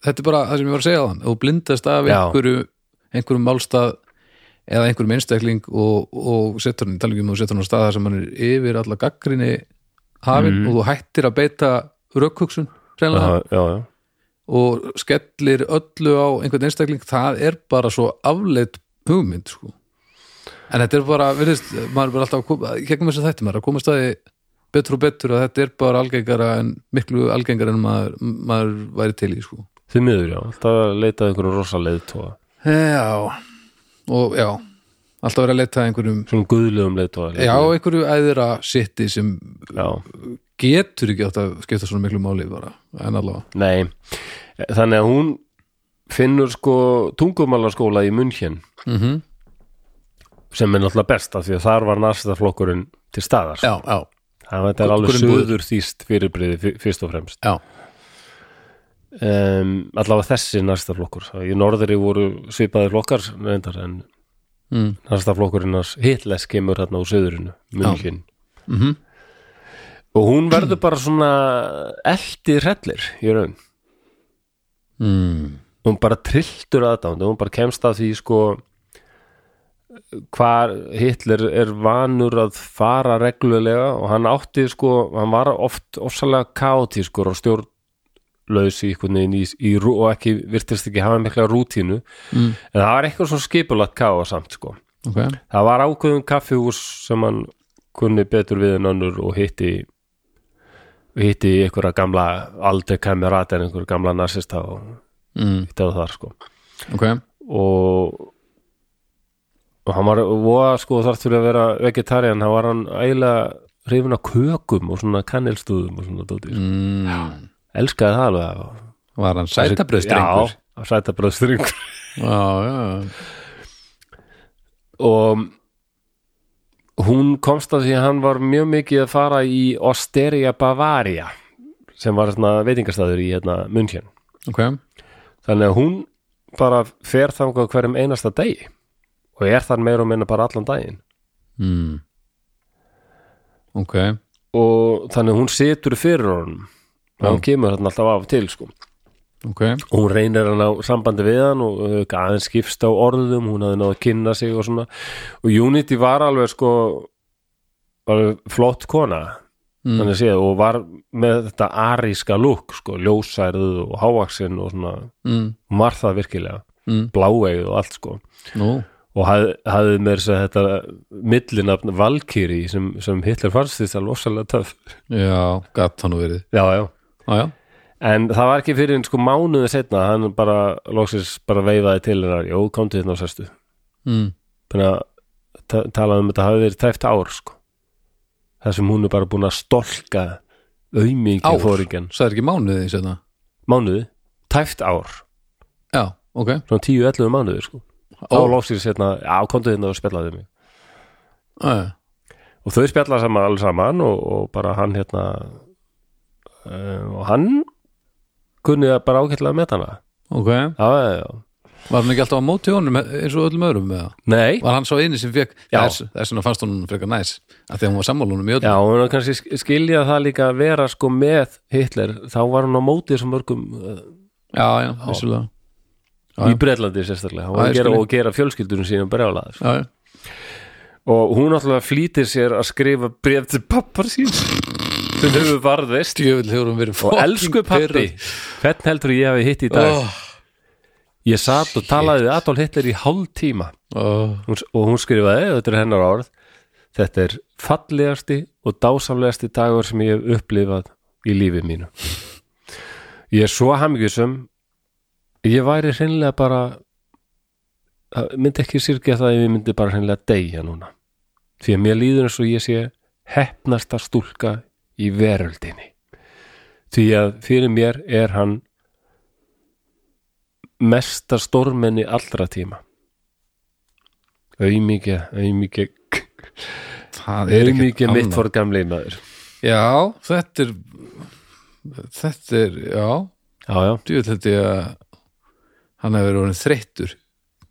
Speaker 5: þetta er bara það sem ég var að segja á þann og blindast af
Speaker 4: Já.
Speaker 5: einhverju, einhverju málstað eða einhverjum einstakling og, og setur hann í talingum og um setur hann á stað þar sem hann er yfir alla gaggrinni hafin og þú hættir að beita rökkhugsun
Speaker 4: já,
Speaker 5: hreinlega,
Speaker 4: já, já.
Speaker 5: og skellir öllu á einhvern einstakling, það er bara svo afleitt hugmynd sko. en þetta er bara, virðist, maður er bara alltaf að koma, í gegnum þess að þetta maður er að koma staði betur og betur að þetta er bara algengara en miklu algengara en maður, maður væri til í sko.
Speaker 4: Þið miður, já, alltaf að leita að einhverjum rosa leiðtóa,
Speaker 5: já og já, alltaf verið að leita að einhverjum
Speaker 4: svona guðlegum leiðtóa
Speaker 5: já, einhverju æðra sitti sem
Speaker 4: já,
Speaker 5: getur ekki átt að skipta svona miklu máli bara, en allavega
Speaker 4: nei Þannig að hún finnur sko tungumálaskóla í München
Speaker 5: mm -hmm.
Speaker 4: sem er náttúrulega besta því að þar var nasistaflokkurinn til staðar
Speaker 5: já, já,
Speaker 4: Það þetta er alveg
Speaker 5: Grunnbúður.
Speaker 4: söður þýst fyrirbriði fyrst og fremst
Speaker 5: já,
Speaker 4: um, allavega þessi næsta flokkur í norðri voru svipaði flokkar reyndar, en
Speaker 5: Mm.
Speaker 4: næsta flokkurinn hans Hitles kemur þarna úr söðurinu München
Speaker 5: Mhm.
Speaker 4: og hún verður bara svona eldi hrellir í raun
Speaker 5: mm.
Speaker 4: hún bara trilltur aðdánd hún bara kemst að því sko hvar Hitler er vanur að fara reglulega og hann átti sko hann var oft ofsalega kaotískur og stjórn laus í einhvern veginn í, í, rú- og ekki, virtist ekki hafa mikla rútínu en það var eitthvað svona skipulagt káa samt sko.
Speaker 5: ok
Speaker 4: það var ákveðum kaffihús sem hann kunni betur við en önnur og hitti hitti einhverja gamla aldrei kamerat en einhverja gamla nasista og
Speaker 5: mm.
Speaker 4: hitti á þar sko
Speaker 5: ok,
Speaker 4: og og hann var voða sko þar fyrir að vera vegetarian, hann var hann eiginlega hrifin af kökum og svona kannelstuðum og svona dóti sko.
Speaker 5: mm.
Speaker 4: elskaði það alveg
Speaker 5: var hann sætabröðstrengur
Speaker 4: Já, sætabröðstrengur
Speaker 5: já, já,
Speaker 4: og hún komst að því að hann var mjög mikið að fara í Osteria Bavaria sem var svona veitingastæður í hérna München
Speaker 5: ok
Speaker 4: þannig að hún bara fer þangað á hverjum einasta degi og er þar meira og minna bara allan daginn
Speaker 5: mm. ok
Speaker 4: og þannig að hún situr fyrir honum og hann kemur þarna alltaf af og til sko.
Speaker 5: ok,
Speaker 4: og hún reynir hann á sambandi við hann og uh, aðeins skipst á orðum hún hafði náð að kynna sig og svona og Unity var alveg sko var flott kona þannig séð og var með þetta aríska lúk sko, ljósærið og hávaksinn og svona
Speaker 5: mm,
Speaker 4: hún var það virkilega,
Speaker 5: Mm.
Speaker 4: bláeig og allt sko
Speaker 5: nú,
Speaker 4: og hafði, hafði með þess að þetta millinafn Valkyri sem, sem Hitler fannst því það losalega töf
Speaker 5: já, gatt hann verið
Speaker 4: já, já.
Speaker 5: já, já,
Speaker 4: en það var ekki fyrir en sko mánuði setna hann bara loksins bara veifaði til hennar, jú, komdu hérna og sestu
Speaker 5: mm,
Speaker 4: þannig að ta- talað um þetta hafi verið tæft ár sko. þar sem hún er bara búin að stolka aumingi
Speaker 5: ár
Speaker 4: fóringin
Speaker 5: sagði ekki mánuði sérna
Speaker 4: mánuði, tæft ár
Speaker 5: hérna? já, ok,
Speaker 4: svona 10-11 mánuði sko. þá
Speaker 5: Ó.
Speaker 4: loksins hérna, já, komdu hérna og spjallaði mig
Speaker 5: já, já
Speaker 4: og þau spjalla saman alls saman og, og bara hann hérna uh, og hann kunni það bara ágætlega með hana
Speaker 5: Ok,
Speaker 4: já, já, já,
Speaker 5: var hann ekki alltaf á móti honum eins og öllum öðrum með það?
Speaker 4: nei
Speaker 5: Var hann svo eini sem fekk,
Speaker 4: Já.
Speaker 5: þess þess vegna fannst hún frekar næs að því að hún var sammálunum í öllum
Speaker 4: já, hún var kannski sk- skilja það líka að vera sko með Hitler, þá var hún á móti þessum mörgum uh,
Speaker 5: já, já, vissulega Já,
Speaker 4: í
Speaker 5: já.
Speaker 4: Bretlandi sérstaklega og,
Speaker 5: Já, ég
Speaker 4: að gera,
Speaker 5: skil.
Speaker 4: og gera fjölskyldunum sínum brjálaðar
Speaker 5: Já, já.
Speaker 4: og hún alltaf flýtir sér að skrifa bref til pappar sín sem hefur varðist
Speaker 5: Djöfull hefur hún verið
Speaker 4: og
Speaker 5: fucking
Speaker 4: elsku pappi
Speaker 5: pirruð.
Speaker 4: hvern heldur ég hafi hitt í dag
Speaker 5: Ó,
Speaker 4: ég satt og talaði við Adolf Hitler í hálf tíma
Speaker 5: ó,
Speaker 4: hún, og hún skrifaði, þetta er hennar árið þetta er fallegasti og dásamlegasti dagur sem ég hef upplifað í lífið mínu ég er svo hamingjusum ég væri hreinlega bara það myndi ekki syrkja það ef ég myndi bara hreinlega deyja núna því að mér líður eins og ég sé hefnasta stúlka í veröldinni því að fyrir mér er hann mesta stórmenni allra tíma auðmíkja, auðmíkja
Speaker 5: Það er ekki
Speaker 4: auðmíkja mitt fór gamli maður
Speaker 5: Já, þetta er þetta er, já
Speaker 4: já, já,
Speaker 5: djöfull held ég að hann hefur verið orðinn þreyttur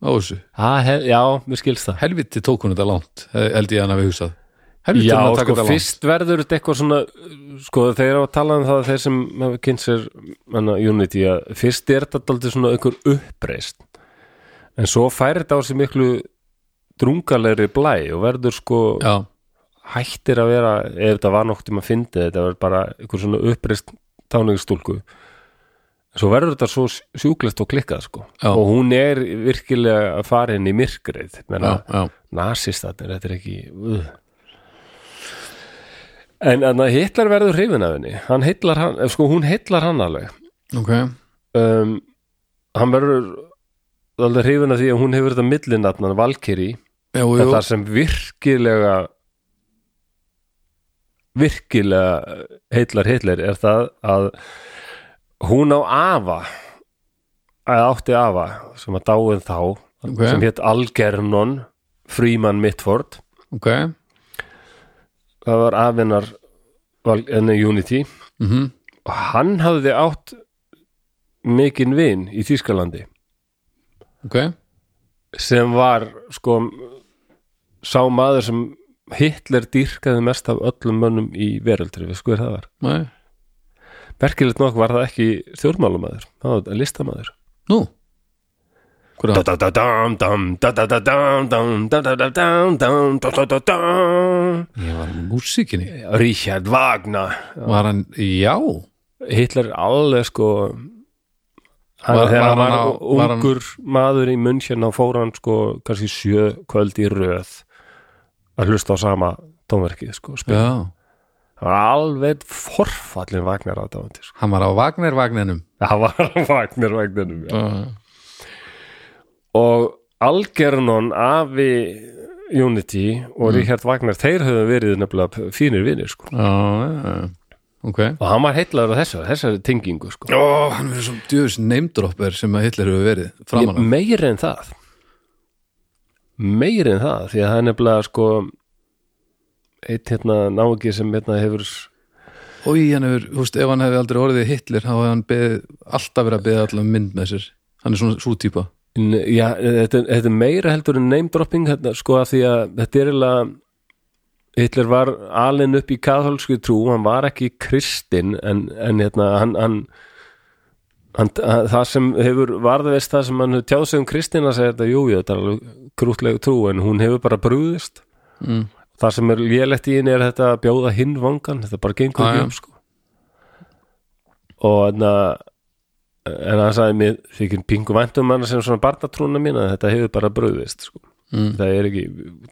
Speaker 5: á þessu
Speaker 4: ha, he, já, mér skilst það
Speaker 5: Helviti tók hún þetta langt, held ég að hann hafi hugsað Helviti
Speaker 4: já,
Speaker 5: hann að taka
Speaker 4: sko,
Speaker 5: þetta langt
Speaker 4: fyrst verður þetta eitthvað svona sko, þeir eru að tala um það þeir sem hafa kynnt sér menna, Unity að fyrst er þetta aldrei svona einhver uppreist en svo færi þetta á sig miklu drungalegri blæ og verður sko
Speaker 5: Já,
Speaker 4: hættir að vera ef þetta var nokkuð tíma að fyndi þetta var bara einhver svona uppreist táningstúlku svo verður þetta svo sjúklegt og klikkað sko.
Speaker 5: Já.
Speaker 4: og hún er virkilega að fara inn í myrkrið
Speaker 5: já,
Speaker 4: menna,
Speaker 5: já
Speaker 4: nasistatnir, þetta er ekki uh. en, en að Hitler verður hrifin af henni hann heitlar hann, eh, sko hún heitlar hann alveg
Speaker 5: Ok,
Speaker 4: um, hann verður alveg hrifin af því að hún hefur þetta millinatnan Valkyrie
Speaker 5: já, jú,
Speaker 4: þetta sem virkilega virkilega heillar heillar er það að hún á afa að átti afa sem að dáin þá
Speaker 5: Ok.
Speaker 4: sem hétt Algernon Freeman Mitford
Speaker 5: ok
Speaker 4: það var afinnar enni Unity
Speaker 5: mm
Speaker 4: og hann hafði átt mikinn vin í Þýskalandi
Speaker 5: Ok,
Speaker 4: sem var sko sá maður sem Hitler dýrkaði mest af öllum mönnum í veröldri, við sko er það var
Speaker 5: nei,
Speaker 4: merkilegt nokk var það ekki þjórnmálamaður, það var listamaður
Speaker 5: nú Hvað er það?
Speaker 4: Da-da-da-dam, dam, da-da-da-dam, dam, da-da-da-dam, dam, da-da-da-dam.
Speaker 5: Ég var hann í músíkinni
Speaker 4: Richard Wagner
Speaker 5: Var hann, já
Speaker 4: Hitler alveg sko hann,
Speaker 5: Var-
Speaker 4: þegar
Speaker 5: var
Speaker 4: hann var,
Speaker 5: hann á- var hann-
Speaker 4: ungur maður í munnsinn og fór hann sko kannski sjö kvöld í röð að hlusta á sama tónverkið sko spila.
Speaker 5: Já,
Speaker 4: hann var alveg forfallin Vagnar aðdáðandi sko.
Speaker 5: hann var á Wagner Wagnernum
Speaker 4: það var Vagnar Vagnarnum já.
Speaker 5: uh.
Speaker 4: og Algernon afi Unity
Speaker 5: Mm.
Speaker 4: og Richard Wagner þeir höfðu verið nefnilega fínir vinir sko
Speaker 5: Já, já, já Ok
Speaker 4: og hann var heitlaður á þessari, þessari tengingu sko
Speaker 5: Ó, hann verið svo djöfis neymdropper sem að Hitler hefur verið
Speaker 4: ég,
Speaker 5: framan af
Speaker 4: meir en það meir en það því að það er nefnilega sko eitt hérna náungi sem hérna hefur
Speaker 5: Ói, hann hefur, þú veist, ef hann hefði aldrei orðið Hitler þá hefði hann beðið, alltaf verið að beða allan mynd með sér Hann er svona svo típa
Speaker 4: N- já, þetta, er- þetta er meira heldur en name dropping hérna, sko að því að þetta er eiginlega Hitler var alinn upp í katholsku trú, hann var ekki kristinn en, en hérna hann, hann, hann, hann það sem hefur varðveist það sem hann hefur
Speaker 6: Mm,
Speaker 4: tjáð sig um kristina segir þetta, jú, jú, þetta er alveg krútleg trú en hún hefur bara brúðist það sem er lélegt í henni er þetta að bjóða hinn vangan, þetta bara gengur
Speaker 5: Já, já.
Speaker 4: ekki upp sko. og en að en að það sagði mér þykir pingu væntum manna sem svona barnatrúna mín að þetta hefur bara bröðist sko.
Speaker 6: mm,
Speaker 4: það er ekki,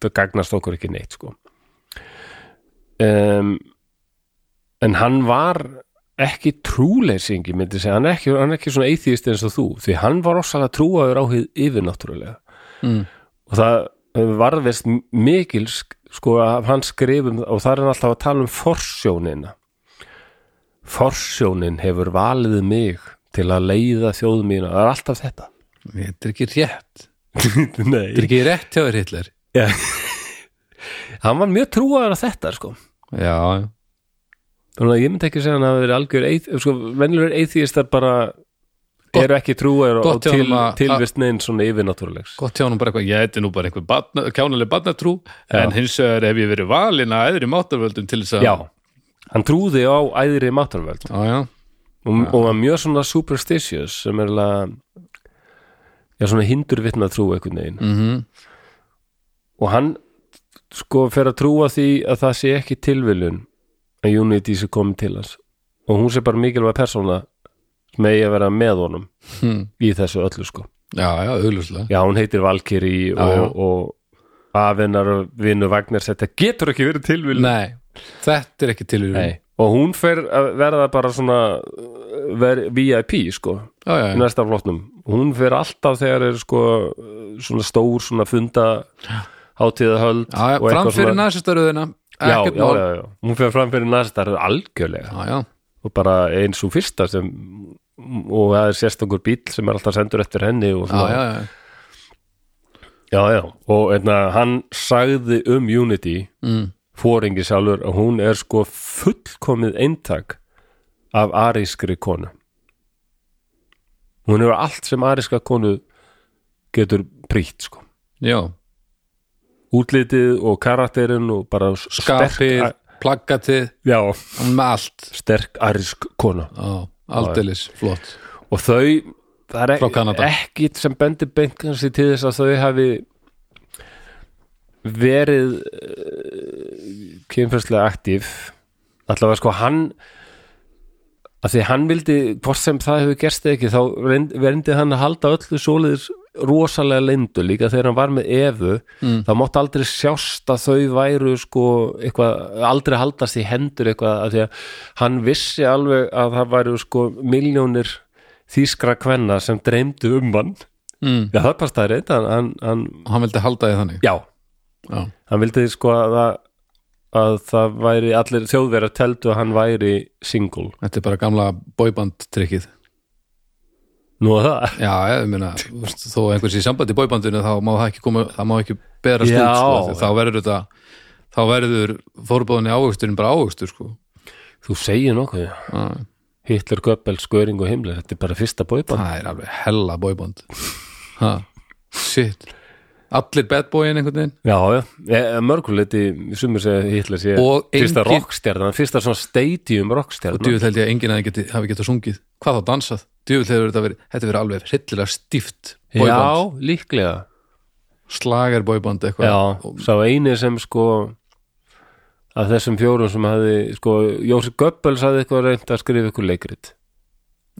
Speaker 4: það gagnast okkur ekki neitt sko. um, en hann var ekki trúleysingi myndi segja, hann er ekki, hann er ekki svona eithýst eins og þú, því hann var ossalega trúaður á hið yfirnáttúrulega
Speaker 5: Mm.
Speaker 4: og það varðist mikil sk- sko að hann skrifum og það er hann alltaf að tala um forsjónina forsjónin hefur valið mig til að leiða þjóð mína, það er alltaf þetta
Speaker 5: þetta er ekki rétt
Speaker 4: Nei,
Speaker 5: þetta er ekki rétt hjá þér Hitler
Speaker 4: hann var mjög trúaður að þetta sko
Speaker 5: já,
Speaker 4: þannig að ég myndi ekki segja hann að það er algjör eith, sko, venjulegur eithýstar bara eru ekki trúar og
Speaker 5: gott hjá
Speaker 4: til,
Speaker 5: honum að-
Speaker 4: tilvist neinn svona yfirnáttúrulegs
Speaker 5: gott hjá hann bara eitthvað
Speaker 6: Ég heiti nú bara einhver batna, kjánaleg barnatrú en hins vegar hef ég verið valin að eðri máttarvöldum til þess að
Speaker 4: já, hann trúði á æðri máttarvöld
Speaker 5: já, já,
Speaker 4: og, og var mjög svona superstitious sem er alveg já, svona hindur vitna trú einhvern veginn
Speaker 5: Mhm.
Speaker 4: og hann sko fer að trúa því að það sé ekki tilviljun að Unity sé komið til hans og hún sé bara mikilvæg persóna sem eigi að vera með honum
Speaker 5: Hmm.
Speaker 4: í þessu öllu sko
Speaker 5: já, já, auðljóslega
Speaker 4: já, hún heitir Valkyrie
Speaker 5: já.
Speaker 4: og, og afinnar og vinnu Vagnars þetta getur ekki verið tilviljun
Speaker 5: nei, þetta er ekki tilvíðun já,
Speaker 4: Nei. og hún fer að verða bara svona uh, ver, VIP sko
Speaker 5: já,
Speaker 4: í
Speaker 5: já,
Speaker 4: næsta flotnum hún fer alltaf þegar er sko svona stór svona funda hátíðahöld
Speaker 5: já, já, framfyrir næstastaröðina
Speaker 4: já, já,
Speaker 5: ekkert mál
Speaker 4: já, já, hún fer fram fyrir næsta algjörlega
Speaker 5: já, já,
Speaker 4: og bara eins og fyrsta sem og það er sérstakur bíl sem er alltaf sendur eftir henni og
Speaker 5: já,
Speaker 4: svona,
Speaker 5: já, já.
Speaker 4: já, já. og einna, hann sagði um Unity
Speaker 5: Mm.
Speaker 4: fóringi sjálfur að hún er sko fullkomið eintak af arískri konu hún hefur allt sem aríska konu getur prýtt sko
Speaker 5: já.
Speaker 4: útlitið og karakterinn og bara s-
Speaker 5: skapið,
Speaker 4: sterk,
Speaker 5: plaggatið
Speaker 4: já,
Speaker 5: hann með allt
Speaker 4: sterk arísk kona
Speaker 5: já, aldeilis, flott
Speaker 4: og þau, það er
Speaker 5: Frá Kanada.
Speaker 4: ek- ekkit sem bendir beint kannski til þess að þau hafi verið uh, kynfærslega aktíf allavega sko hann að því hann vildi, hvort sem það hefur gerst eða ekki, þá reynd- reyndi hann að halda öllu svoleiðis rosalega leyndu líka þegar hann var með efu
Speaker 5: Mm.
Speaker 4: þá mátti aldrei sjást að þau væru sko eitthvað, aldrei haldast í hendur eitthvað, af því að hann vissi alveg að það væru sko miljónir þýskra kvenna sem dreymdu um hann
Speaker 5: mm.
Speaker 4: já það bara staðið reynd, hann, hann, hann
Speaker 5: og hann vildi halda þið þannig
Speaker 4: já,
Speaker 5: já,
Speaker 4: hann vildi sko að það að það væri allir þjóðverjar teldu að hann væri single
Speaker 5: þetta er bara gamla boyband trikkið
Speaker 4: nú að það
Speaker 5: já, ég meina, þú veist, þó einhvers í sambandi í boybandinu þá má það ekki koma, það má ekki bera stund,
Speaker 4: Já.
Speaker 5: sko, því þá verður þetta þá verður fórbóðinni ávegsturinn bara ávegstur, sko
Speaker 4: Þú segir nokkuð
Speaker 5: Já.
Speaker 4: Hitler, Goebbels, Göring og Himmler Þetta er bara fyrsta bóiband
Speaker 5: það er alveg hella boyband ha, shit allir bad boyin einhvern veginn
Speaker 4: Já, já, e- mörguleiti Sumur segja að Hitler sé
Speaker 5: Og
Speaker 4: fyrsta
Speaker 5: engin-
Speaker 4: rockstjarnan Fyrsta svona stadium rockstjarnan
Speaker 5: djúvill held ég að enginn að geti, hafi getað sungið hvað þá dansað, djúvill hefur þetta verið þetta verið alveg hryllilega stíft boyband,
Speaker 4: Já, líklega
Speaker 5: slagar boyband eitthvað
Speaker 4: Já, sá eini sem sko að þessum fjórum sem hafði sko, Jósef Goebbels hafði eitthvað reynd að skrifa ykkur leikrit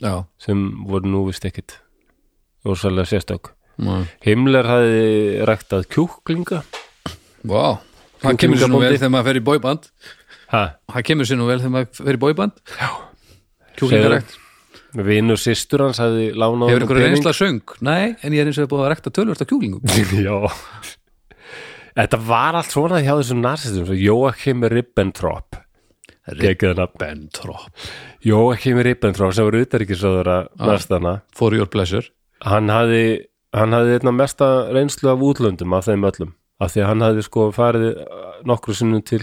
Speaker 5: já,
Speaker 4: sem voru nú vist ekkit og svolítið sérstök
Speaker 5: já.
Speaker 4: Himmler hafði ræktað kjúklinga
Speaker 5: Vá, það kemur sér nú vel
Speaker 4: Kjúklingabóndi.
Speaker 5: þegar maður fer í bóiband
Speaker 4: ha,
Speaker 5: það kemur sér nú vel þegar maður fer í bóiband kjúklingarekt
Speaker 4: Vinur systur hans hafði lánað
Speaker 5: Hefur
Speaker 4: honum
Speaker 5: einhverja
Speaker 4: pening.
Speaker 5: reynsla söng? Nei, en ég er eins og búið að rekta tölvörst á kjúklingum
Speaker 4: Já Þetta var allt svona hjá þessum narsistum svo Joachim Ribbentrop Gekkið hann
Speaker 5: Bentrop
Speaker 4: Joachim Ribbentrop sem var utanríkisöður að næstana
Speaker 5: For your pleasure
Speaker 4: hann hafði, hann hafði einna mesta reynslu af útlöndum af þeim öllum af því að hann hafði sko farið uh, nokkru sinnum til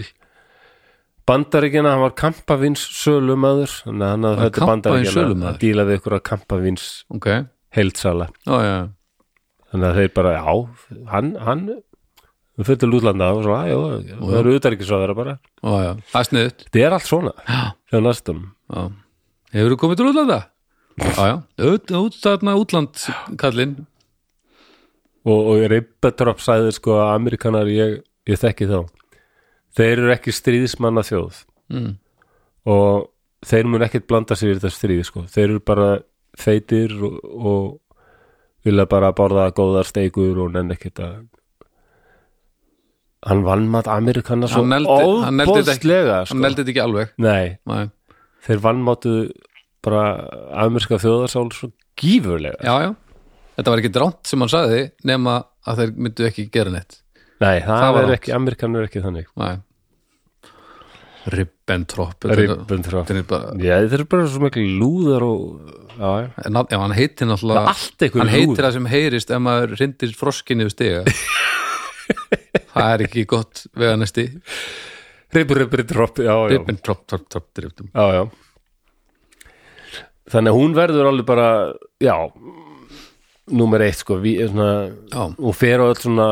Speaker 4: Bandaríkina, hann var kampavins sölumæður, þannig að hann hafði
Speaker 5: Var
Speaker 4: þetta
Speaker 5: kampavíns
Speaker 4: Bandaríkina
Speaker 5: sölumaður?
Speaker 4: að díla við ykkur að kampavins
Speaker 5: Ok,
Speaker 4: heildsala
Speaker 5: já, já,
Speaker 4: þannig að þeir bara, já, hann, hann við fyrir til útlanda og svo, já, já, það eru utarikisraðara bara
Speaker 5: já, já Það er sniðut
Speaker 4: þetta er allt svona, hjá næstum
Speaker 5: Hefur þú komið til útlanda? Já, já, út, út, þarna útland kallinn
Speaker 4: og, og Ribbentrop sagði sko að Amerikanar, ég, ég þekki þá þeir eru ekki stríðismanna þjóð
Speaker 5: Mm.
Speaker 4: og þeir mun ekkert blanda sér í þetta stríði sko. þeir eru bara feitir og, og vilja bara borða góðar steikur og nenn ekkert að hann vannmatt Amerikana svo
Speaker 5: Hann neldi- hann neldi þetta ekki-
Speaker 4: óbóðslega
Speaker 5: hann
Speaker 4: sko.
Speaker 5: neldi þetta ekki alveg
Speaker 4: nei,
Speaker 5: Nei.
Speaker 4: þeir vannmáttu bara amerska þjóðarsál svo gífurlega
Speaker 5: já, já, þetta var ekki dránt sem hann sagði nema að þeir myndu ekki gera neitt
Speaker 4: nei, það,
Speaker 5: Það var
Speaker 4: er
Speaker 5: rangt.
Speaker 4: ekki, Amerikan er ekki þannig
Speaker 5: Nei. Ribbentrop þetta er-
Speaker 4: Ribbentrop
Speaker 5: þetta er bara-
Speaker 4: Já, þeir eru bara svo miklu lúðar og já, já.
Speaker 5: En nafn- Já, hann heitir
Speaker 4: Það er
Speaker 5: náttúrulega
Speaker 4: allt einhver
Speaker 5: Hann
Speaker 4: lúður.
Speaker 5: heitir það sem heyrist ef maður rindir froskinni við stiga Það er ekki gott veganesti
Speaker 4: Ribbi, ribbi, dropp, já, já
Speaker 5: Ribbon, trop, trop, trop, driftum
Speaker 4: já, já. Þannig að hún verður alveg bara já, númer eitt sko, við, svona,
Speaker 5: Já.
Speaker 4: og fer á öll svona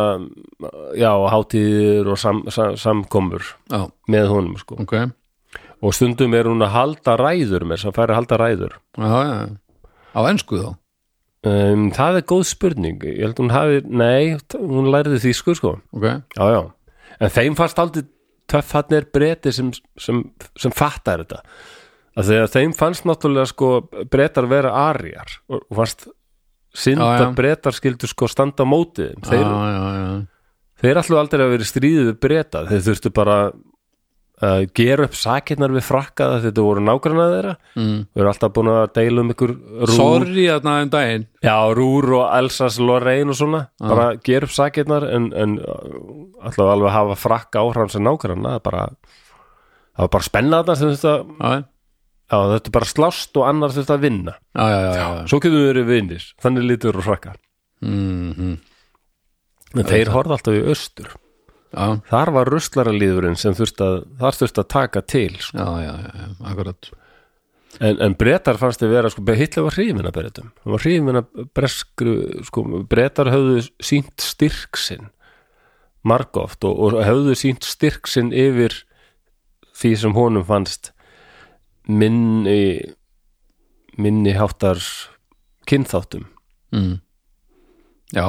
Speaker 4: já, hátíðir og sam, sam, samkomur
Speaker 5: Já,
Speaker 4: með honum sko.
Speaker 5: ok Já,
Speaker 4: og stundum er hún að halda ræður með þess að færa að halda ræður
Speaker 5: já, já Á ennsku þá
Speaker 4: um, það er góð spurning ég held hún hafi, nei, t- hún lærði þýsku sko,
Speaker 5: Ok,
Speaker 4: já, já en þeim fannst aldrei töff hann er breytir sem, sem, sem fattar þetta að þegar þeim fannst náttúrulega sko breytar vera arjar og og fannst synd
Speaker 5: Já, já.
Speaker 4: að breytar skildu sko standa á móti þeim.
Speaker 5: já,
Speaker 4: þeir,
Speaker 5: já, já
Speaker 4: þeir alltaf aldrei að vera stríðið við breyta þeir þurftu bara að gera upp sakirnar við frakka það þetta voru nágranna þeirra mm. við erum alltaf búin að deila um ykkur rúr,
Speaker 5: Sorry að næðum daginn
Speaker 4: já, rúr og Elsas Lorraine og svona bara gera upp sakirnar en, en alltaf alveg að hafa frakka áhrifan sem nágranna það er bara það var bara spennaðna sem þetta
Speaker 5: Já,
Speaker 4: já, þetta er bara slást og annar þurfti að vinna
Speaker 5: já, já, já, já.
Speaker 4: svo getum við verið vinnir, þannig lítur og frakka
Speaker 5: Mhm.
Speaker 4: mm en þeir horfði alltaf í austur
Speaker 5: já.
Speaker 4: Þar var ruslaralíðurinn sem þurft að, þar þurft að taka til sko.
Speaker 5: Já, já, já, já, akkurat
Speaker 4: en, en bretar fannst þið vera sko, Hitler var hrifin að bretum hann var hrifin að breskru sko, bretar höfðu sínt styrksinn margóft og, og höfðu sínt styrksinn yfir því sem honum fannst minni minni háttar kynþáttum
Speaker 5: Mm. Já,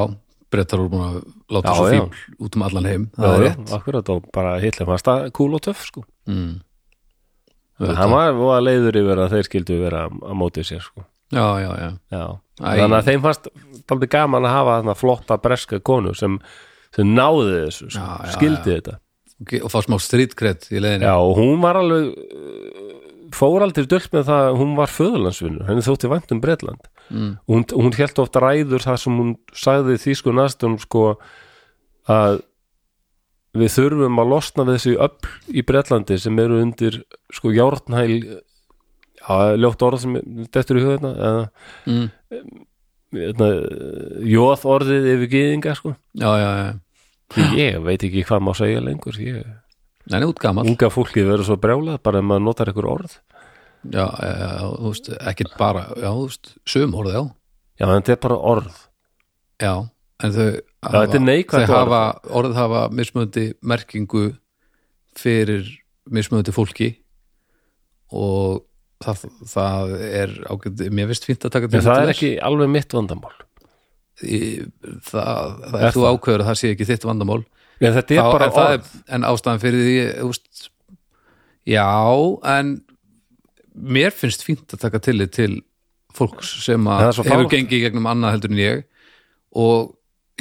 Speaker 5: brettar voru búin að láta
Speaker 4: Já,
Speaker 5: svo
Speaker 4: já.
Speaker 5: fíl út um allan heim
Speaker 4: Já,
Speaker 5: Það er
Speaker 4: já,
Speaker 5: rétt Mm.
Speaker 4: akkurat og bara Hitler fannst það kúl og töff sko
Speaker 5: auðvitað.
Speaker 4: hann var, var leiður yfir að þeir skildu vera á mótið sér sko
Speaker 5: Já, já, já,
Speaker 4: Já,
Speaker 5: Æ.
Speaker 4: þannig að þeim fannst aldrei gaman að hafa þarna flotta breska konu sem, sem náði þessu sko,
Speaker 5: Já, já,
Speaker 4: skildi þetta
Speaker 5: Ok, og fá smá strýtkret í leiðinni
Speaker 4: Já, og hún var alveg uh, fór aldrei dölt með það að hún var föðurlandsvinnur, henni þótti vænt um Bretland mm. hún, hún held ofta ræður það sem hún sagði því sko næstum sko að við þurfum að losna við þessi öll í Bretlandi sem eru undir sko járnhæl já, ljótt orð sem dettur í hugðina eða eh,
Speaker 5: Mm.
Speaker 4: Eðna, jóð orðið yfir gyðinga sko.
Speaker 5: já, já, já.
Speaker 4: ég veit ekki hvað má segja lengur ég,
Speaker 5: Nei, nei, útgamall
Speaker 4: unga fólkið verður svo brjálað bara ef maður notar einhver orð
Speaker 5: já, já, já, þú veist, ekkert bara já, þú veist, sum orðið,
Speaker 4: Já, en þetta er bara orð
Speaker 5: já já, en þau hafa,
Speaker 4: þetta er neikvætt
Speaker 5: þau
Speaker 4: orð.
Speaker 5: hafa, orð hafa mismöndi merkingu fyrir mismöndi fólki og það, það er ágætt, mér finnst fínt að taka
Speaker 4: en
Speaker 5: til
Speaker 4: það er
Speaker 5: vel.
Speaker 4: ekki alveg mitt vandamál
Speaker 5: Í- það, það
Speaker 4: Er
Speaker 5: er þú
Speaker 4: það?
Speaker 5: ákveður að það sé ekki þitt vandamál
Speaker 4: en þetta er
Speaker 5: Þá-
Speaker 4: bara
Speaker 5: en, það
Speaker 4: orð
Speaker 5: er, en ástæðan fyrir því úst, já, en mér finnst fínt að taka tillit til fólks sem að
Speaker 4: Það er svo
Speaker 5: hefur
Speaker 4: fáránlegt.
Speaker 5: gengið í gegnum annað heldur en ég og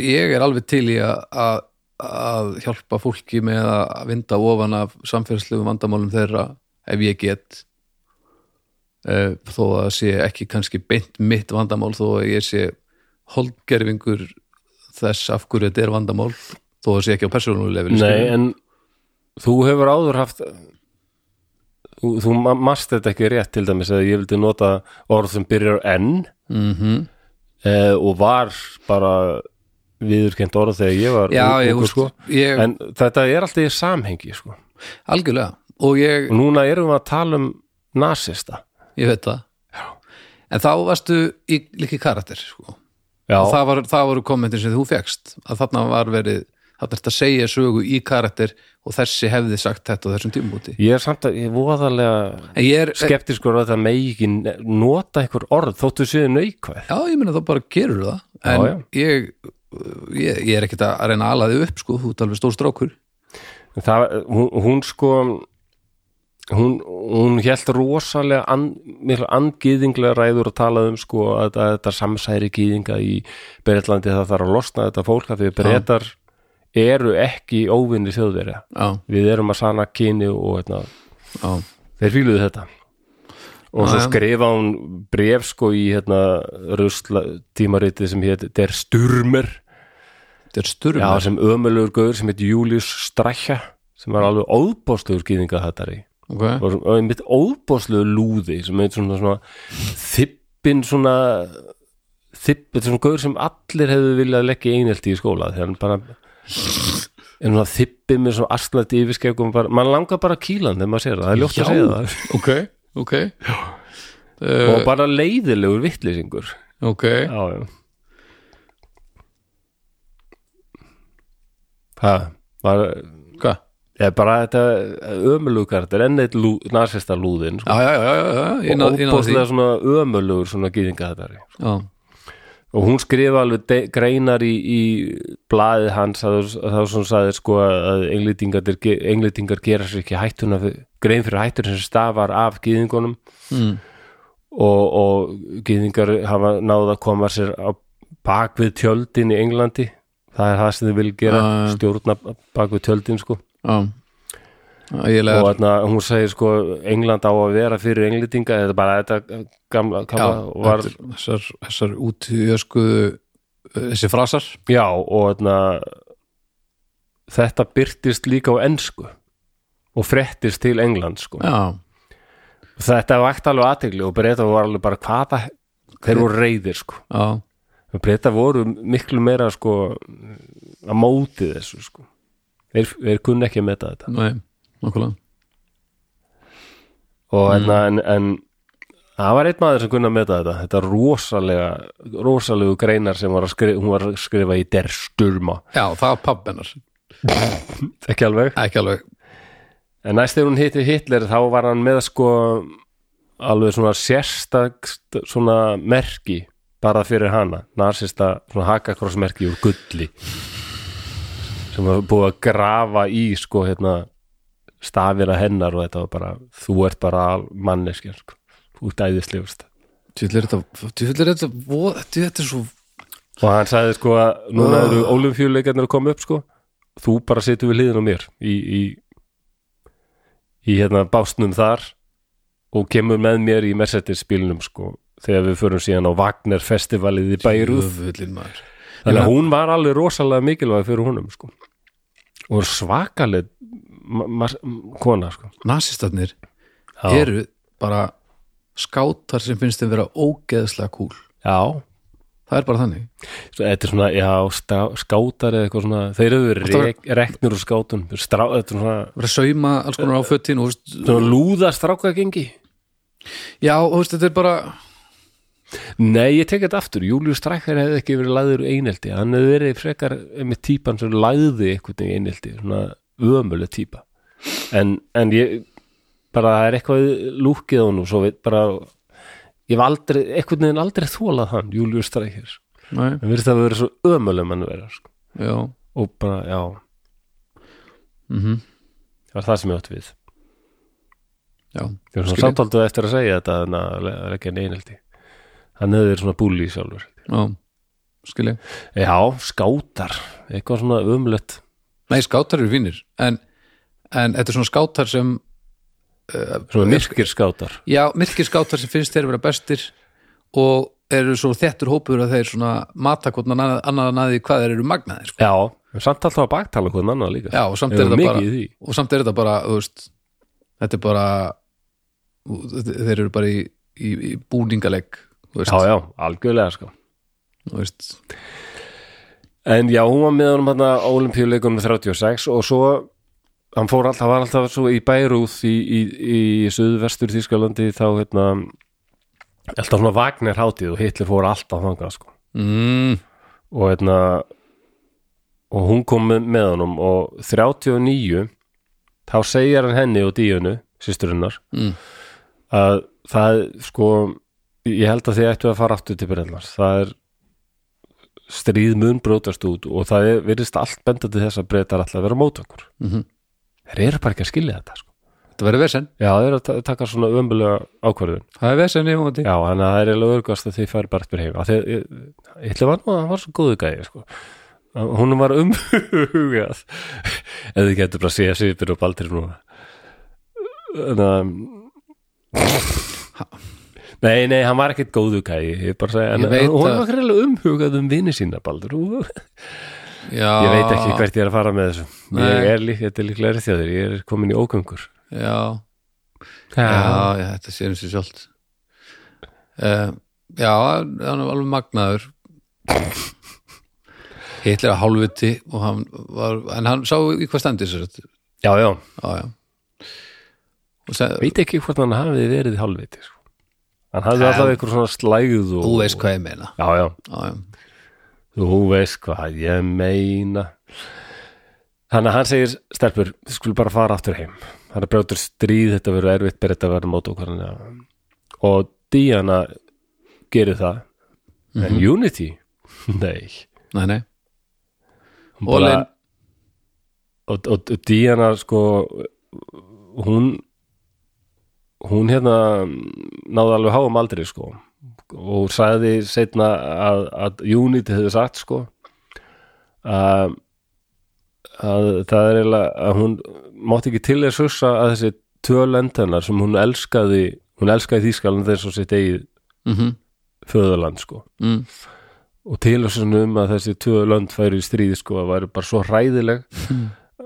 Speaker 5: ég er alveg til í að- að að hjálpa fólki með að vinda ofan af samfélslegu vandamálum þeirra ef ég get eh, þó að það sé ekki kannski beint mitt vandamál þó að ég sé holdgerfingur þess af hverju þetta er vandamál þó að það sé ekki á persónulegri
Speaker 4: Nei, en þú hefur áður haft þú, þú ma- marst þetta ekki rétt til dæmis að ég vildi nota orð sem byrjar á N
Speaker 5: Mhm.
Speaker 4: eh, og var bara viðurkend orð þegar ég var
Speaker 5: já,
Speaker 4: ungur,
Speaker 5: ég, úst,
Speaker 4: sko.
Speaker 5: ég
Speaker 4: en þetta er alltaf í samhengi sko
Speaker 5: algjörlega og ég,
Speaker 4: og núna erum við að tala um nasista
Speaker 5: ég veit það en þá varstu í líki karakter sko.
Speaker 4: já,
Speaker 5: og það, var, það voru kommentin sem þú fegst að þarna var verið þarna er að segja sögu í karakter og þessi hefði sagt þetta á þessum tímúti
Speaker 4: ég er samt að ég er voðalega
Speaker 5: en ég er,
Speaker 4: skeptiskur að það megi ekki ne- nota einhver orð þóttu séu naukvæð
Speaker 5: já ég meina þá bara gerur það en
Speaker 4: Já,
Speaker 5: Ég, ég ég er ekkert að reyna að ala þig upp sko, þú ert alveg stór strákur
Speaker 4: það, hún, hún sko hún, hún hélt rosalega an, mikla angiðinglega ræður að tala um sko að þetta, þetta samsæri gýðinga í Breitlandi það þarf að losna þetta fólk af því að brettar eru ekki óvinni þjóðverja
Speaker 5: já,
Speaker 4: við erum að sana kyni og hérna,
Speaker 5: já,
Speaker 4: þeir fíluðu þetta og svo
Speaker 5: Já, já.
Speaker 4: skrifa hún bref sko í hérna rusla tímariti sem hétt Der Sturmer
Speaker 5: þetta er sturm
Speaker 4: já, sem ömulegur gaur sem hétt Július Strækja sem var alveg óbóðslegur gýðinga þetta í
Speaker 5: ok,
Speaker 4: og sem- og einmitt óbóðslegur lúði sem heit svona, svona þippin svona þippin svona gaur sem allir hefðu viljað leggja einhelti í skóla þegar hann bara en svona þippi með svona astlandi yfirskeggum bara, mann langar bara að kýla hann þegar maður sér það, það er ljótt að segja það
Speaker 5: ok, ok
Speaker 4: og bara leiðilegur vittlýsingur
Speaker 5: ok,
Speaker 4: já, Uh. já það var
Speaker 5: hvað?
Speaker 4: ég, bara þetta ömulugartir enn eitt lú, nasista lúðin sko.
Speaker 5: Já, já, já, já, já,
Speaker 4: og
Speaker 5: inn á, inn á því
Speaker 4: opbóðslega svona ömulugur svona gýðinga þetta
Speaker 5: Já,
Speaker 4: og hún skrifa alveg de, greinar í, í blaðið hans að, að þá sem hún sagði sko að englýtingar, englýtingar gera sér ekki hættuna fyr- grein fyrir hættur sem stafar af gýðingunum
Speaker 5: mm,
Speaker 4: og, og gýðingar hafa náð að koma sér á bak við tjöldin í Englandi það er það sem þið vil gera
Speaker 5: Já, já, já.
Speaker 4: stjórna bak við tjöldin sko
Speaker 5: já Já, Ég
Speaker 4: og
Speaker 5: legar,
Speaker 4: þarna, hún segir sko England á að vera fyrir englendinga þetta er bara þetta gamla
Speaker 5: já,
Speaker 4: kalla, var,
Speaker 5: þetta er þessar, þessar útjöskuðu þessi frasar
Speaker 4: já og þarna, þetta byrtist líka á ensku og frettist til England sko
Speaker 5: Já,
Speaker 4: þetta vægt alveg aðtegli og breyta var alveg bara hvaða þeir voru reyðir sko
Speaker 5: já,
Speaker 4: breyta voru miklu meira sko að móti þessu sko þeir, þeir kunni ekki að meta þetta
Speaker 5: nei, nokkulega
Speaker 4: og hérna en, en það var einn maður sem kunni að meta þetta þetta rosalega, rosalegu greinar sem var að skrifa, hún var að skrifa í der sturma,
Speaker 5: Já, það var pabbennar,
Speaker 4: ekki alveg
Speaker 5: ekki alveg
Speaker 4: en næst þegar hún hitti Hitler þá var hann með sko alveg svona sérstakst svona merki bara fyrir hana, nasista svona hakakrossmerki úr gulli sem var búið að grafa í sko hérna stafina hennar og þetta var bara þú ert bara manneskja sko. þú ert æðislegust
Speaker 5: Tjúllir þetta, tjúllir þetta, vo- djú, þetta er svo
Speaker 4: og hann sagði sko að núna eru olimpíuleikarnir að koma upp sko þú bara situr við hliðin á mér í, í, í hérna básnum þar og kemur með mér í Mercedes bílnum sko þegar við förum síðan á Wagner festivalið í Bæruð
Speaker 5: Öfullin maður
Speaker 4: þannig að hún var alveg rosalega mikilvæg fyrir húnum sko og svakaleg ma- ma- kona sko
Speaker 5: Nasistarnir
Speaker 4: Já.
Speaker 5: eru bara skátar sem finnst þeim vera ógeðslega kúl
Speaker 4: já,
Speaker 5: Það er bara þannig
Speaker 4: Svo þetta er svona, já, stá, skátar eða eitthvað svona, þeir eru rek, reknir úr skátum, strá, þetta er svona
Speaker 5: Verið að sauma alls konar á fötin og, þú veist,
Speaker 4: svona lúða strákagengi
Speaker 5: Já, og þú veist, þetta er bara
Speaker 4: Nei, ég tek þetta aftur, Július Strækkar hefði ekki verið lagður í einelti, hann hefði verið frekar með típan sem lagði eitthvað í einelti, svona ömuleg típa en, en ég bara það er eitthvað lúkið á nú svo við bara ég hef aldrei, eitthvað neðin aldrei þólað hann Július Strækkar,
Speaker 5: Nei,
Speaker 4: hann verið það að vera svo ömuleg mann vera, sko,
Speaker 5: já,
Speaker 4: og bara, já
Speaker 5: Mhm.
Speaker 4: það var það sem ég átt við
Speaker 5: já
Speaker 4: ég var svona
Speaker 5: Skilji.
Speaker 4: samtaldu eftir að segja þetta en að le- leggja hann í einelti hann hefði verið svona búli sjálfur
Speaker 5: Já, skilja
Speaker 4: Já, skátar, eitthvað svona umlött
Speaker 5: Nei, skátar eru fínir en, en þetta er svona skátar sem
Speaker 4: Svona myrkir skátar
Speaker 5: já, myrkir skátar sem finnst þeir vera bestir og eru svo þettur hópur að þeir svona matakotna annaðan að því hvað þeir eru magnaðir sko.
Speaker 4: Já, en samt alltaf að baktala hvernig annað líka
Speaker 5: já, og samt
Speaker 4: Þeir
Speaker 5: er
Speaker 4: eru
Speaker 5: þetta
Speaker 4: mikið
Speaker 5: bara
Speaker 4: í því.
Speaker 5: og samt er þetta bara, þú veist þetta er bara þeir eru bara í, í, í búningaleg þú veist,
Speaker 4: Já, já, algjörlega sko
Speaker 5: Þú veist.
Speaker 4: En já, hún var með honum hérna hann að olimpíuleikunum 36 og svo hann fór alltaf, var alltaf svo í Bærúð í, í, í suðvestur Þískalandi þá hérna alltaf svona Wagner hátíð og Hitler fór alltaf þangað sko
Speaker 5: Mm,
Speaker 4: og hérna og hún kom með, með honum og 39 þá segir hann henni og díunu sýsturinnar
Speaker 5: Mm.
Speaker 4: að það sko ég held að þið ættu að fara aftur til Brennars það er stríð mun brótast út og það er, virðist allt benda til þess að breytar alltaf að vera mótökur
Speaker 5: Mhm.
Speaker 4: þeir eru bara ekki að skilja þetta sko.
Speaker 5: Þetta verður vesen,
Speaker 4: já, þeir eru að ta- taka svona ömbulega ákvörðun
Speaker 5: það er vesen í móti
Speaker 4: já, þannig að það er eiginlega örgast að þið færi bara eftir heim Af því að ég ég ætla var nú að hann var svo góðu gæði sko. hún var umhugað eða þið getur bara að sé sýpir og baldir núna þannig að Nei, nei, hann var ekkert góðu gæði, ég bara segi, en
Speaker 5: Ég veit
Speaker 4: hún
Speaker 5: að-
Speaker 4: var greinilega umhugað um vini sína, Baldur, og
Speaker 5: já,
Speaker 4: Ég veit ekki hvert ég er að fara með þessu Ég
Speaker 5: Ah. Nei.
Speaker 4: er lík, þetta er líklega erþjáður, ég er komin í ógöngur
Speaker 5: já, já, já, þetta séum sér sjálft uh, Já, hann er alveg magnaður Hitler að hálfviti og hann var, en hann sá í hvað stendur sér þetta
Speaker 4: Já, já,
Speaker 5: Já, já Og sem,
Speaker 4: veit ekki hvort hann hafi verið í halvviti sko. Hann hafði alltaf einhver svona slægð og...
Speaker 5: Þú veist hvað ég meina
Speaker 4: Já, já,
Speaker 5: Já, já,
Speaker 4: þú veist hvað ég meina Þannig að hann segir stelpur, þið skulle bara fara aftur heim Hann er brjóttur stríð, þetta verður erfitt berið þetta verður mót okkur hann Og Diana gerir það
Speaker 5: Mhm.
Speaker 4: En Unity, nei
Speaker 5: nei, nei
Speaker 4: Hún
Speaker 5: All
Speaker 4: bara-
Speaker 5: in.
Speaker 4: og, og, og Diana sko hún hún hérna náði alveg háum aldri sko og sagði setna að, að Unity hefði sagt sko að, að það er eiginlega að hún mátti ekki til þess hussa að þessi tölend hennar sem hún elskaði hún elskaði þýskalinn þess og sitt eigið
Speaker 5: mm
Speaker 4: föðurland sko
Speaker 5: Mm.
Speaker 4: og tilhjóðsinn um að þessi tvö lönd færi í stríði sko að væri bara svo hræðileg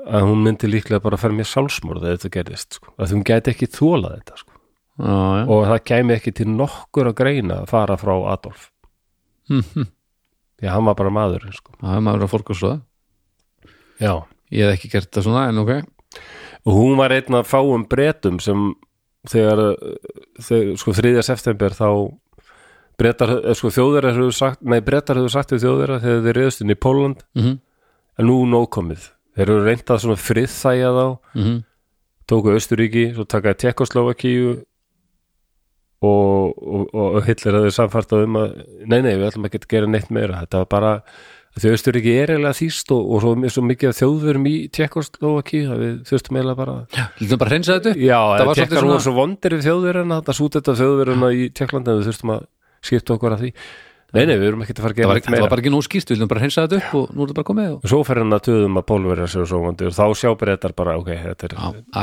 Speaker 4: að hún myndi líklega bara að fara mér sálsmorð eða þetta gerðist sko að hún gæti ekki þólað þetta sko
Speaker 5: Já, já
Speaker 4: og það kæmi ekki til nokkur að greina að fara frá Adolf því að hann var bara maður sko
Speaker 5: Það er maður að fórkursróða
Speaker 4: Já.
Speaker 5: Ég hef ekki gert það svona, en ok
Speaker 4: og hún var einn að fáum bretum sem þegar, þegar sko 3. september þá bretar, eh, sko þjóðverðar hefur sagt nei bretar hefur sagt við þjóðverðar þegar þeir reyðust inn í Póland
Speaker 5: Mhm.
Speaker 4: en nú nóg komið, þeir eru reyndað svona friðþæja þá
Speaker 5: Mhm.
Speaker 4: tóku Östuríki, svo takaði Tjekkoslovakíu og, og, og Hitler hafði samfært um að, nei, nei, við ætlum ekki að gera neitt meira, þetta var bara því Östuríki er eiginlega þýst og, og svo, svo mikið af þjóðverum í Tjekkoslovakíu það við þurftum eiginlega bara að
Speaker 5: Lítum bara að hreinsa þetta upp?
Speaker 4: Já, það
Speaker 5: það var svolítið
Speaker 4: tekkar
Speaker 5: svona
Speaker 4: voru svo vondir við þjóðverðina, þetta sút þetta þjóðverðina í Tjekklandi en við þurftum að skipta okkur að því Nei, nei, við erum ekkert að fara að
Speaker 5: Það
Speaker 4: gera
Speaker 5: var,
Speaker 4: neitt
Speaker 5: það var
Speaker 4: meira
Speaker 5: bara ekki nóg skýrt, við viljum bara að hreinsa þetta upp og nú er þetta bara komið og...
Speaker 4: og Svo fer hann að töðum að pólverja sér og svo vondir og þá sjá breytar bara, ok, þetta er
Speaker 5: Já,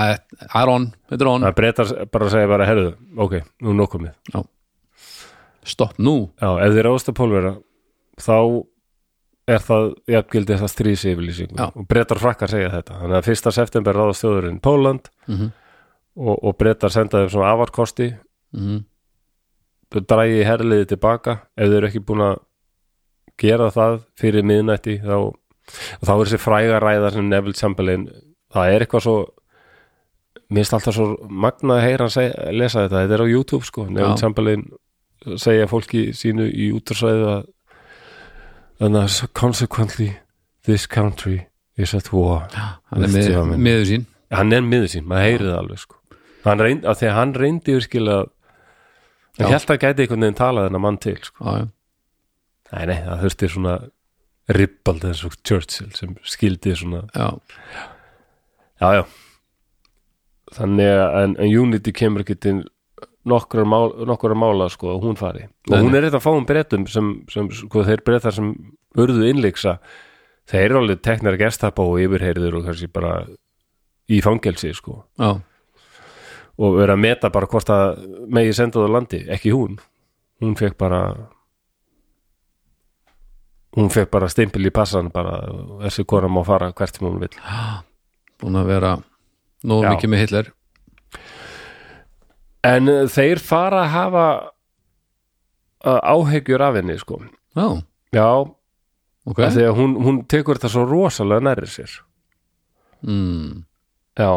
Speaker 5: það er- það er on, þetta er on
Speaker 4: að breytar bara segja bara, herðu, ok, nú er nokkuð mið
Speaker 5: Stopp nú
Speaker 4: Já, ef þið ráðast að pólverja þá er það jafngildi það strísi yfirlýsingu
Speaker 5: Já.
Speaker 4: og breytar frakkar segja þetta þannig að fyrsta september ráðast þjóðurinn Póland
Speaker 5: Mhm.
Speaker 4: og, og breytar senda þeim svona afarkosti
Speaker 5: Mhm.
Speaker 4: þau drægi herliði tilbaka ef þau eru ekki búin að gera það fyrir miðnætti þá, og þá er þessi fræga ræða sem Neville Chamberlain það er eitthvað svo minnst alltaf svo magna að heyra hann segja, lesa þetta, þetta er á YouTube sko Neville
Speaker 5: Já.
Speaker 4: Chamberlain segja fólki sínu í útráðsræðu að þannig að consequently this country is at war
Speaker 5: Hann er
Speaker 4: with
Speaker 5: mið,
Speaker 4: Germany."
Speaker 5: miður sín
Speaker 4: hann er miður sín, maður heyrið það alveg sko. hann reynd, að því að hann reyndi virkilega hann
Speaker 5: Já.
Speaker 4: held að gæti einhvern veginn talað þennan mann til sko.
Speaker 5: Já, já,
Speaker 4: nei, nei, það þurfti svona ribbald eins og Churchill sem skildi svona,
Speaker 5: já,
Speaker 4: já, já þannig að en, en Unity kemur ekki til nokkur mál, nokkur mála sko að hún fari og
Speaker 5: Nei,
Speaker 4: hún er þetta að fá um breytum sem, sem sko þeir breytar sem urðu innleiksa þeir eru alveg teknar gestapa og yfirheyrður og kannski bara í fangelsi sko
Speaker 5: já
Speaker 4: og verið að meta bara hvort að megi senda það á landi, ekki hún hún fekk bara hún fekk bara stimpil í passan bara, þessi kona má fara hvert sem hún vill
Speaker 5: Búin að vera nóg
Speaker 4: Já.
Speaker 5: mikið með Hitler
Speaker 4: en uh, þeir fara að hafa uh, áhegjur af henni sko,
Speaker 5: Já,
Speaker 4: já
Speaker 5: ok
Speaker 4: af því að hún, hún tekur þetta svo rosalega nærri sér
Speaker 5: mm.
Speaker 4: já,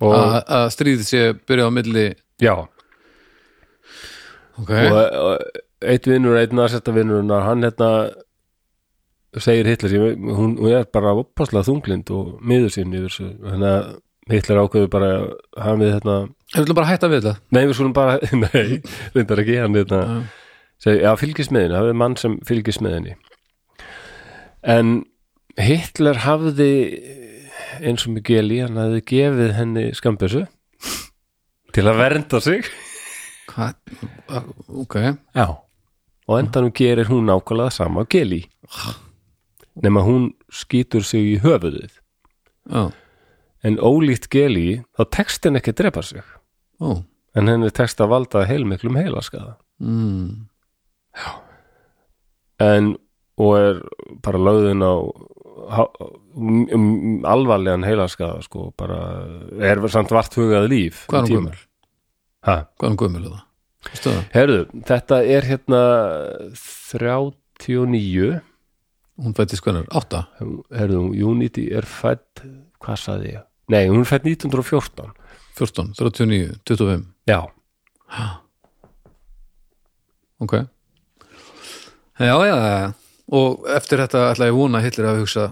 Speaker 4: og
Speaker 5: Að að stríðið sé byrjað á milli
Speaker 4: já
Speaker 5: Ok,
Speaker 4: og, og eitt vinnur, eitt nasetta vinnur hann hérna segir Hitler, ég- hún, hún er bara opaslega þunglind og miður sín yfir þessu, þannig að Hitler ákveður bara hann við hérna,
Speaker 5: við viljum bara að hætta við þetta
Speaker 4: nei við skulum bara nei, reyndar ekki, hann hérna segir, já fylgist með henni, það er mann sem fylgist með henni en Hitler hafði eins og mikið Eli, hann hefði gefið henni skambessu til að vernda sig
Speaker 5: Hvað? Ok,
Speaker 4: Já. og endanum gerir hún nákvæmlega sama og Eli nema hún skýtur sig í höfuðið
Speaker 5: já,
Speaker 4: en ólíkt Eli þá tekst henni ekki að drepa sig
Speaker 5: ó,
Speaker 4: en henni tekst að valda heilmiklum heilaskaða
Speaker 5: mm,
Speaker 4: en og er bara lögðin á há- m- m- alvarlegan heilaskaða sko, bara er samt vart hugað líf
Speaker 5: Hvað er hún
Speaker 4: í tíma.
Speaker 5: gömul?
Speaker 4: Ha?
Speaker 5: hvað er hún gömul það? Vistu það?
Speaker 4: Herðu, þetta er hérna 39
Speaker 5: Hún fættist hvernig, átta?
Speaker 4: Herðu, Unity er fætt hvað saði ég? Nei, hún er fætt 1914
Speaker 5: 14, 39, 25
Speaker 4: Já,
Speaker 5: Ok Já, já, já Og eftir þetta ætla ég vona að Hitler að hugsa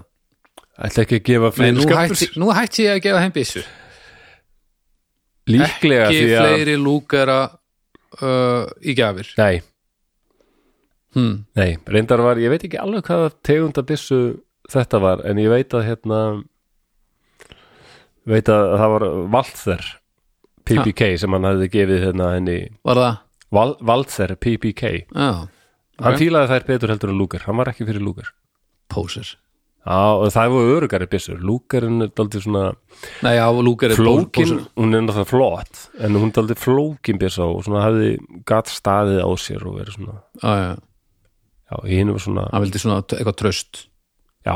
Speaker 4: ætla ekki að gefa
Speaker 5: Nei,
Speaker 4: fleiri
Speaker 5: nú
Speaker 4: skapur
Speaker 5: hætti, nú hætti ég að gefa heim byssu
Speaker 4: Líklega
Speaker 5: Ekki
Speaker 4: því að
Speaker 5: fleiri lúkara uh, í gjafir
Speaker 4: Nei,
Speaker 5: hmm.
Speaker 4: nei, reyndar var, ég veit ekki alveg hvað tegunda byssu þetta var en ég veit að hérna veit að það var Valther PPK sem hann hefði gefið hérna henni
Speaker 5: Var það?
Speaker 4: Val, Valther PPK
Speaker 5: Já,
Speaker 4: Hann
Speaker 5: Ok.
Speaker 4: fílaði þær betur heldur en Lúkar, hann var ekki fyrir Lúkar
Speaker 5: pósir
Speaker 4: Já, og það voru örugari byssur Lúkarinn er daldið svona
Speaker 5: Nei, já, lúkar er
Speaker 4: flókin,
Speaker 5: pósir
Speaker 4: hún er náttúrulega flott en hún er daldið flókin byssa og svona hafði gatt staðið á sér og verið svona
Speaker 5: Já, já,
Speaker 4: já, hinn var svona,
Speaker 5: hann vildi svona t- eitthvað tröst
Speaker 4: já,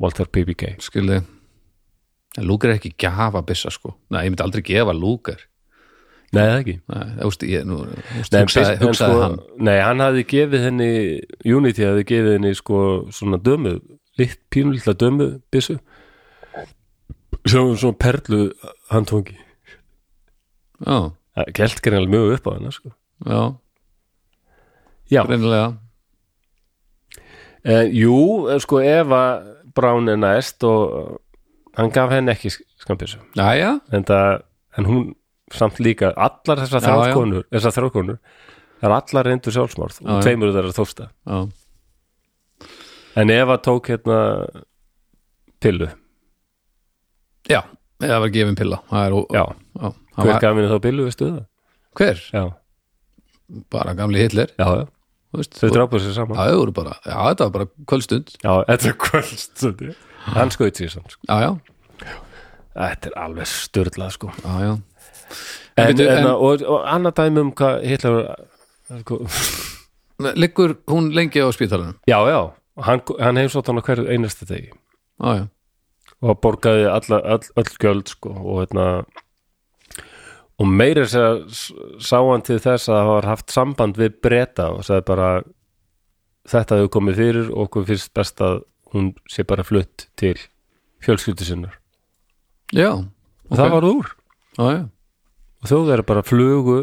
Speaker 4: Walter PPK
Speaker 5: Skilði En lúkar er ekki gjafa byssa, sko Nei, ég myndi aldrei gefa lúkar
Speaker 4: Nei, það ekki
Speaker 5: Nei, þú veist, ég nú þú veist,
Speaker 4: Nei, en
Speaker 5: hugsaði,
Speaker 4: byss- en
Speaker 5: hugsaði
Speaker 4: sko,
Speaker 5: hann
Speaker 4: Nei, hann hafði gefið henni Unity hafði gefið henni sko svona dömu, litt pínulitla dömu byssu sem var svona perlu hann tóngi
Speaker 5: Já,
Speaker 4: Gelt greinlega mjög upp á hennar sko
Speaker 5: já,
Speaker 4: Já,
Speaker 5: reynilega
Speaker 4: Eh, jú, eh, sko Eva Brown er næst og eh, hann gaf henni ekki skambjössu
Speaker 5: Jæja,
Speaker 4: en, það, en hún samt líka allar þessar
Speaker 5: Já, já.
Speaker 4: þrjárkonur þessar þrjárkonur, það er allar reyndur sjálfsmorð og
Speaker 5: já.
Speaker 4: tveimur þeirra þófsta
Speaker 5: já
Speaker 4: en Eva tók hérna pillu,
Speaker 5: Já, eða var gefin pilla Það er, ó-
Speaker 4: já,
Speaker 5: já, hann
Speaker 4: hver
Speaker 5: var,
Speaker 4: gaf henni þá pillu veistu það?
Speaker 5: hver?
Speaker 4: Já,
Speaker 5: Bara gamli Hitler
Speaker 4: já, já,
Speaker 5: þú veist,
Speaker 4: þau
Speaker 5: og-
Speaker 4: drápa sér saman
Speaker 5: Já, þau voru bara, já, þetta var bara kvöldstund
Speaker 4: Já, þetta er kvöldst hann skoði sér saman, sko.
Speaker 5: Já, já,
Speaker 4: þetta er alveg styrlað sko
Speaker 5: já, já
Speaker 4: en, en,
Speaker 5: Bíddu, en-
Speaker 4: og, og annað dæmi um hvað Hitler hvað-
Speaker 5: Liggur hún lengi á spítalanum
Speaker 4: Já, já, hann, hann heimsótt hann á hverju einasta degi
Speaker 5: Já, já,
Speaker 4: og borgaði alla, all, öll gjöld sko, og hérna og meira sér að segja sá hann til þess að það var haft samband við breyta og sagði bara þetta hefur komið fyrir og okkur finnst best að hún sé bara flutt til fjölskyldu sinnar
Speaker 5: já,
Speaker 4: og það var úr
Speaker 5: já, já
Speaker 4: og þau verið bara flugu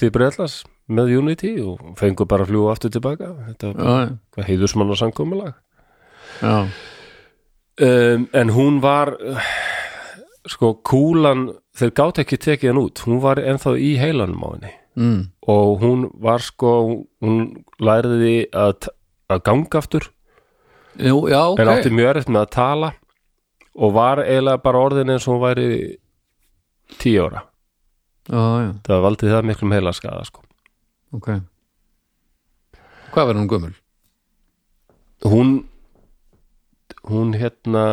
Speaker 4: til breytlas með Unity og fengu bara að flugu aftur tilbaka þetta var
Speaker 5: Já, já,
Speaker 4: bara heiðusmann og samkomulag
Speaker 5: já,
Speaker 4: um, en hún var uh, sko kúlan þeir gátt ekki tekið hann út hún var ennþá í heilanum á henni
Speaker 5: mm,
Speaker 4: og hún var sko hún læriði að, t- að ganga aftur
Speaker 5: jú, já, ok
Speaker 4: en átti mjög erfitt með að tala og var eiginlega bara orðin eins og hún væri tíu ára
Speaker 5: Já, já,
Speaker 4: það valdi það miklum heilaskaða sko
Speaker 5: ok Hvað verður hún gömul?
Speaker 4: hún hún hérna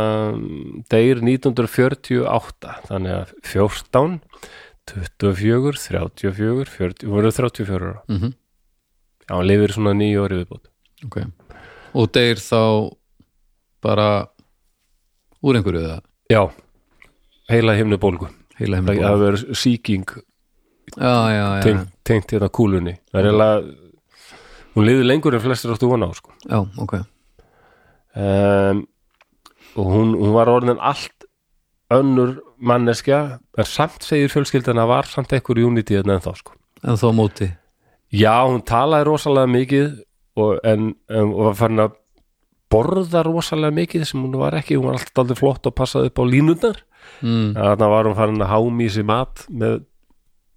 Speaker 4: deyr 1948 þannig að 14 24, 34 40, hún verður 34 ára
Speaker 5: Mhm.
Speaker 4: já, hún lifir svona nýju orðið viðbútt
Speaker 5: Ok Og deyr þá bara úr einhverju það
Speaker 4: já, heila himnu bólgu
Speaker 5: heila heimur
Speaker 4: það verður sýking
Speaker 5: Já, já, já,
Speaker 4: tengt, tengt hérna kúlunni það er eiginlega hún lifir lengur en flestir áttu vona á sko
Speaker 5: já, ok
Speaker 4: um, og hún, hún var orðin allt önnur manneskja en samt segir fjölskyldana var samt ekkur unity en þá sko
Speaker 5: En þá á móti
Speaker 4: já, hún talaði rosalega mikið og, en, en, og var farin að borða rosalega mikið sem hún var ekki, hún var alltaf aldrei flott og passaði upp á línundar
Speaker 5: mm,
Speaker 4: þannig var hún farin að hámi í sig mat með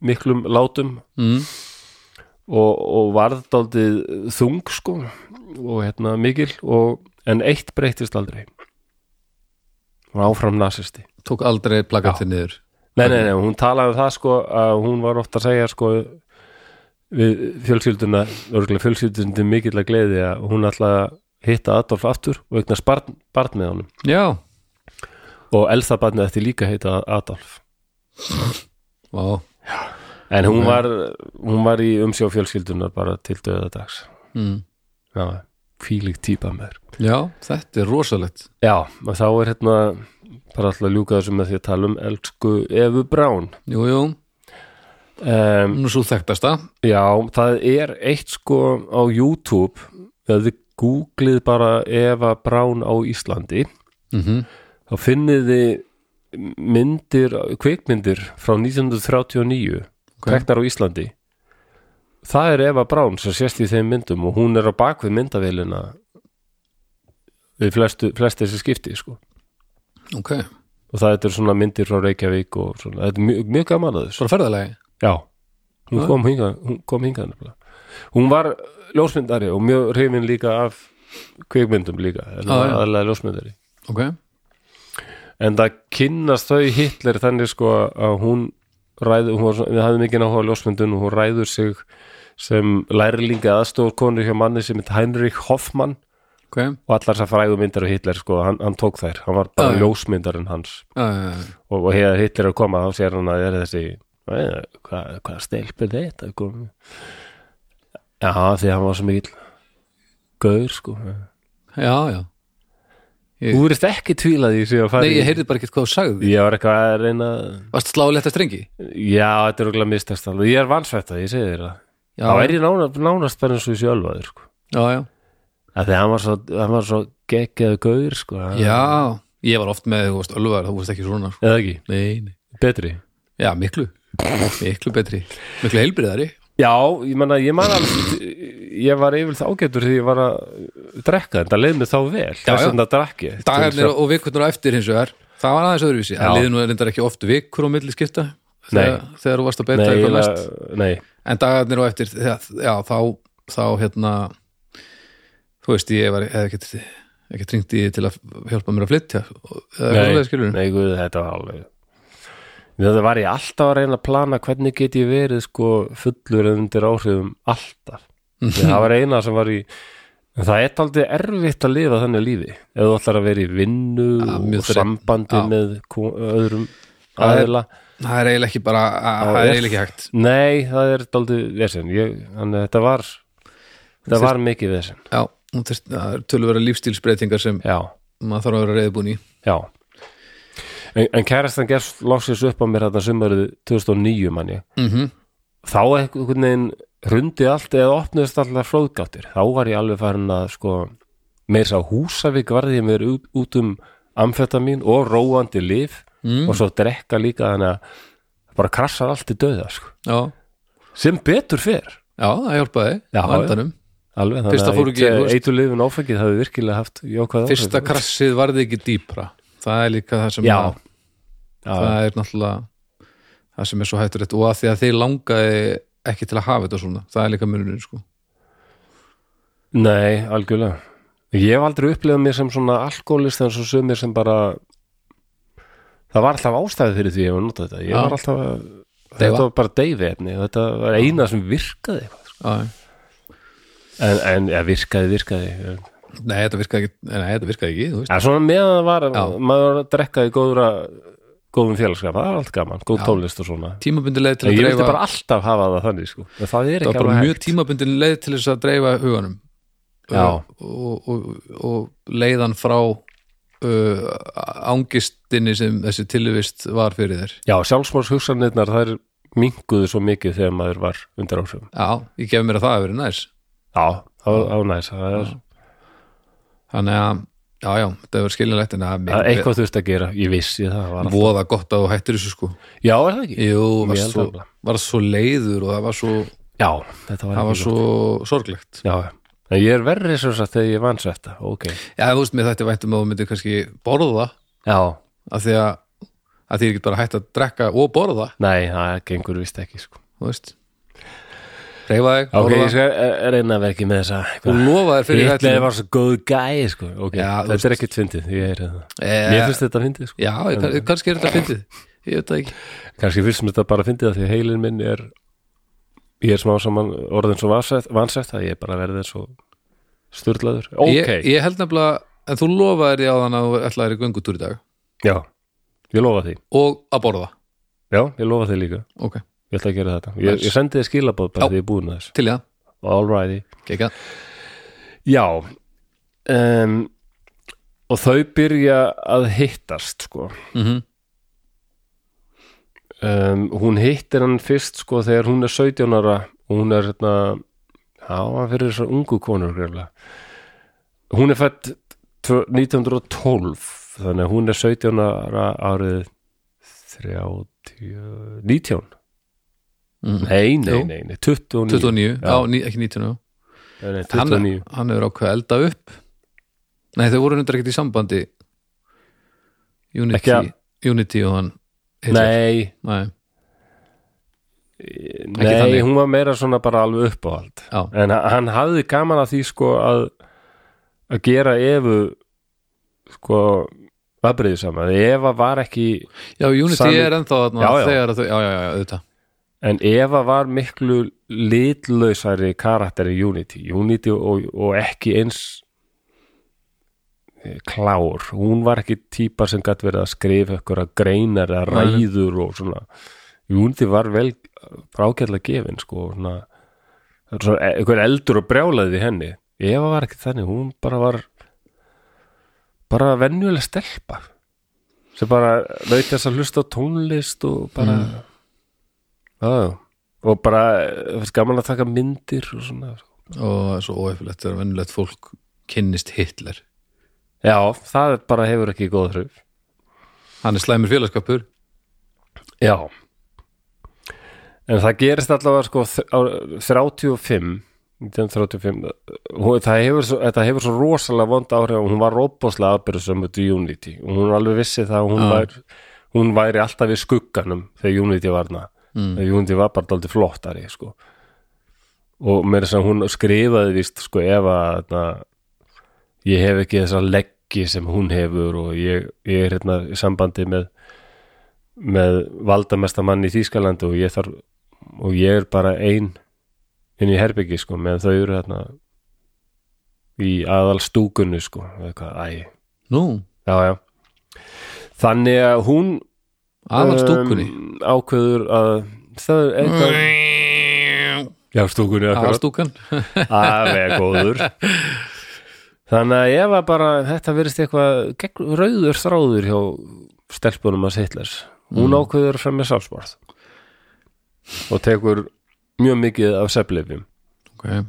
Speaker 4: miklum látum
Speaker 5: mm,
Speaker 4: og, og varð daldið þung sko og hérna mikil og, en eitt breytist aldrei hún var áfram nasisti
Speaker 5: tók aldrei plakatið niður
Speaker 4: Nei, nei, nei, hún talaði um það sko að hún var ofta að segja sko við fjölskylduna, örgulega fjölskyldunni mikill að gleði að hún ætlaði að hitta Adolf aftur og eignast barn, barn með honum
Speaker 5: já,
Speaker 4: og elsta barnið eftir líka að heita Adolf
Speaker 5: Vá.
Speaker 4: en hún var, hún var í umsjá fjölskyldunar bara til döðadags
Speaker 5: Mm.
Speaker 4: Já, fílík típa með þér
Speaker 5: já, þetta er rosalegt
Speaker 4: Já, og þá er hérna bara alltaf að ljúka þessu með því að tala um elsku Evu Brown
Speaker 5: jú, jú,
Speaker 4: um,
Speaker 5: nú svo þekktasta
Speaker 4: Já, það er eitt sko á YouTube eða þið googlið bara Eva Brown á Íslandi
Speaker 5: Mhm.
Speaker 4: þá finnið þið myndir, kvikmyndir frá 1939 teknar á Íslandi Það er Eva Brown sem sést í þeim myndum og hún er á bakvið myndavélina við flestu, flest þessi skipti sko
Speaker 5: ok,
Speaker 4: og það þetta er svona myndir frá Reykjavík og svona, þetta er mjög, mjög gaman að þessu
Speaker 5: bara ferðalagi
Speaker 4: Já, hún kom hingað hún kom hingað nefnilega hún var ljósmyndari og mjög reyfin líka af kvikmyndum líka en
Speaker 5: Já,
Speaker 4: ah,
Speaker 5: já.
Speaker 4: aðlega ljósmyndari
Speaker 5: ok,
Speaker 4: en það kynnast þau Hitler þannig sko að hún ræður, hún var, svona- við hafðum ekki náhuga ljósmyndun og hún ræður sig sem lærlinga aðstofur konur hjá manni sem heit Heinrich Hoffmann
Speaker 5: ok já,
Speaker 4: og allar þessar frægu myndar og Hitler sko, hann, hann tók þær, hann var bara
Speaker 5: Já, já.
Speaker 4: ljósmyndarinn hans
Speaker 5: já, já.
Speaker 4: og, og hefur Hitler að koma þá sér hann að er þessi "Nei, hvað, hvað stelp er þetta kom. já því að hann var svo mikill gaur sko
Speaker 5: já, já
Speaker 4: þú verist ekki tvílað í sig að fara
Speaker 5: nei,
Speaker 4: í-
Speaker 5: ég heyrði bara ekkert hvað þú sagði
Speaker 4: ég var eitthvað að reyna
Speaker 5: varst að slá létta strengi
Speaker 4: já þetta er okkur mistast alveg ég er vansvætta, ég segi þér það
Speaker 5: Já.
Speaker 4: þá er ég nána, nánast bara eins og þessi ölvaður sko
Speaker 5: já, já,
Speaker 4: að því að hann var svo, hann var svo geggjaðu gaur sko
Speaker 5: já ég var oft með, þú veist, ölvar, þú veist ekki svona sko.
Speaker 4: eða ekki,
Speaker 5: nei, nei,
Speaker 4: betri
Speaker 5: já, miklu miklu betri, miklu heilbriðari
Speaker 4: Já, ég man að ég man alveg ég var yfirlega ágætur því ég var að drekka en það leið mér þá vel þess
Speaker 5: já.
Speaker 4: vegna drakk ég
Speaker 5: dagarnir og vikurnar á eftir hins vegar það var aðeins öðruvísi, það liði nú reyndar ekki oft vikur á milli skipta þegar, þegar þú varst að
Speaker 4: nei,
Speaker 5: beta
Speaker 4: ég
Speaker 5: eitthvað
Speaker 4: la-
Speaker 5: mest
Speaker 4: nei,
Speaker 5: en dagarnir á eftir, það, já, þá þá hérna þú veist, ég var eða ekkert ekkert ringt í þig til að hjálpa mér að flytja og- eða
Speaker 4: nei,
Speaker 5: eitthvað skilur
Speaker 4: nei guð, þetta var alveg þetta var ég alltaf að reyna að plana hvernig get ég verið sko fullur undir áhrifum alltaf Því það var eina sem var í en það er aldrei erfitt að lifa þannig lífi ef þú ætlar að vera í vinnu
Speaker 5: mjög
Speaker 4: og
Speaker 5: þreytt.
Speaker 4: sambandi
Speaker 5: Já.
Speaker 4: með ko- öðrum
Speaker 5: Það er-
Speaker 4: aðila
Speaker 5: það er eiginlega ekki bara, að- það er eiginlega ekki hægt
Speaker 4: Nei, það er daldið vesen ég, Þannig að þetta var Þetta var mikið vesen
Speaker 5: já, þú þarft- það er tölvöra lífstílsbreytingar sem
Speaker 4: Já,
Speaker 5: maður þarf að vera reyðbúin í
Speaker 4: já En, en kærastan gerst loksins upp á mér þetta sumarið 2009 manni
Speaker 5: mm -hmm.
Speaker 4: Þá einhvern veginn hrundi allt eða opnuðist alltaf flóðgáttir Þá var ég alveg farin að sko meir sá Húsavík varði ég mér út, út um amfetamín og róandi líf og svo drekka líka þannig að bara krassar allt í döða sko.
Speaker 5: já,
Speaker 4: sem betur fer
Speaker 5: já, það hjálpaði
Speaker 4: Já, já.
Speaker 5: vandanum
Speaker 4: Alveg,
Speaker 5: Fyrsta fór ekki, þú veist-
Speaker 4: eitur lifin áfengið hafi virkilega haft jákvæð
Speaker 5: fyrsta krassið varði ekki dýpra það er líka það sem
Speaker 4: Já.
Speaker 5: að, það er náttúrulega það sem er svo hættur og að því að þeir langaði ekki til að hafa þetta svona það er líka munurinn sko
Speaker 4: Nei, algjörlega Ég hef aldrei upplegað mér sem svona alkoholist en svo sömur sem bara það var alltaf ástæði fyrir því ég var notað þetta ég
Speaker 5: Já.
Speaker 4: var alltaf að
Speaker 5: Deyfa.
Speaker 4: þetta var bara deyfi efni og þetta var eina sem virkaði eitthvað, sko.
Speaker 5: Já, já.
Speaker 4: en, en ja, virkaði, virkaði en
Speaker 5: nei þetta virkaði ekki, nei, þetta virkaði ekki þú veist.
Speaker 4: svona meðan það var
Speaker 5: Já.
Speaker 4: maður var að drekka í góðra góðum félagskap, það var allt gaman, góð tónlist og svona
Speaker 5: tímabundin leið
Speaker 4: en
Speaker 5: til að
Speaker 4: ég vildi
Speaker 5: dreifa
Speaker 4: bara alltaf hafa það þannig sko. En það er ekki
Speaker 5: það var bara
Speaker 4: alveg
Speaker 5: mjög tímabundin leið til þess að dreifa huganum
Speaker 4: Já.
Speaker 5: og, og, og leiðan frá uh, ángistinni sem þessi tilvist var fyrir þér
Speaker 4: Já, sjálfsmórs hugsanirnar þær minguðu svo mikið þegar maður var undir áhrifum.
Speaker 5: já, ég gef mér að það hefur verið næs
Speaker 4: Já, það var- það var næs. Það er
Speaker 5: þannig að, já, já, þetta hefur skiljanlegt en það er
Speaker 4: það er
Speaker 5: mikil-
Speaker 4: eitthvað þurft að gera. Ég vissi það. það Var alltaf-
Speaker 5: voða gott að þú hættir þessu sko
Speaker 4: Já, er það ekki?
Speaker 5: Jú, var
Speaker 4: Ég held
Speaker 5: svo,
Speaker 4: það.
Speaker 5: var svo leiður og það var svo,
Speaker 4: Já, þetta var,
Speaker 5: það
Speaker 4: ekki
Speaker 5: var svo sorglegt
Speaker 4: Já, já. en ég er verri svo satt þegar ég vann svetta. Ok.
Speaker 5: Já, þú veist, mér þetta væntum að þú myndir kannski borða
Speaker 4: Já,
Speaker 5: af því að, að því ég get bara hætt að drekka og borða,
Speaker 4: nei, það gengur vist ekki, sko.
Speaker 5: þú veist reyfa þig,
Speaker 4: Ok,
Speaker 5: orða
Speaker 4: ég skal eh, reyna að vera ekki með þessa
Speaker 5: og lofa þér fyrir þetta
Speaker 4: Hitler var svo góð gæi sko. okay.
Speaker 5: Já, þú
Speaker 4: Þetta er ekkert fyndið, ég er það
Speaker 5: Eh,
Speaker 4: Mér finnst þetta fyndið sko.
Speaker 5: já, ég- kann- kannski er þetta fyndið ég veit það ekki
Speaker 4: Kannski finnst mér þetta bara fyndið að því að heilin minn er Ég er smá saman orðin svo vansett, vansett að ég er bara verðið svo sturlaður Ok,
Speaker 5: ég, ég held nefnilega, en þú lofaðir því á þann að þú ætlaðir í göngutúr í dag
Speaker 4: já, ég lofa því
Speaker 5: og að borða,
Speaker 4: Já, ég lofa því líka,
Speaker 5: ok,
Speaker 4: ég ætla að gera þetta Ég,
Speaker 5: Nice.
Speaker 4: ég sendi þið skilabóð bara
Speaker 5: Já.
Speaker 4: því ég er búin að þessu
Speaker 5: til í það
Speaker 4: All righty
Speaker 5: Kekja.
Speaker 4: Já um, og þau byrja að hittast sko
Speaker 5: Mhm.
Speaker 4: um, hún hittir hann fyrst sko þegar hún er 17 ára og hún er hérna já, hann fyrir þessar ungu konur greflega. hún er fætt tvö- 1912 þannig að hún er 17 ára árið 30 19
Speaker 5: Mhm.
Speaker 4: nei, nei,
Speaker 5: Jú.
Speaker 4: nei, nei 29,
Speaker 5: 29,
Speaker 4: já,
Speaker 5: á, ní, ekki 19 já.
Speaker 4: nei, nei,
Speaker 5: hann,
Speaker 4: 29.
Speaker 5: hann hefur ákveð að elda upp nei þau voru hundar ekkert í sambandi Unity
Speaker 4: Ekki að-
Speaker 5: Unity og hann Hitler.
Speaker 4: nei,
Speaker 5: nei.
Speaker 4: Nei,
Speaker 5: þannig.
Speaker 4: hún var meira svona bara alveg uppáhald
Speaker 5: Já.
Speaker 4: en h- hann hafði gaman að því sko að að gera Evu sko aðbreyðu saman, Eva var ekki
Speaker 5: já, Unity
Speaker 4: Sami-
Speaker 5: er ennþá þarna
Speaker 4: Já, já.
Speaker 5: þegar að þau, já, já, já, auðvitað
Speaker 4: en Eva var miklu litlausari karakter í Unity Unity og, og ekki eins eh, klár hún var ekki típa sem gætt verið að skrifa ykkur að greinar að ræður og svona Unity var vel frákjærlega gefin sko svona, það var svona ykkur eldur og brjálaði í henni Eva var ekki þannig, hún bara var bara venjulega stelpa sem bara veit þess að hlusta á tónlist og bara mm. já, og bara eh, fannst gaman að taka myndir og svona sko.
Speaker 5: og svo óefilegt þegar vennilegt fólk kynnist Hitler
Speaker 4: já, það er bara hefur ekki góð hrif
Speaker 5: hann er slæmur félagskapur
Speaker 4: já en það gerist allavega sko þ- á 35 1935 hún, það hefur svo, þetta hefur svo rosalega vond áhrif og hún var róboslega aðbyrðsum út í Unity og hún alveg vissi það að hún,
Speaker 5: Já.
Speaker 4: væri, hún væri alltaf í skugganum þegar Unity var hana mm. þegar Unity var bara daldið flottari sko. og mér þess að hún skrifaði víst sko ef að na, ég hef ekki þessa leggji sem hún hefur og ég, ég er hérna í sambandi með með valdamesta mann í Þýskalandi og ég þarf og ég er bara ein inn í herbyggi sko meðan þau eru þarna í aðal stúkunni sko eitthvað, æ,
Speaker 5: nú,
Speaker 4: já, já þannig að hún
Speaker 5: aðal stúkunni
Speaker 4: um, ákveður að það er eitthvað já, stúkunni
Speaker 5: aðal stúkan
Speaker 4: aðveg góður þannig að ég var bara þetta verðist eitthvað gegn, rauður þráður hjá stelpunum að Hitlers hún ákveður fram með sálsborð og tekur mjög mikið af seflefjum
Speaker 5: okay.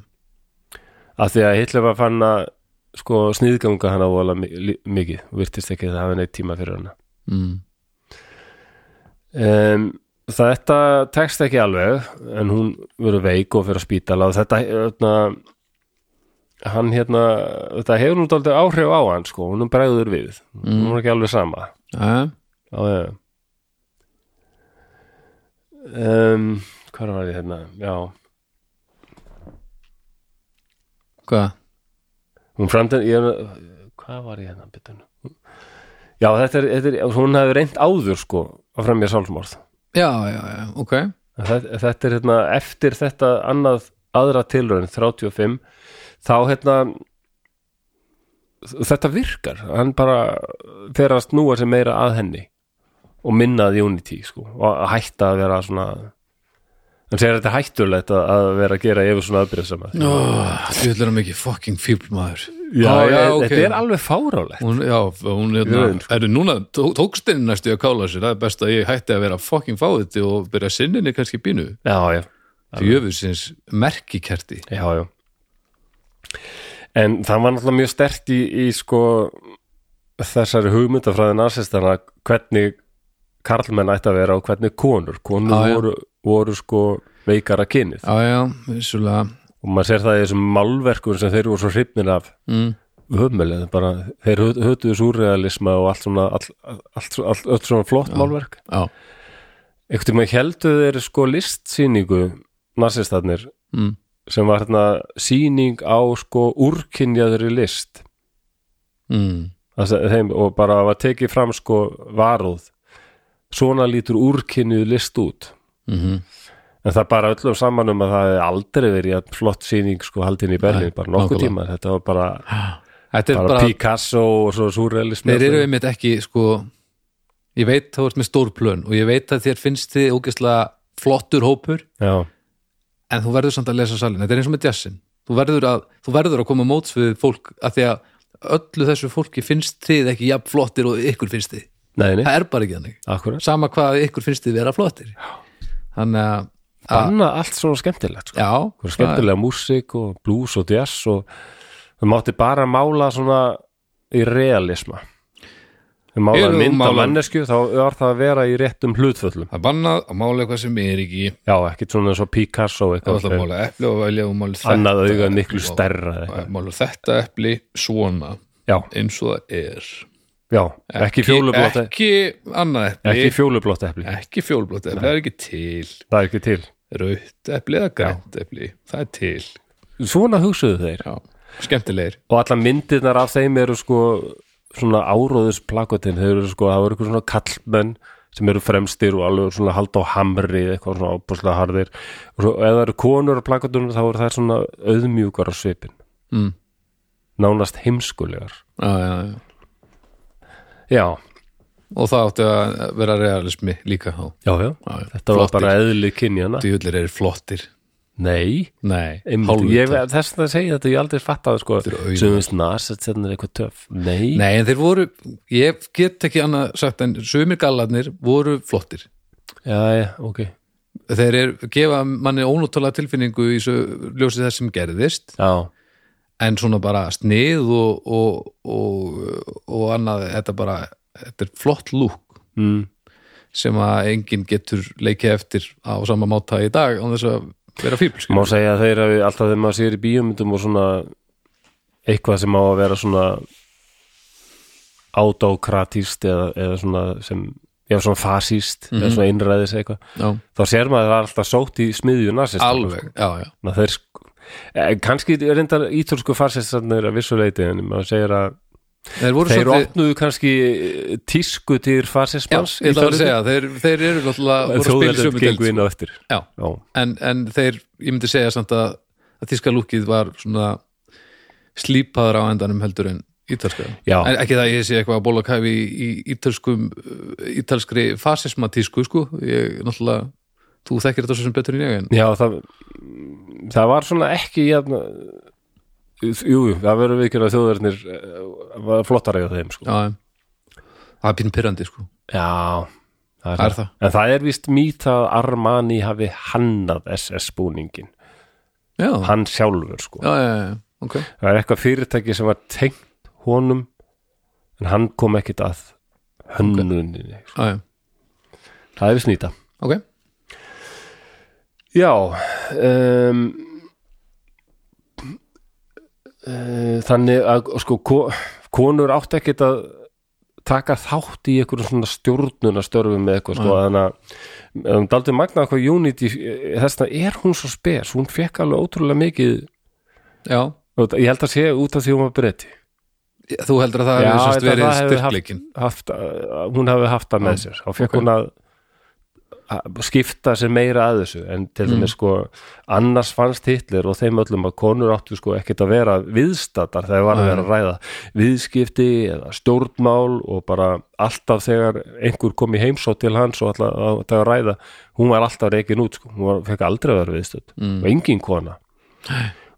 Speaker 4: af því að Hitler var fann að sko sniðganga hana vola mi- li- mikið og virtist ekki að það hafa neitt tíma fyrir hana
Speaker 5: mm.
Speaker 4: um, þetta tekst ekki alveg en hún verður veik og fyrir að spítala og þetta öfna, hann hérna þetta hefur nú daldið áhrif á hann sko hún er bregður við, hún er ekki alveg sama
Speaker 5: ja.
Speaker 4: Já, já, já. Um, hvað var ég hérna? Já,
Speaker 5: hvað,
Speaker 4: hún framtend ég, er- hvað var ég hérna bytun já þetta er, þetta er hún hefur reynd áður sko að fremja sálsmorð
Speaker 5: já, já, já, ok
Speaker 4: þetta, þetta er hérna eftir þetta annað aðra tilraun 35 þá hérna þetta virkar hann bara fer að snúa sér meira að henni og minnaði Unity sko og að hætta að vera svona hann segir að þetta er hættulegt að- að vera að gera yfir svona aðbyrðsama
Speaker 5: Ó, þú ætlar að mikið fucking fíbl maður
Speaker 4: já,
Speaker 5: Ó, já, ok.
Speaker 4: þetta er alveg fárálegt
Speaker 5: hún, já, hún hérna,
Speaker 4: Jörðin,
Speaker 5: er núna tó- tókst henni næstu að kála sér það er best að ég hætti að vera fucking fáðið og byrja sinninni kannski bínu
Speaker 4: já, já
Speaker 5: djöfusins merkikerti
Speaker 4: já, já en það var náttúrulega mjög stert í, í sko þessari hugmyndafræði nasistana hvernig karlmenn ætti að vera og hvernig konur konur
Speaker 5: Já, já.
Speaker 4: Voru, voru sko veikara kynið
Speaker 5: já, já, vissulega
Speaker 4: og maður sér það í þessum málverkum sem þeir voru svo hrifnir af
Speaker 5: mm.
Speaker 4: höfmjölega, bara þeir hö- hötuðu súrrealisma og allt svona allt, allt, allt, allt svona flott málverk
Speaker 5: já,
Speaker 4: einhvern tímann heldur þeir sko listsýningu nasistarnir
Speaker 5: Mm.
Speaker 4: sem var hérna sýning á sko úrkynjaðri list
Speaker 5: mm.
Speaker 4: Það sem- þeim, og bara var tekið fram sko varúð svona lítur úrkynjuð list út
Speaker 5: Mhm.
Speaker 4: en það bara öllum saman um að það hefði aldrei verið jafn flott sýning sko haldin í Berlín
Speaker 5: Nei,
Speaker 4: bara nokkuð
Speaker 5: nákvæmlega.
Speaker 4: tíma, þetta var bara,
Speaker 5: Þetta er
Speaker 4: bara,
Speaker 5: bara,
Speaker 4: Picasso og svo surrealism
Speaker 5: þeir eru einmitt ekki sko, ég veit þá ert með stór plön og ég veit að þér finnst þið ógeðslega flottur hópur
Speaker 4: já,
Speaker 5: en þú verður samt að lesa salin, þetta er eins og með jazzin þú verður að, þú verður að koma móts við fólk af því að öllu þessu fólki finnst þið ekki jafn flottir og ykkur finnst þið
Speaker 4: neini,
Speaker 5: það er bara ekki þannig,
Speaker 4: akkurat
Speaker 5: sama hvað ykkur finnst þið vera flottir þannig að, að
Speaker 4: banna allt svona skemmtilegt sko.
Speaker 5: já,
Speaker 4: Einhver skemmtilega músík og blues og jazz og það mátti bara mála svona í realisma þau mála
Speaker 6: Eru þú
Speaker 4: mynd á
Speaker 6: mála-
Speaker 4: mannesku þá var það að vera í réttum hlutföllum
Speaker 6: Það er bannað að mála eitthvað sem er ekki
Speaker 4: já, ekkert svona eins og Picasso
Speaker 6: Það var alltaf að
Speaker 4: eitthvað,
Speaker 6: mála epli og velja og mála þetta
Speaker 4: annað auga
Speaker 6: epli
Speaker 4: miklu
Speaker 6: og-
Speaker 4: stærra eða eitthvað.
Speaker 6: Mála þetta epli svona
Speaker 4: já,
Speaker 6: eins og það er
Speaker 4: já, ekki fjólublátt ekki,
Speaker 6: Ekki annað epli
Speaker 4: ekki fjólublátt epli,
Speaker 6: ekki fjólblótt epli, það er ekki til
Speaker 4: það er ekki til
Speaker 6: Raut epli eða grænt epli það er til,
Speaker 4: svona hugsuðu þeir
Speaker 6: já, skemmtilegir
Speaker 4: og allar myndirnar af þeim eru sko svona áróðusplakotin þeir eru sko, það eru eitthvað svona kallmenn sem eru fremstir og alveg svona halda á hamri eitthvað svona ábúslega harðir og svo, ef það eru konur á plakotunum þá eru þær svona auðmjúkar á svipin mm. nánast heimskulegar
Speaker 6: já, já, já.
Speaker 4: já,
Speaker 6: og það átti að vera realismi líka þá
Speaker 4: já, já, þetta var bara eðli kynjana
Speaker 6: djúðlir eru flottir
Speaker 4: nei,
Speaker 6: nei,
Speaker 4: einmitt,
Speaker 6: hálfvita.
Speaker 4: ég, þess að segja þetta ég aldrei fattaði sko, sem veist nasett þetta er eitthvað töf, nei,
Speaker 5: nei en þeir voru, ég get ekki annað sagt en sumir gallarnir voru flottir
Speaker 4: já, já, ok
Speaker 5: þeir er, gefa manni ónúttalega tilfinningu í svo ljósið þess sem gerðist
Speaker 4: já,
Speaker 5: en svona bara snið og, og, og, og annað þetta bara, þetta er flott lúk
Speaker 4: mm.
Speaker 5: sem að enginn getur leikið eftir á sama máta í dag án þess að vera fíbl
Speaker 4: má segja að þeir hafi alltaf þegar maður sér í bíómyndum og svona eitthvað sem á að vera svona autokratist eða, eða svona sem já, svona fasist
Speaker 5: Mhm.
Speaker 4: eða svona innræðis eitthvað
Speaker 5: Já.
Speaker 4: þá sér maður að það er alltaf sótt í smiðju nasist
Speaker 5: alveg, já, já,
Speaker 4: Ná, þeir, sk- eh, kannski reyndar ítölsku fasistarnir að vissu leiti en maður segir að
Speaker 5: þeir voru
Speaker 4: þeir
Speaker 5: svolítið
Speaker 4: opnuðu kannski eh, tísku til
Speaker 5: já,
Speaker 4: fasismans
Speaker 5: ég ætla að segja, þeir, þeir eru náttúrulega voru að spila í
Speaker 4: þjóðverðið
Speaker 5: sömu deild,
Speaker 4: gengu inn á eftir
Speaker 5: já,
Speaker 4: já,
Speaker 5: en, en þeir, ég myndi segja samt að, að þíska lúkið var svona slípaður á endanum heldur en ítalska
Speaker 4: Já.
Speaker 5: en ekki það ég sé eitthvað að bóla kæfi í, í ítalskum, ítalskri fasismatísku sko, ég náttúrulega þú þekkir þetta svo sem betur en ég en
Speaker 4: Já, það, það var svona ekki jafn, Jú, jú, það verður við að þjóðverðnir eh, var flottari á þeim sko.
Speaker 5: já, en- það er pínum pyrrandi sko
Speaker 4: Já, það er,
Speaker 5: Það er það.
Speaker 4: En það er víst mýt að Armani hafi hannað SS-búningin
Speaker 5: já,
Speaker 4: Hann sjálfur sko
Speaker 5: já, já, já, ok
Speaker 4: Það er eitthvað fyrirtæki sem var tengt honum en hann kom ekkit að hönnuninni sko.
Speaker 5: Já, já.
Speaker 4: Það er víst nýta
Speaker 5: ok,
Speaker 4: Já um, uh, Þannig að sko ko- konur átt ekkit að taka þátt í einhverjum svona stjórnunastörfum með eitthvað sko, þannig að um, daldið magnað hvað Unity eh, þess að er hún svo spes, hún fekk alveg ótrúlega mikið
Speaker 5: já
Speaker 4: og ég held að sé út af því hún var breyti
Speaker 5: þú heldur að það
Speaker 4: Já,
Speaker 5: hefur sérst
Speaker 4: þetta-
Speaker 5: verið
Speaker 4: það hefur haft-
Speaker 5: styrkleikin
Speaker 4: haft, eh, hún hafi haft það með sér þá fekk hún að að skipta sér meira að þessu en til dæmis sko annars fannst Hitler og þeim öllum að konur áttu sko ekkert að vera viðstattar þegar var að vera að ræða viðskipti eða stjórnmál og bara alltaf þegar einhver kom í heimsótt til hans og alltaf að, að ræða hún var alltaf reikin út sko hún var, fekk aldrei að vera viðstödd og engin kona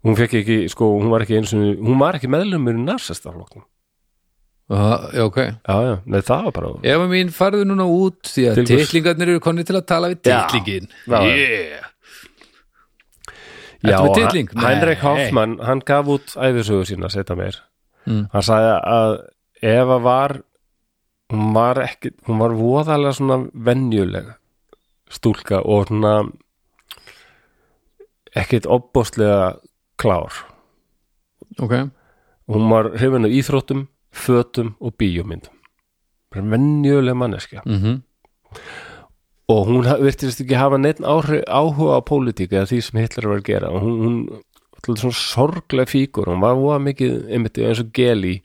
Speaker 4: hún fekk ekki sko hún var ekki eins og hún var ekki meðlumur í narsistaflokkum
Speaker 5: Já, já, ok
Speaker 4: já já, nei það var bara
Speaker 5: Eva mín, farðu núna út því að
Speaker 4: Til hvers?
Speaker 5: titlingarnir eru konni til að tala við
Speaker 4: Já.
Speaker 5: titlingin
Speaker 4: Já, já.
Speaker 5: yeah.
Speaker 4: Já,
Speaker 5: Ertu með titling?
Speaker 4: hann- Heinrich
Speaker 5: Nei.
Speaker 4: Hoffmann, hann gaf út æfisögu sína, setja meir hann sagði að Eva var hún var ekki hún var voðalega svona venjuleg stúlka og svona ekkit opbóstlega klár
Speaker 5: ok,
Speaker 4: hún var hrifin af íþróttum, fötum og bíómyndum bara venjuleg manneskja
Speaker 5: mhm
Speaker 4: og hún ha- virtist ekki hafa neitt áhrif, áhuga á pólitík eða því sem Hitler var að gera og hún, hún alltaf svona sorglega fígur hún var voða mikið, einmitt eins og geli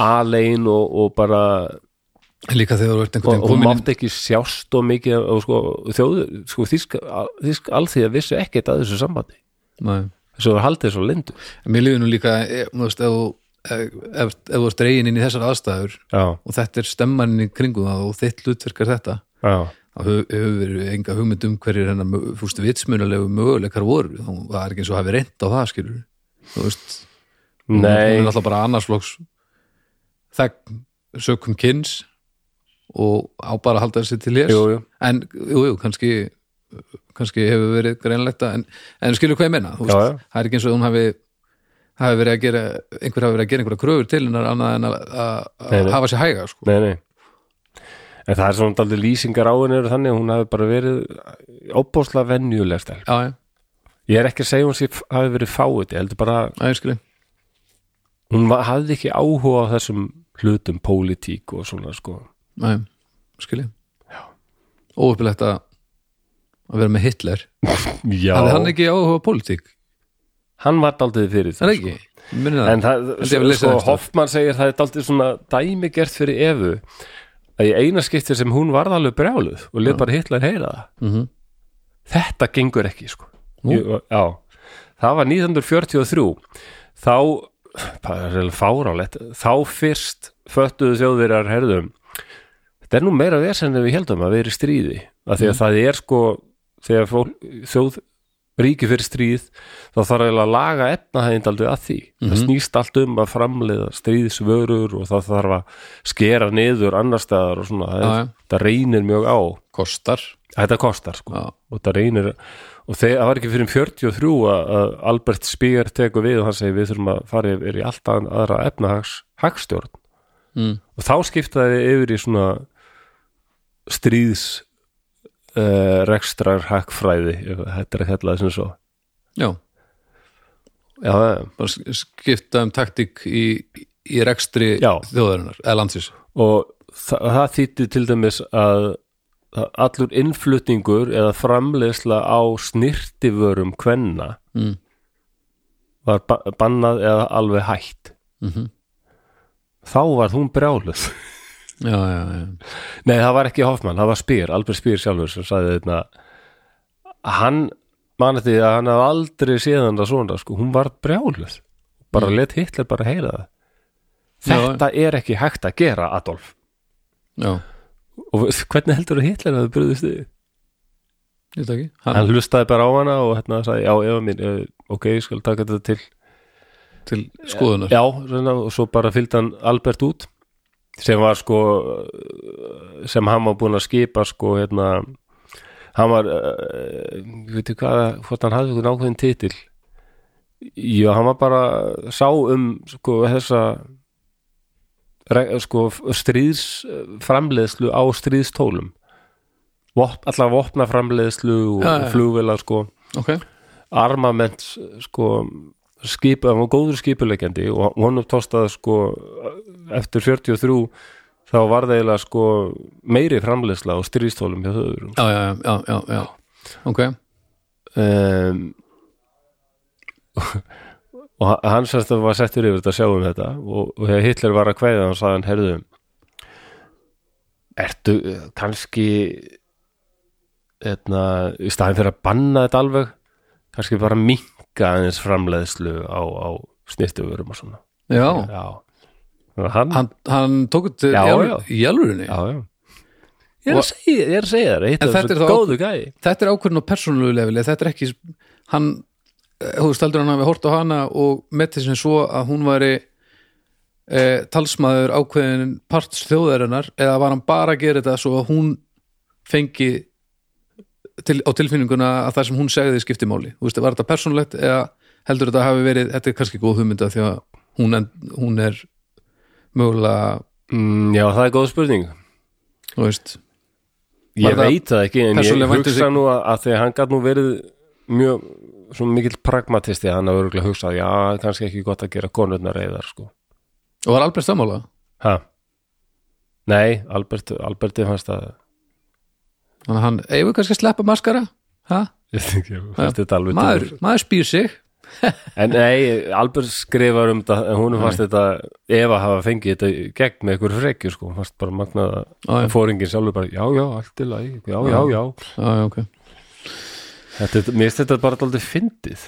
Speaker 4: alein og, og bara
Speaker 5: líka þegar þú ert
Speaker 4: og,
Speaker 5: einhvern
Speaker 4: og
Speaker 5: veginn komin
Speaker 4: mátt ekki sjást og mikið og sko, þjóðu, sko þísk, þísk alþýða vissu ekkert að þessu sambandi
Speaker 5: inn Nei.
Speaker 4: þessu var haldið svo lindu
Speaker 5: mér líður nú líka eh, þú veist, ef þú- ef ef- ef þú ert dregin inn í þessar aðstæður
Speaker 4: já,
Speaker 5: og þetta er stemmaninn í kringum það og þitt hlutverkar þetta
Speaker 4: já,
Speaker 5: þá hö- hefur verið enga hugmynd um hverjir hennar mö- fúst vitsmunalegu möguleikar voru þá það er ekki eins og hafi reynd á það skilur þú veist, hún
Speaker 4: nei
Speaker 5: er alltaf bara annarsflokks þegn sökum kyns og á bara að halda þessi til hér
Speaker 4: jú, jú,
Speaker 5: en jú, jú, kannski kannski hefur verið greinlegt að- en, en skilur hvað ég menna
Speaker 4: Já,
Speaker 5: þú veist,
Speaker 4: já.
Speaker 5: það er ekki eins og hún hafi hafi verið að gera einhver hafi verið að gera einhverja kröfur til hennar annað en að- að-
Speaker 4: Nei, nei.
Speaker 5: að hafa sér hæga sko.
Speaker 4: nei, nei en það er svona daldið lýsingar á henni eru þannig að hún hafi bara verið óbóðslega venjuleg stel
Speaker 5: já, já,
Speaker 4: ég er ekki að segja hún sér hafi verið fáið ég heldur bara,
Speaker 5: já, ég skilur
Speaker 4: hún var, hafði ekki áhuga á þessum hlutum pólitík og svona sko
Speaker 5: Nei, skilji Óöpilegt að að vera með Hitler
Speaker 4: já,
Speaker 5: Það er hann ekki áhuga á pólitík
Speaker 4: hann var daldið fyrir
Speaker 5: Það
Speaker 4: það
Speaker 5: er ekki, minni það
Speaker 4: en það,
Speaker 5: Held ég hafi lesið
Speaker 4: sko,
Speaker 5: einhvers staðar.
Speaker 4: Hoffmann segir það er daldið svona dæmigert fyrir Evu að í eina skipti sem hún varð alveg brjáluð og lef bara Hitler heyra það
Speaker 5: Mhm.
Speaker 4: þetta gengur ekki sko Ég, já, það var 1943 þá það er eiginlega fáránlegt þá fyrst föttuðu þjóðverjar herðum þetta er nú meira vesen en við heldum að við erum í stríði af
Speaker 5: Mm.
Speaker 4: því að það er sko þegar fól, þjóð ríki fyrir stríð þá þarf eiginlega að laga efnahæðind aldrei að því það
Speaker 5: Mhm.
Speaker 4: snýst allt um að framleiða stríðsvörur og það þarf að skera niður annar staðar og svona það,
Speaker 5: Já, já.
Speaker 4: er, það reynir mjög á
Speaker 5: Kostar
Speaker 4: þetta kostar sko
Speaker 5: Já,
Speaker 4: og það reynir og þeir, það var ekki fyrir um 43 að- að Albert Speer tekur við og hann segir við þurfum að fara yfir í allt ann- aðra efnahags hagstjórn
Speaker 5: Mm.
Speaker 4: og þá skiptaði yfir í svona stríðs uh, rekstrar hagfræði ef þetta er að kalla þessum svo
Speaker 5: já,
Speaker 4: já, já,
Speaker 5: bara sk- skipta um taktík í, í rekstri
Speaker 4: Já.
Speaker 5: þjóðarinnar eða landsins
Speaker 4: og það, það þýtti til dæmis að að allur innflutningur eða framleiðsla á snirtivörum kvenna
Speaker 5: Mm.
Speaker 4: var ba bannað eða alveg hætt
Speaker 5: Mhm.
Speaker 4: þá var hún brjáluð
Speaker 5: Já, já, já,
Speaker 4: nei það var ekki Hoffmann, það var Spyr Albert Spyr sjálfur sem sagði þetta hann manið því að hann hafði aldrei séð hann að svona sko, hún var brjáluð bara let Hitler bara heyra það
Speaker 5: Mm. Já.
Speaker 4: þetta er ekki hægt að gera Adolf
Speaker 5: já
Speaker 4: og hvernig heldur að Hitler hafði bröðist þig?
Speaker 5: Ég veit ekki,
Speaker 4: Hann
Speaker 5: hann
Speaker 4: hlustaði bara á hana og hérna sagði, já, Eva mín, eh, ok, ég skal taka þetta til
Speaker 5: til skoðunar
Speaker 4: Já, svona, og svo bara fylgdi hann Albert út sem var sko eh, sem hann var búinn að skipa sko, hérna hann var, eh, ég veit ekki hvað hvort hann hafði einhvern ákveðin titil Já, hann var bara sá um sko þessa re- sko stríðsframleiðslu á stríðstólum Vop, allar vopna framleiðslu og
Speaker 5: Já, já.
Speaker 4: flugvila sko
Speaker 5: Ok,
Speaker 4: armament sko skip, hann var góður skipuleikjandi og honum tóstaði sko eftir 43 þá var það eiginlega sko meiri framleiðsla á stríðstólum hjá þauður
Speaker 5: já, já, já, já, já. Ok,
Speaker 4: um, og ha- hann sérst að var settur yfir þetta að sjá um þetta og, og þegar Hitler var að kveða hann sagði hann, herðu ertu eh, kannski eitna, í staðin fyrir að banna þetta alveg kannski bara minka aðeins framleiðslu á, á snittuverum og svona
Speaker 5: já
Speaker 4: já. Þannig að Hann,
Speaker 5: Hann, hann tók þetta
Speaker 4: Já,
Speaker 5: í alvöru-
Speaker 4: já.
Speaker 5: í alvörunni
Speaker 4: já, já Ég er, að
Speaker 5: Og-
Speaker 4: segja, ég er að segja þér,
Speaker 5: En
Speaker 4: Hitler
Speaker 5: þetta
Speaker 4: er
Speaker 5: er
Speaker 4: svo
Speaker 5: þá-
Speaker 4: góðu gæði
Speaker 5: þetta er ákvörðin á persónulegu lefili þetta er ekki, hann eh, þú steldur hann hafi hort á hana og metið sem svo að hún væri e, talsmaður ákveðin parts þjóðarinnar eða var hann bara að gera þetta svo að hún fengi til, á tilfinninguna að það sem hún segði skipti máli, þú veist, var þetta persónulegt eða heldur þetta hafi verið, þetta er kannski góð hugmynda því að hún, en, hún er mögulega,
Speaker 4: mm, Já, það er góð spurning
Speaker 5: þú veist
Speaker 4: Ég
Speaker 5: Var það
Speaker 4: veit það ekki, en ég
Speaker 5: persónuleg
Speaker 4: hugsa
Speaker 5: væntumþykja?
Speaker 4: nú að, að þegar hann gat nú verið mjög, svo mikill pragmatisti að hann hafa örgulega hugsað, já, kannski ekki gott að gera konurnar reyðar, sko.
Speaker 5: og var Albert sammála?
Speaker 4: Ha? Nei, Albert, Alberti fannst að
Speaker 5: þannig að hann, eigum við kannski að sleppa maskara ha?
Speaker 4: Ég þekki, ég fannst þetta alveg
Speaker 5: maður, maður spýr sig
Speaker 4: En nei, Albert skrifar um þetta en hún fannst þetta, Eva hafa fengið þetta í gegn með ykkur frekju sko hún fannst bara magnað
Speaker 5: Já, já.
Speaker 4: að fóringin sjálfur bara já, já, allt í lagi, já, já, já
Speaker 5: já, já, ok
Speaker 4: þetta, er- Mér finnst þetta bara alltaf fyndið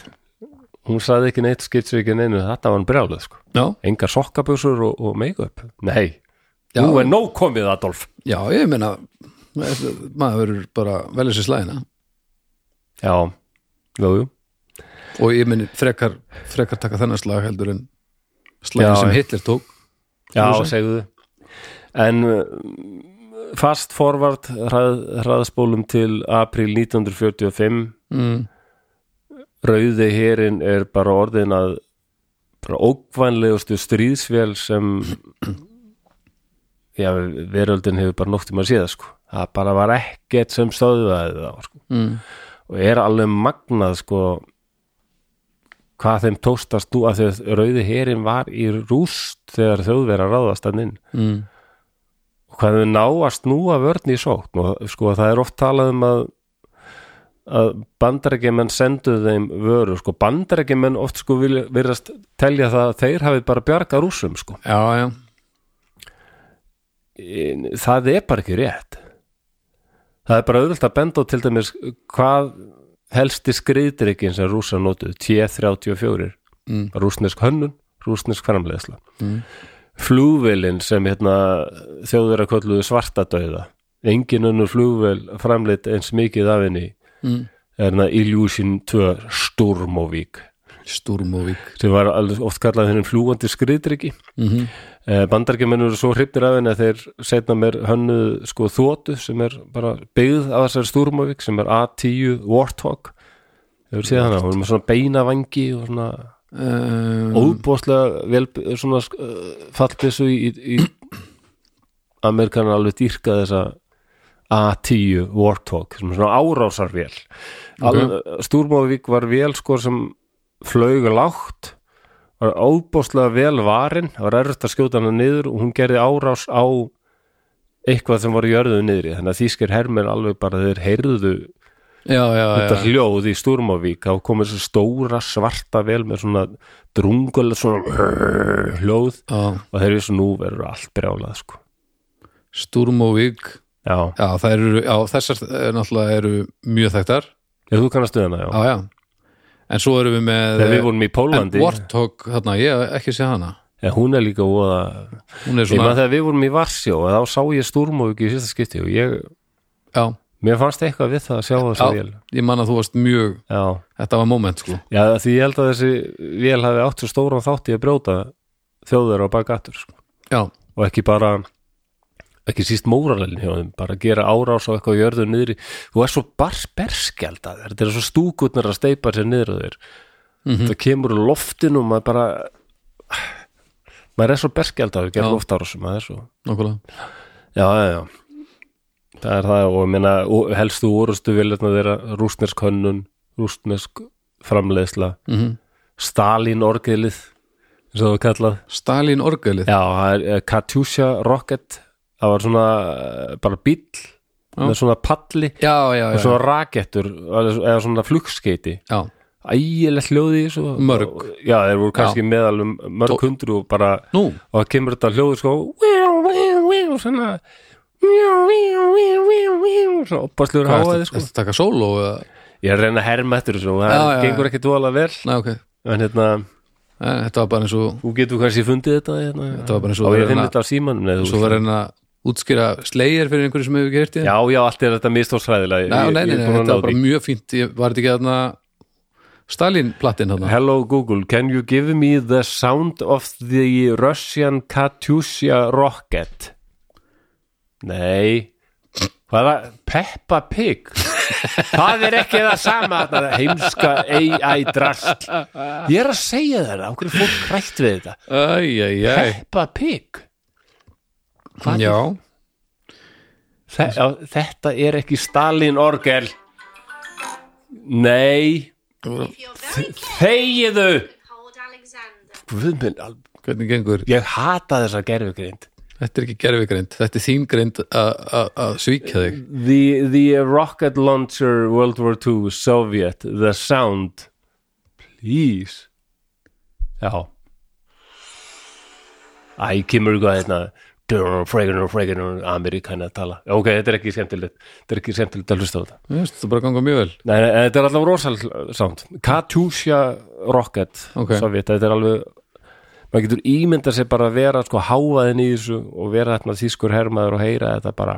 Speaker 4: Hún sagði ekki neitt skitsu ekki neinu þetta var hann brjálað sko
Speaker 5: já,
Speaker 4: Engar sokkabjössur og, og make-up Nei,
Speaker 5: Já.
Speaker 4: nú er nóg komið Adolf
Speaker 5: já, ég meina maður verður bara að velja sér slæðina
Speaker 4: Já, jú, jú
Speaker 5: og ég meni frekar, frekar taka þennan slag heldur en slagin
Speaker 4: Já,
Speaker 5: sem
Speaker 4: já.
Speaker 5: Hitler tók
Speaker 4: Já,
Speaker 5: Húsin.
Speaker 4: segðu En uh, fast forward hrað, hraðspólum til april 1945
Speaker 5: mm.
Speaker 4: rauði herin er bara orðin að bara ókvænlegustu stríðsvél sem já, veröldin hefur bara nóttum að séða sko það bara var ekkert sem stöðvaði það sko.
Speaker 5: Mm.
Speaker 4: og er alveg magnað sko hvað þeim tóstast nú að þau rauði herin var í rúst þegar þjóðverða ráðast hann inn
Speaker 5: Mm.
Speaker 4: og hvað þau ná að snúa vörn í sókn og sko það er oft talað um að að bandarækjumenn sendu þeim vöru sko bandarækjumenn oft sko vilja- virðast telja það að þeir hafi bara bjarga rússum sko
Speaker 5: já, já,
Speaker 4: En það er bara ekki rétt það er bara auðvöld að benda á til dæmis hvað helsti skriðdrykkin sem rússar notuðu T-34
Speaker 5: Mm.
Speaker 4: rússnesk hönnun, rússnesk framleiðsla flugvélin sem hérna, þjóður að kölluðu svartadauða engin önnur flugvél framleitt eins mikið af henni
Speaker 5: Mm.
Speaker 4: er hérna Illusion 2 Sturmovík
Speaker 5: Sturmovík
Speaker 4: sem var alveg oft kallað hennum flúandi skriðdrykki
Speaker 5: mm -hmm.
Speaker 4: bandargeminn Eh, eru svo hrypnir af henni að þeir setna mér hönnuð sko þótu sem er bara byggð af þessari stúrumavík sem er A10 Warthog hefur séð hana, hún er með svona beina vangi og svona
Speaker 5: um,
Speaker 4: óbóðslega vel svona uh, fallbissu í, í Amerikanar alveg dýrka þessa A10 Warthog sem er svona árásarvél okay. Stúrumavík var vél sko sem flög lágt var óbóðslega vel varin það var erfitt að skjóta hana niður og hún gerði árás á eitthvað sem var í jörðu niðri þannig að þýskir hermenn alveg bara þeir heyrðu
Speaker 5: já, já,
Speaker 4: þetta
Speaker 5: já,
Speaker 4: hljóð í Sturmavík þá komið þessi stóra svarta vel með svona drungul svona hljóð
Speaker 5: já.
Speaker 4: og þeir vissu nú verður allt brjálað sko.
Speaker 5: Sturmovík
Speaker 4: já,
Speaker 5: já, þær eru, já, þessar eh, náttúrulega eru mjög þekktar
Speaker 4: ef þú kannast við hana já.
Speaker 5: já, já. en svo erum við með eh,
Speaker 4: þegar við vorum í
Speaker 5: en
Speaker 4: Pólandi
Speaker 5: Warthog, þarna, ég hef ekki sé hana
Speaker 4: en hún er líka óða
Speaker 5: hún er
Speaker 4: ég maður
Speaker 5: svona,
Speaker 4: þegar við vorum í Varsjó þá sá ég Sturmavík í sérsta skipti og ég,
Speaker 5: já,
Speaker 4: mér fannst eitthvað við það að sjá þessa
Speaker 5: já
Speaker 4: vél
Speaker 5: ég man að þú varst mjög
Speaker 4: já
Speaker 5: þetta var moment sko
Speaker 4: Já, því ég held að þessi vél hafi átt svo stóran þátt í að brjóta þjóður á bakattur sko.
Speaker 5: já,
Speaker 4: og ekki bara ekki síst móralinn hjá þeim bara gera árás á eitthvað á jörðu niðri þú er svo barsberskjald að þér þetta er svo stúkurnar að steipa sér niður að þér það kemur úr loftinu og maður bara maður er svo berskjald að þér
Speaker 5: Já.
Speaker 4: gera loftárásum maður er svo
Speaker 5: nokkulega
Speaker 4: já, já, já það er það og, ég meina, og helstu orustu viljarnar þeirra rústnesk hönnun, rústnesk framleiðsla
Speaker 5: mm
Speaker 4: Stalin orgelið eins og það var kallað
Speaker 5: Stalin orgelið
Speaker 4: Já, það er eh, Katusha Rocket það var svona eh, bara bíll með svona palli
Speaker 5: já, já, já,
Speaker 4: og svona rakettur eða svona flugskeiti
Speaker 5: já.
Speaker 4: ægilegt hljóði í þessu
Speaker 5: Mörg.
Speaker 4: Og- Já, þeir voru kannski með alveg mörg hundru og bara
Speaker 5: nú,
Speaker 4: og það kemur þetta hljóði sko víu, víu, víu, svona víu, víu, víu, víu, víu, svona opastlur
Speaker 5: hvað
Speaker 4: háaði
Speaker 5: er
Speaker 4: sko
Speaker 5: þetta taka sóló eða?
Speaker 4: Ég er að reyna að herma eftir þessu og það
Speaker 5: Já, já, já.
Speaker 4: gengur ekki dvala vel
Speaker 5: Nei, ok,
Speaker 4: en hérna,
Speaker 5: Eh, þetta var bara eins og
Speaker 4: þú getur kannski fundið þetta hérna,
Speaker 5: Þetta var bara eins og
Speaker 4: og
Speaker 5: að
Speaker 4: ég finn
Speaker 5: reyna-
Speaker 4: þetta á símanum eða þú
Speaker 5: svo
Speaker 4: veist.
Speaker 5: var henn að útskýra slegir fyrir einhverju sem hefur gert í
Speaker 4: sko. Já, já, allt er þetta mistórsræðilega
Speaker 5: Nei, nei, nei, nei, þetta var bara mjög fínt ég var þetta ekki þarna Stalin platin þarna
Speaker 4: Hello Google, can you give me the sound of the Russian Katusha rocket? Nei Hvað var Peppa Pig? það er ekki það sama þarna, heimska AI drast Ég er að segja þér það, okkur fólk hrætt við þetta
Speaker 5: Æjæjæj
Speaker 4: Peppa Pig Hvað
Speaker 5: Já,
Speaker 4: Þe- já, Þetta er ekki Stalin orgel Nei Þegiðu
Speaker 7: Hold Alexander.
Speaker 4: Guð minn, al-
Speaker 5: hvernig gengur
Speaker 4: ég hata þessa gerfugrind
Speaker 5: Þetta er ekki gerfigreind, þetta er þín greind að- að að svíkja þig
Speaker 4: The, the rocket launcher World War II Soviet The sound Please Já Æ, kemur eitthvað hérna Durr, fregan og fregan og Amerikan að tala Ok, þetta er ekki skemmtilegt Þetta er ekki skemmtilegt að hlusta á þetta
Speaker 5: Mér finnst þetta bara ganga mjög vel
Speaker 4: Nei, nei, en þetta er alltaf rosal sound Katusha Rocket
Speaker 5: Ok.
Speaker 4: Soviet, þetta er alveg maður getur ímyndað sér bara að vera sko hávaðin í þessu og vera þarna þýskur hermaður og heyra þetta bara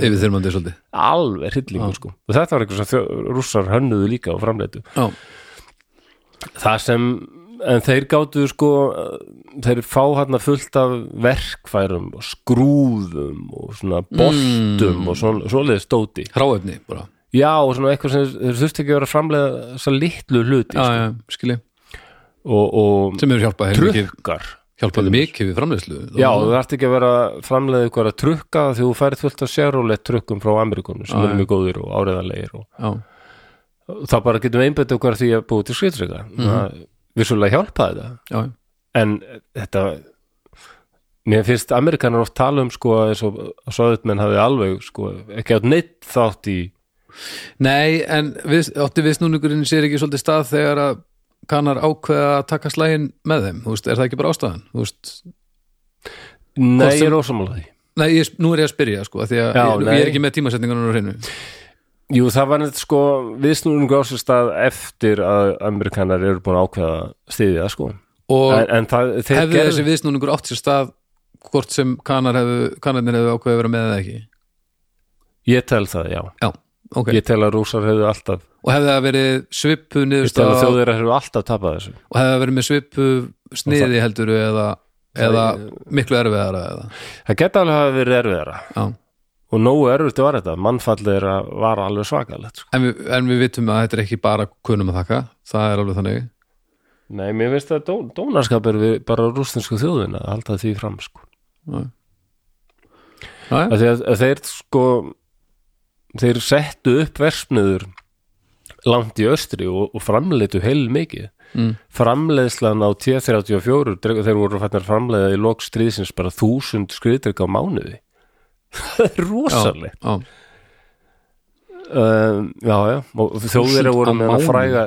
Speaker 5: Yfir þyrmandi svolítið
Speaker 4: alveg hryllingur sko og þetta var eitthvað sem þjó- rússar hönnuðu líka og framleitu
Speaker 5: Já,
Speaker 4: það sem, en þeir gátu sko eh, þeir fá hérna fullt af verkfærum og skrúðum og svona boltum og svona, svoleiðið stóti
Speaker 5: hráefni bara
Speaker 4: já og svona eitthvað sem þeir þurfti ekki að vera að framleiða þessar litlu hluti
Speaker 5: Já,
Speaker 4: sko.
Speaker 5: já, skilji,
Speaker 4: og, og
Speaker 5: sem eru hjálpað heim mikið
Speaker 4: trukkar
Speaker 5: Hjálpaði mikið við framleiðslu
Speaker 4: Já, þú þarft ekki að vera að framleiða ykkur að trukka því þú færið fullt af sérúleitt trukkum frá Amerikunum sem eru mjög góðir og áriðanlegir og
Speaker 5: já,
Speaker 4: þá bara getum við einbætt okkur að því að búið til skriðtrykka mm. vissulega hjálpa þetta
Speaker 5: já,
Speaker 4: en þetta mér finnst Amerikanar oft tala um sko eins og svoðutmenn hafi alveg sko ekki átt neitt þátt í
Speaker 5: Nei, en við, átti viðsnúningurinn sér ekki svolítið stað þegar að kannar ákveða að taka slægin með þeim, þú veist, er það ekki bara ástæðan þú veist,
Speaker 4: nei,
Speaker 5: sem-
Speaker 4: ég er ósamála því
Speaker 5: nei, ég, nú er ég að spyrja sko, af því að
Speaker 4: Já,
Speaker 5: ég,
Speaker 4: nei.
Speaker 5: ég er ekki með tímasetningunum á hreinu
Speaker 4: Jú, það var neitt sko viðsnúningu á sér stað eftir að Amerikanar eru búin að ákveða stiðið það sko
Speaker 5: og
Speaker 4: en, en það, þeir
Speaker 5: hefði þessi viðsnúningur átt sér stað hvort sem kanar hefðu, kanarnir hefðu ákveða að vera með eða ekki
Speaker 4: ég tel það, já
Speaker 5: já, ok,
Speaker 4: ég tel að rússar hefðu alltaf
Speaker 5: og hefði það verið svipu
Speaker 4: ég um tel
Speaker 5: niðurstað
Speaker 4: að þjóðir hefðu alltaf tapað þessu
Speaker 5: og hefði það verið með svipu sniði heldur eða, eða miklu erfiðara eða,
Speaker 4: það geta alveg hafa verið erfiðara
Speaker 5: já
Speaker 4: og nógu erfitt var þetta, mannfallir var alveg svakalegt sko.
Speaker 5: En við, en við vitum að þetta er ekki bara kunum að þakka, það er alveg þannig
Speaker 4: Nei, mér finnst að dó, dónaskap er við bara rústinsku þjóðina að halda því fram sko.
Speaker 5: Næ,
Speaker 4: að því að, að þeir sko þeir settu upp versmiður langt í östri og, og framleitu heil mikið mm. framleiðslan á T-34 dreg- þeir voru fætnar framleiða í lok stríðsins bara þúsund skriðdrykk á mánuði það er rosalegt
Speaker 5: já,
Speaker 4: um, já, já, og þjóðir
Speaker 5: Þúsund
Speaker 4: voru
Speaker 5: á
Speaker 4: með að
Speaker 5: mánuði?
Speaker 4: fræga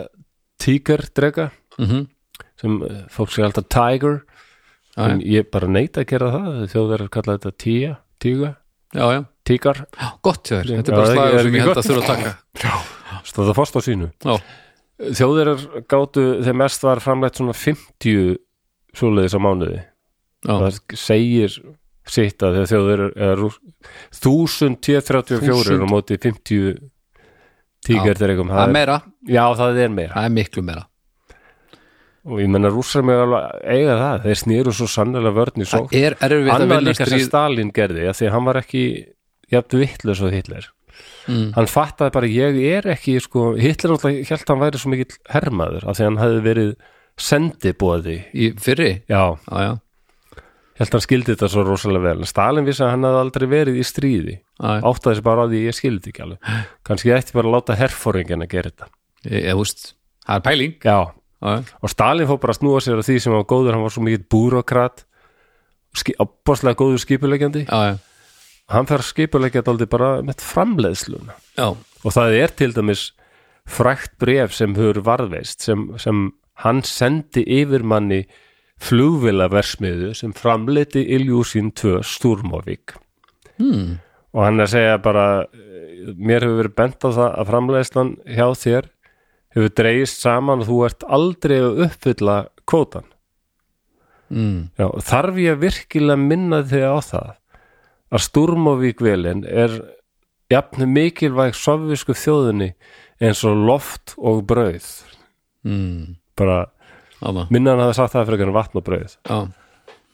Speaker 4: tíkardrega
Speaker 5: mm -hmm,
Speaker 4: sem eh, fólk segir alltaf tiger
Speaker 5: Já,
Speaker 4: en ég bara neita að gera það þjóðverðar kalla þetta tía, tíga
Speaker 5: já, já,
Speaker 4: tígar,
Speaker 5: gott hjá þér þetta
Speaker 4: Já,
Speaker 5: er bara
Speaker 4: það er
Speaker 5: slagur
Speaker 4: ekki-
Speaker 5: sem
Speaker 4: er
Speaker 5: ég held
Speaker 4: ekki
Speaker 5: að þurfa að taka
Speaker 4: stóða fast á sínu
Speaker 5: Já.
Speaker 4: þjóðverðar gátu þegar mest var framleitt svona 50 svoleiðis á mánuði
Speaker 5: Já,
Speaker 4: það segir sitt að þegar þjóðverðar eða rúss- 1000 T-34 á móti 50 tígardregum
Speaker 5: það
Speaker 4: það
Speaker 5: er
Speaker 4: er-
Speaker 5: meira,
Speaker 4: já það er meira
Speaker 5: það er miklu meira
Speaker 4: og ég menna rússar með alveg eiga það þeir snýru svo sannlega vörn í sók
Speaker 5: það er erfitt að
Speaker 4: annar
Speaker 5: vinna
Speaker 4: líka sem
Speaker 5: stríð
Speaker 4: Stalin gerði af því að hann var ekki jafn vitlaus og Hitler
Speaker 5: Mm.
Speaker 4: hann fattaði bara ég er ekki sko, Hitler alltaf held hann væri svo mikill hermaður af því að hann hefði verið sendibóði
Speaker 5: í fyrri,
Speaker 4: já,
Speaker 5: já, já,
Speaker 4: held hann skildi þetta svo rosalega vel En Stalin vissi að hann hefði aldrei verið í stríði
Speaker 5: já, já.
Speaker 4: áttaði þessi bara á því ég skildi ekki alveg kannski ég ætti bara að láta herfóringin að gera þetta
Speaker 5: Ég- ég veist það er pæling,
Speaker 4: já,
Speaker 5: já, já,
Speaker 4: og Stalin fór bara að snúa sér að því sem hann var góður, hann var svo mikill búrokrat opaslega góður skipulegjandi
Speaker 5: já, já,
Speaker 4: hann þarf skipulegja þetta aldrei bara með framleiðsluna
Speaker 5: já,
Speaker 4: og það er til dæmis frækt bref sem hefur varðveist sem, sem hann sendi yfirmanni flugvilaversmiðu sem framleiti Iljúsin 2 Stúrmóvík hmm. og hann er að segja bara eh, mér hefur verið bent á það að framleiðslan hjá þér hefur dreigist saman og þú ert aldrei að uppfylla kvótan mm. Já, og þarf ég virkilega að minna þig á það að Stúrmóvík velin er jafn mikilvæg sovjísku þjóðinni eins og loft og brauð
Speaker 5: mm,
Speaker 4: bara
Speaker 5: já,
Speaker 4: minna hann hafi sagt það fyrir en vatn og brauð
Speaker 5: já,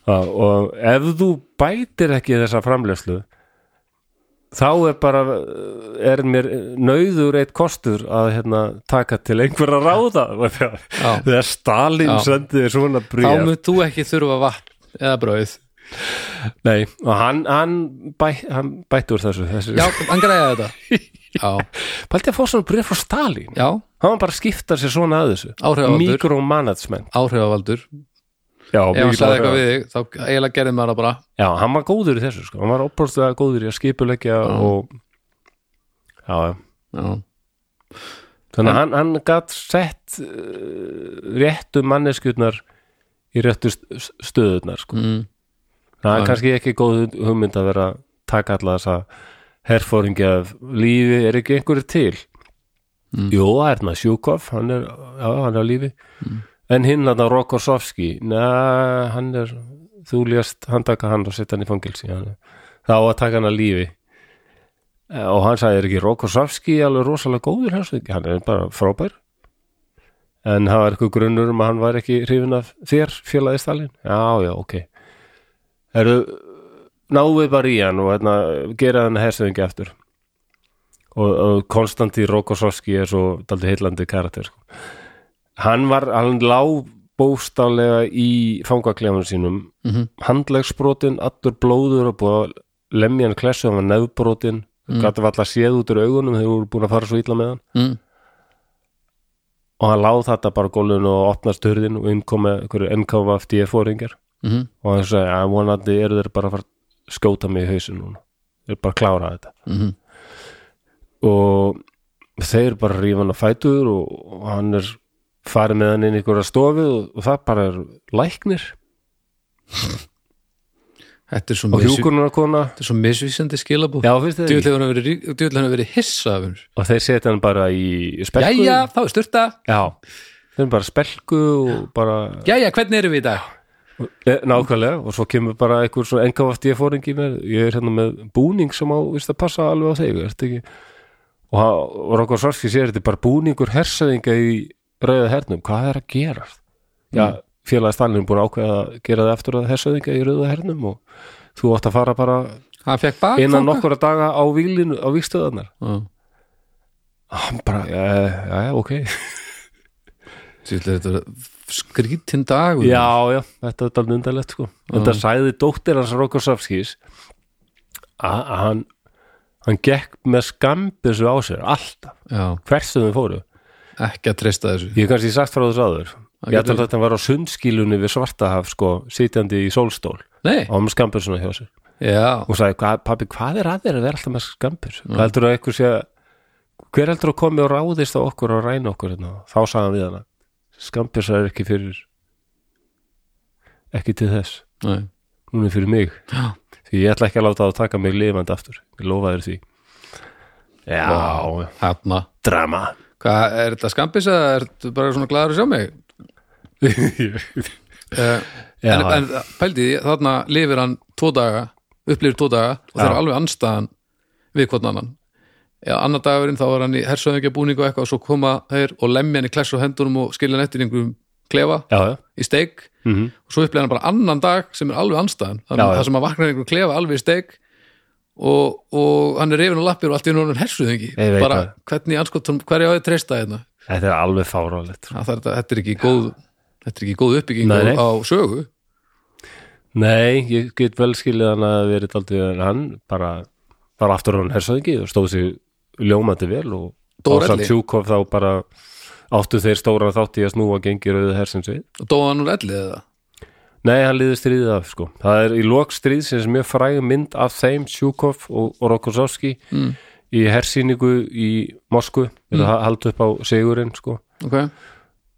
Speaker 4: það, og ef þú bætir ekki þessa framleiðslu þá er bara er mér nauður eitt kostur að hérna, taka til einhverja ráða
Speaker 5: Já.
Speaker 4: þegar Stalin
Speaker 5: Já.
Speaker 4: sendi þér svona
Speaker 5: þá
Speaker 4: bríð
Speaker 5: mun þú ekki þurfa vatn eða brauð,
Speaker 4: Nei, og hann, hann, bæ, hann bætti úr þessu, þessu.
Speaker 5: já, hann græði þetta já,
Speaker 4: Pældi að fá svona bríð frá Stalin
Speaker 5: já,
Speaker 4: hann var bara að skipta sér svona að þessu
Speaker 5: Áhrifavaldur.
Speaker 4: mikromanagement
Speaker 5: áhrifavaldur
Speaker 4: Já,
Speaker 5: ef hann
Speaker 4: mikið
Speaker 5: sagði
Speaker 4: bara-
Speaker 5: eitthvað við þig, þá eiginlega gerði maður það bara
Speaker 4: Já, hann var góður í þessu sko, hann var opróstlega góður í að skipuleggja og já, já.
Speaker 5: já,
Speaker 4: þannig að hann, hann gat sett uh, réttu manneskjurnar í réttu st- stöðurnar sko.
Speaker 5: mm,
Speaker 4: það
Speaker 5: Já.
Speaker 4: er kannski ekki góð hugmynd að vera að taka alla þessa herfóringi af lífi er ekki einhverju til Jó, það er maður Sjúkov hann er, já, hann er á lífi en hinn að það Rokossovski neða, hann er þú lést handtaka hann og setja hann í fangilsi hann, þá að taka hann að lífi Eh, og hann sagði er ekki Rokossovski alveg rosalega góður hans hann er bara frábær en það var eitthvað grunnur um að hann var ekki hrifin af þér félagi Stalin já, já, ok Heru, náum við bara í hann og hérna, gera hann hersöðingi eftir og, og Konstantín Rokossovski er svo daldi heillandi karakter sko. hann var, hann lá bóstálega í fangaklefanum sínum mm -hmm. handlegsbrotin, allur blóður og búið að lemja hann klessu, hann var nefbrotin mm. gæti alltaf séð út úr augunum þegar voru búin að fara svo illa með hann
Speaker 5: Mm.
Speaker 4: og hann láð þetta bara gólun og opnast hurðin og inn kom með einhverju NKVFD-fóringar
Speaker 5: mhm,
Speaker 4: og hann sagði að vonandi eru þeir bara að fara að skjóta mig í hausin núna þeir bara að klára þetta
Speaker 5: Mhm.
Speaker 4: og þeir bara rífa hann að fætur og, og hann er farið með hann inn í einhverja stofu og, og það bara er læknir
Speaker 5: þetta er svo,
Speaker 4: og
Speaker 5: misvi-
Speaker 4: hjúkurnarkona
Speaker 5: þetta er svo misvísandi skilabú
Speaker 4: já, finnst þið ekki?
Speaker 5: djúðlega hann verið rík- djöfull hefur hann verið hissa af hennar
Speaker 4: og þeir setja hann bara í spelku
Speaker 5: jæja, þá er styrta,
Speaker 4: já þeir eru bara spelku og bara
Speaker 5: jæja, hvernig erum við í dag
Speaker 4: Eh, Nákvæmlega, og svo kemur bara einhver svo engavast ég fóringi með, ég er hérna með búning sem á, veist að passa alveg á þig veist ekki og, hann- og Rokkar Svarski sér, þetta er bara búningur hersæðinga í rauða hernum, hvað er að gera já,
Speaker 5: Mm.
Speaker 4: félagi Stalin er búin að ákveða að gera það eftir að hersæðinga í rauða hernum og þú átt að fara bara
Speaker 5: hann fekk bak
Speaker 4: innan nokkura daga á vílinu, á víkstöðarnar
Speaker 5: Já.
Speaker 4: hann bara, já, já, já, ok
Speaker 5: djúðlega þetta er skrítin dag
Speaker 4: Já, já, þetta er alveg undarlegt sko Þetta sagði dóttir hans Rokosavskís að að hann hann gekk með skambissu á sér alltaf,
Speaker 5: já,
Speaker 4: hversu þau fóru
Speaker 5: ekki að treysta þessu
Speaker 4: Ég hef kannski sagt frá þess aður Ég
Speaker 5: Það
Speaker 4: ætla
Speaker 5: getur-
Speaker 4: að þetta var á sundskílunni við Svartahaf sko, sitjandi í sólstól
Speaker 5: nei,
Speaker 4: og hann með skambissuna hjá sér
Speaker 5: já,
Speaker 4: og sagði, "Hvað- pabbi, hvað er að þér að vera alltaf með skambissu? Hvað heldur að eitthvað sé að- hver heldur að komi og ráðist á okkur og ræna okkur hérna? Þá sagði hann við hana skambissa er ekki fyrir ekki til þess
Speaker 5: nei
Speaker 4: hún er fyrir mig
Speaker 5: Já.
Speaker 4: því ég ætla ekki að láta það taka mig lifandi aftur ég lofa þér því já,
Speaker 5: Hanna.
Speaker 4: drama
Speaker 5: Hvað, er þetta skambis eða er þetta bara svona glæður að sjá mig? uh,
Speaker 4: Já.
Speaker 5: en, en pældi því, þarna lifir hann tvo daga, upplifir tvo daga og þeir
Speaker 4: Já.
Speaker 5: eru alveg anstæðan við hvort annan. Já, annar dagurinn þá var hann í hersöðingja búningu og eitthvað og svo koma þeir og lemja hann í klessu á hendunum og skilja hann eftir í einhverjum klefa
Speaker 4: já, já,
Speaker 5: í steik
Speaker 4: Mhm.
Speaker 5: og svo upplifir hann bara annan dag sem er alveg anstæðan. Þannig
Speaker 4: Já,
Speaker 5: að
Speaker 4: já.
Speaker 5: það sem hann vaknar í einhverjum klefa alveg í steik og, og hann er reyfin á lappir og allt í einu hann hersöðingi.
Speaker 4: Ég veit
Speaker 5: Bara, hvernig anskotum, hverja á ég að treysta hérna?
Speaker 4: þetta er alveg fárálegt
Speaker 5: Það er, þetta er ekki góð þetta er ekki góð uppbygging
Speaker 4: Nei, nei.
Speaker 5: á sögu
Speaker 4: nei, ég get vel skilið hann að verið aldrei en hann bara var aftur hann hersöðingi og stóð sér ljómandi vel og
Speaker 5: Dórelli.
Speaker 4: Tjúkov þá bara áttu þeir stóra þátt í að snúa gengir auðvitað hersins við
Speaker 5: og dóða hann úr ellið eða
Speaker 4: Nei, hann líði stríðið af sko. Það er í lok stríðsins mjög fræg mynd af þeim Sjúkov og, og Rokosovski mm. í hersýningu í Mosku, mm. það haldi upp á sigurinn sko.
Speaker 5: okay.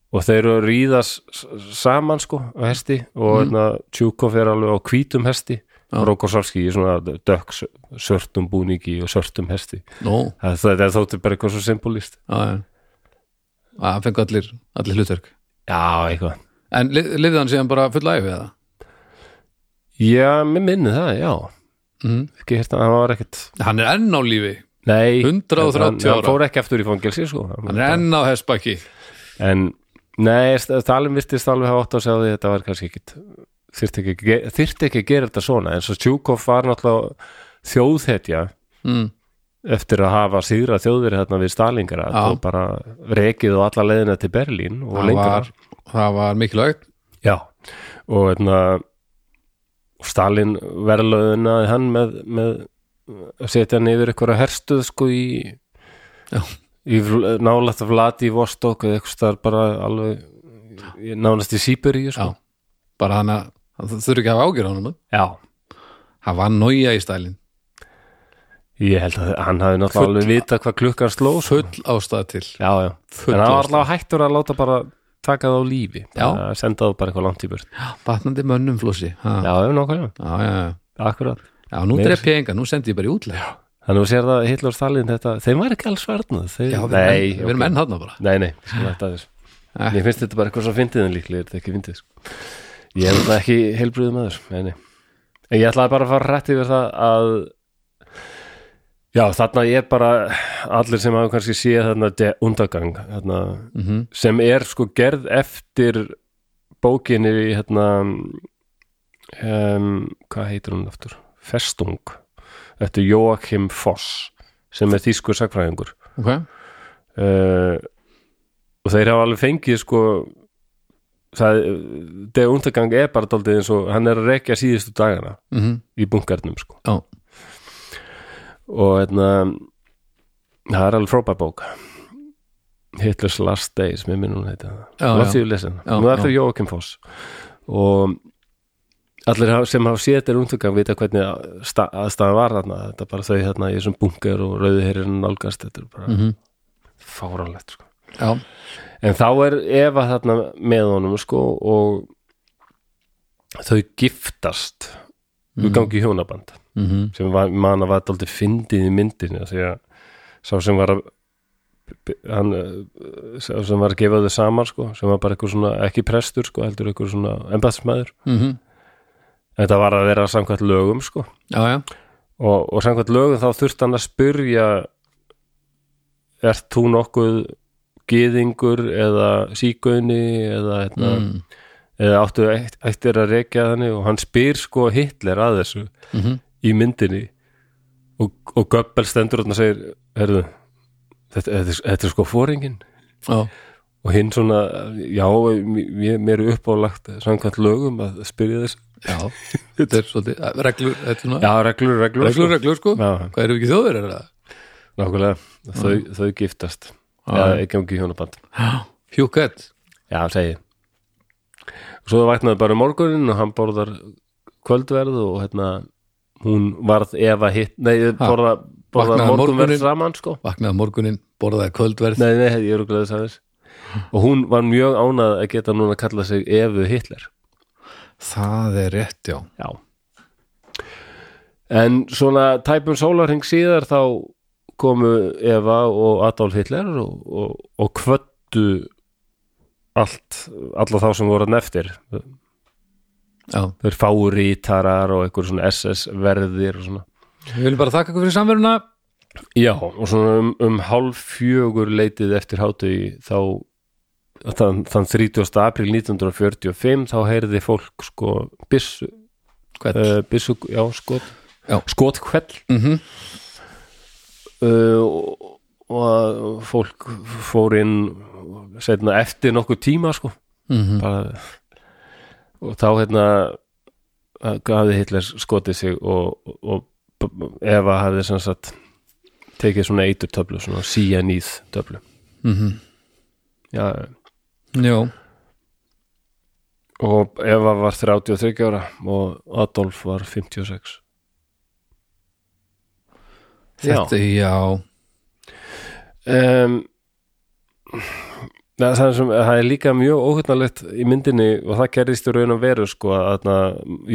Speaker 4: og þeir eru að ríða s- s- saman sko, á hesti og mm. Sjúkov er alveg á hvítum hesti og Rokosovski í svona dökk s- svörtum búningi og svörtum hesti
Speaker 5: Nó,
Speaker 4: það, það, það þótti bara eitthvað svo symbolist
Speaker 5: já, já Að hann fengi allir, allir hlutverk
Speaker 4: Já, eitthvað
Speaker 5: En li- lifði hann síðan bara full æfi eða
Speaker 4: Já, mér minni það, já
Speaker 5: Mhm.
Speaker 4: mm. ekki hérna, hann var ekkert
Speaker 5: Hann er enn á lífi,
Speaker 4: Nei,
Speaker 5: 130
Speaker 4: hann,
Speaker 5: ára.
Speaker 4: hann fór ekki aftur í fangelsi sko.
Speaker 5: hann er enn á hessbakki
Speaker 4: en nei, Stalin virtist alveg hafa átt á sig á því að þetta var kannski ekkit þyrfti ekki, að ge- þyrfti ekki að gera þetta svona en svo Tjúkov var náttúrulega þjóðhetja
Speaker 5: mm.
Speaker 4: eftir að hafa síðra þjóðveri hérna við Stalingra
Speaker 5: Já.
Speaker 4: og bara rekið og alla leiðina til Berlín og
Speaker 5: það,
Speaker 4: lengra
Speaker 5: var, það var mikilvægt
Speaker 4: Já, og hérna og Stalin verðlaðunaði hann með, með að setja hann yfir eitthvað herstuð sko í
Speaker 5: Já.
Speaker 4: í Vl- nálægt Vladi í Vostok eða eitthvað þar bara alveg í- nánast í Sýberíu sko.
Speaker 5: Já. bara hann að það þurfi ekki að hafa ágjur á honum
Speaker 4: Já,
Speaker 5: hann var nója í stælinn,
Speaker 4: ég held að hann hafði náttúrulega alveg vita hvað klukkan sló sko.
Speaker 5: full ástæða til
Speaker 4: Já, já,
Speaker 5: Full
Speaker 4: en hann var
Speaker 5: ástæða.
Speaker 4: allavega hættur að láta bara taka það á lífi bara að senda það bara eitthvað langt í burt Já,
Speaker 5: batnandi mönnum flósi já,
Speaker 4: já nokkvæm,
Speaker 5: já, já, já.
Speaker 4: akkurat
Speaker 5: já, nú
Speaker 4: Mér-
Speaker 5: dref ég enga, nú sendi ég bara í útleg já,
Speaker 4: Þannig að þú sér það Hitler og Stalin þetta, þeim var ekki alls varnað þeir,
Speaker 5: við,
Speaker 4: nei,
Speaker 5: erum enn, við erum
Speaker 4: ok.
Speaker 5: enn hann bara
Speaker 4: Nei, nei, sem þetta er
Speaker 5: Eh.
Speaker 4: Mér finnst þetta bara eitthvað svo fyndið en líklega er þetta ekki fyndið sko. Ég er þetta ekki heilbrúðum aður Nei, nei En ég ætlaði bara að fara rétt yfir það að Já, þarna ég bara allir sem hafa kannski séð þarna de undagang þarna,
Speaker 5: Mhm.
Speaker 4: sem er sko gerð eftir bókinni í hérna um, hvað heitir hún aftur? Festung Þetta er Joachim Foss sem er þýskur sakfræðingur
Speaker 5: okay.
Speaker 4: uh, og þeir hafa alveg fengið sko það, De Untergang er bara daldið eins og hann er að rekja síðustu dagana
Speaker 5: mm
Speaker 4: í bunkarnum sko
Speaker 5: Já.
Speaker 4: og hérna það er alveg frábær bók Hitler's Last Days mér minnum hún heita
Speaker 5: Já,
Speaker 4: það
Speaker 5: já.
Speaker 4: Last Days Lesson,
Speaker 5: Já,
Speaker 4: nú eftir
Speaker 5: já.
Speaker 4: Jóakim Foss og allir hafa- sem hafa séð þetta er umtökan vita hvernig að sta- aðstæðan var þarna þetta er bara þau hérna í þessum bunker og rauðherrin nálgast, þetta er bara mm
Speaker 5: Mhm.
Speaker 4: fáránlegt sko
Speaker 5: já,
Speaker 4: En þá er Eva þarna með honum sko og þau giftast mm. við gangi í hjónaband
Speaker 5: mhm,
Speaker 4: sem var, man að var daldið fyndið í myndinni því að sá sem var að hann, eh, sá sem var að gefa þau saman sko, sem var bara eitthvað svona ekki prestur sko, heldur eitthvað svona embatsmaður
Speaker 5: mhm
Speaker 4: þetta var að vera samkvæmt lögum sko
Speaker 5: já, já,
Speaker 4: og, og samkvæmt lögum þá þurft hann að spyrja ert þú nokkuð gýðingur eða sígauni eða, hérna,
Speaker 5: Mhm.
Speaker 4: eða áttu eitt, eittir að rekja þannig og hann spyr sko Hitler að þessu
Speaker 5: Mhm.
Speaker 4: í myndinni og, og Göbbel stendur þarna og segir herðu, þetta, þetta, er- þetta er sko fóringin
Speaker 5: já,
Speaker 4: og hinn svona, já, mér, mér er uppálagt samkvæmt lögum að spyrja þessu
Speaker 5: já þetta er svolítið, reglur, þetta er svona
Speaker 4: já, reglur, reglur,
Speaker 5: reglur, reglur sko,
Speaker 4: Já.
Speaker 5: hvað eru ekki þjóður er það?
Speaker 4: Nákvæmlega, þau, þau giftast eða ekki gangi í hjónaband
Speaker 5: Hjúkett,
Speaker 4: Já, segi ég. Svo það vaknaði bara um morgunin og hann borðar kvöldverð og hérna hún varð Eva hitt nei, borða, borða
Speaker 5: Vaknaði um morguninn.
Speaker 4: morgunverð saman sko
Speaker 5: vaknaði á morgunin borðaði kvöldverð,
Speaker 4: Nei, nei, ég er okkur að þess aðeins og hún var mjög ánað að geta núna að kalla sig Evu Hitler
Speaker 5: það er rétt já,
Speaker 4: Já En svona tæpum sólarhing síðar þá komu Eva og Adolf Hitler og, og, og kvöttu allt, alla þá sem voru hann eftir
Speaker 5: já
Speaker 4: þeir fáu rítarar og einhver svona SS-verðir og svona
Speaker 5: við viljum bara þakka ykkur fyrir samveruna
Speaker 4: Já, og svona um, um hálf fjögur leitið eftir hátu í þá þann, þann 30. april 1945 þá heyrði fólk sko byssu,
Speaker 5: hvern,
Speaker 4: uh, byssu já, skot,
Speaker 5: Já.
Speaker 4: skotkvell
Speaker 5: mhm
Speaker 4: uh, og- og að fólk fór inn setna, eftir nokkuð tíma sko
Speaker 5: Mhm.
Speaker 4: bara, og þá hérna hafði Hitler skotið sig og, og Eva hafði sem sagt tekið svona eitur töflu, svona síjaníð töflu
Speaker 5: Mhm.
Speaker 4: -hmm. já,
Speaker 5: Jó,
Speaker 4: og Eva var 33 ára og Adolf var 56
Speaker 5: þetta, já,
Speaker 4: um, neða, það, er sem, það er líka mjög óhugnalegt í myndinni og það gerðist í raun og veru sko að þarna,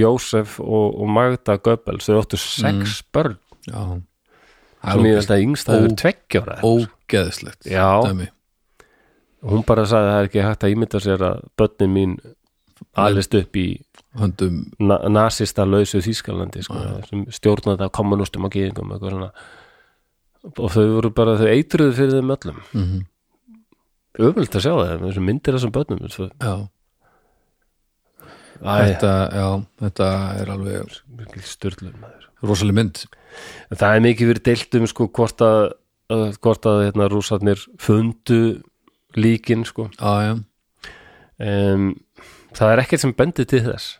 Speaker 4: Jósef og, og Magda Goebbels þau áttu sex börn
Speaker 5: já
Speaker 4: sem ég
Speaker 5: Það
Speaker 4: held að yngsta
Speaker 5: Ó-
Speaker 4: hefur tveggjóra
Speaker 5: er ógeðslegt
Speaker 4: Já.
Speaker 5: dæmi.
Speaker 4: hún bara sagði að það er ekki hægt að ímynda sér að börnin mín alist upp í
Speaker 5: Höndum,
Speaker 4: na nasista lausu Þýskalandi sko, sem stjórnaði það kommunustum og gýðingum eitthvað svona og þau voru bara, þau eitruðu fyrir þeim öllum mm -hmm. að sjá það þessum myndir af þessum börnum svo,
Speaker 5: já
Speaker 4: Æ,
Speaker 5: Þetta, já, þetta er alveg
Speaker 4: mikil styrlun maður
Speaker 5: rosaleg mynd
Speaker 4: en það er mikið verið deilt um sko hvort að, að hvort að hérna rússarnir fundu líkin sko
Speaker 5: Já, já,
Speaker 4: um, það er ekkert sem bendir til þess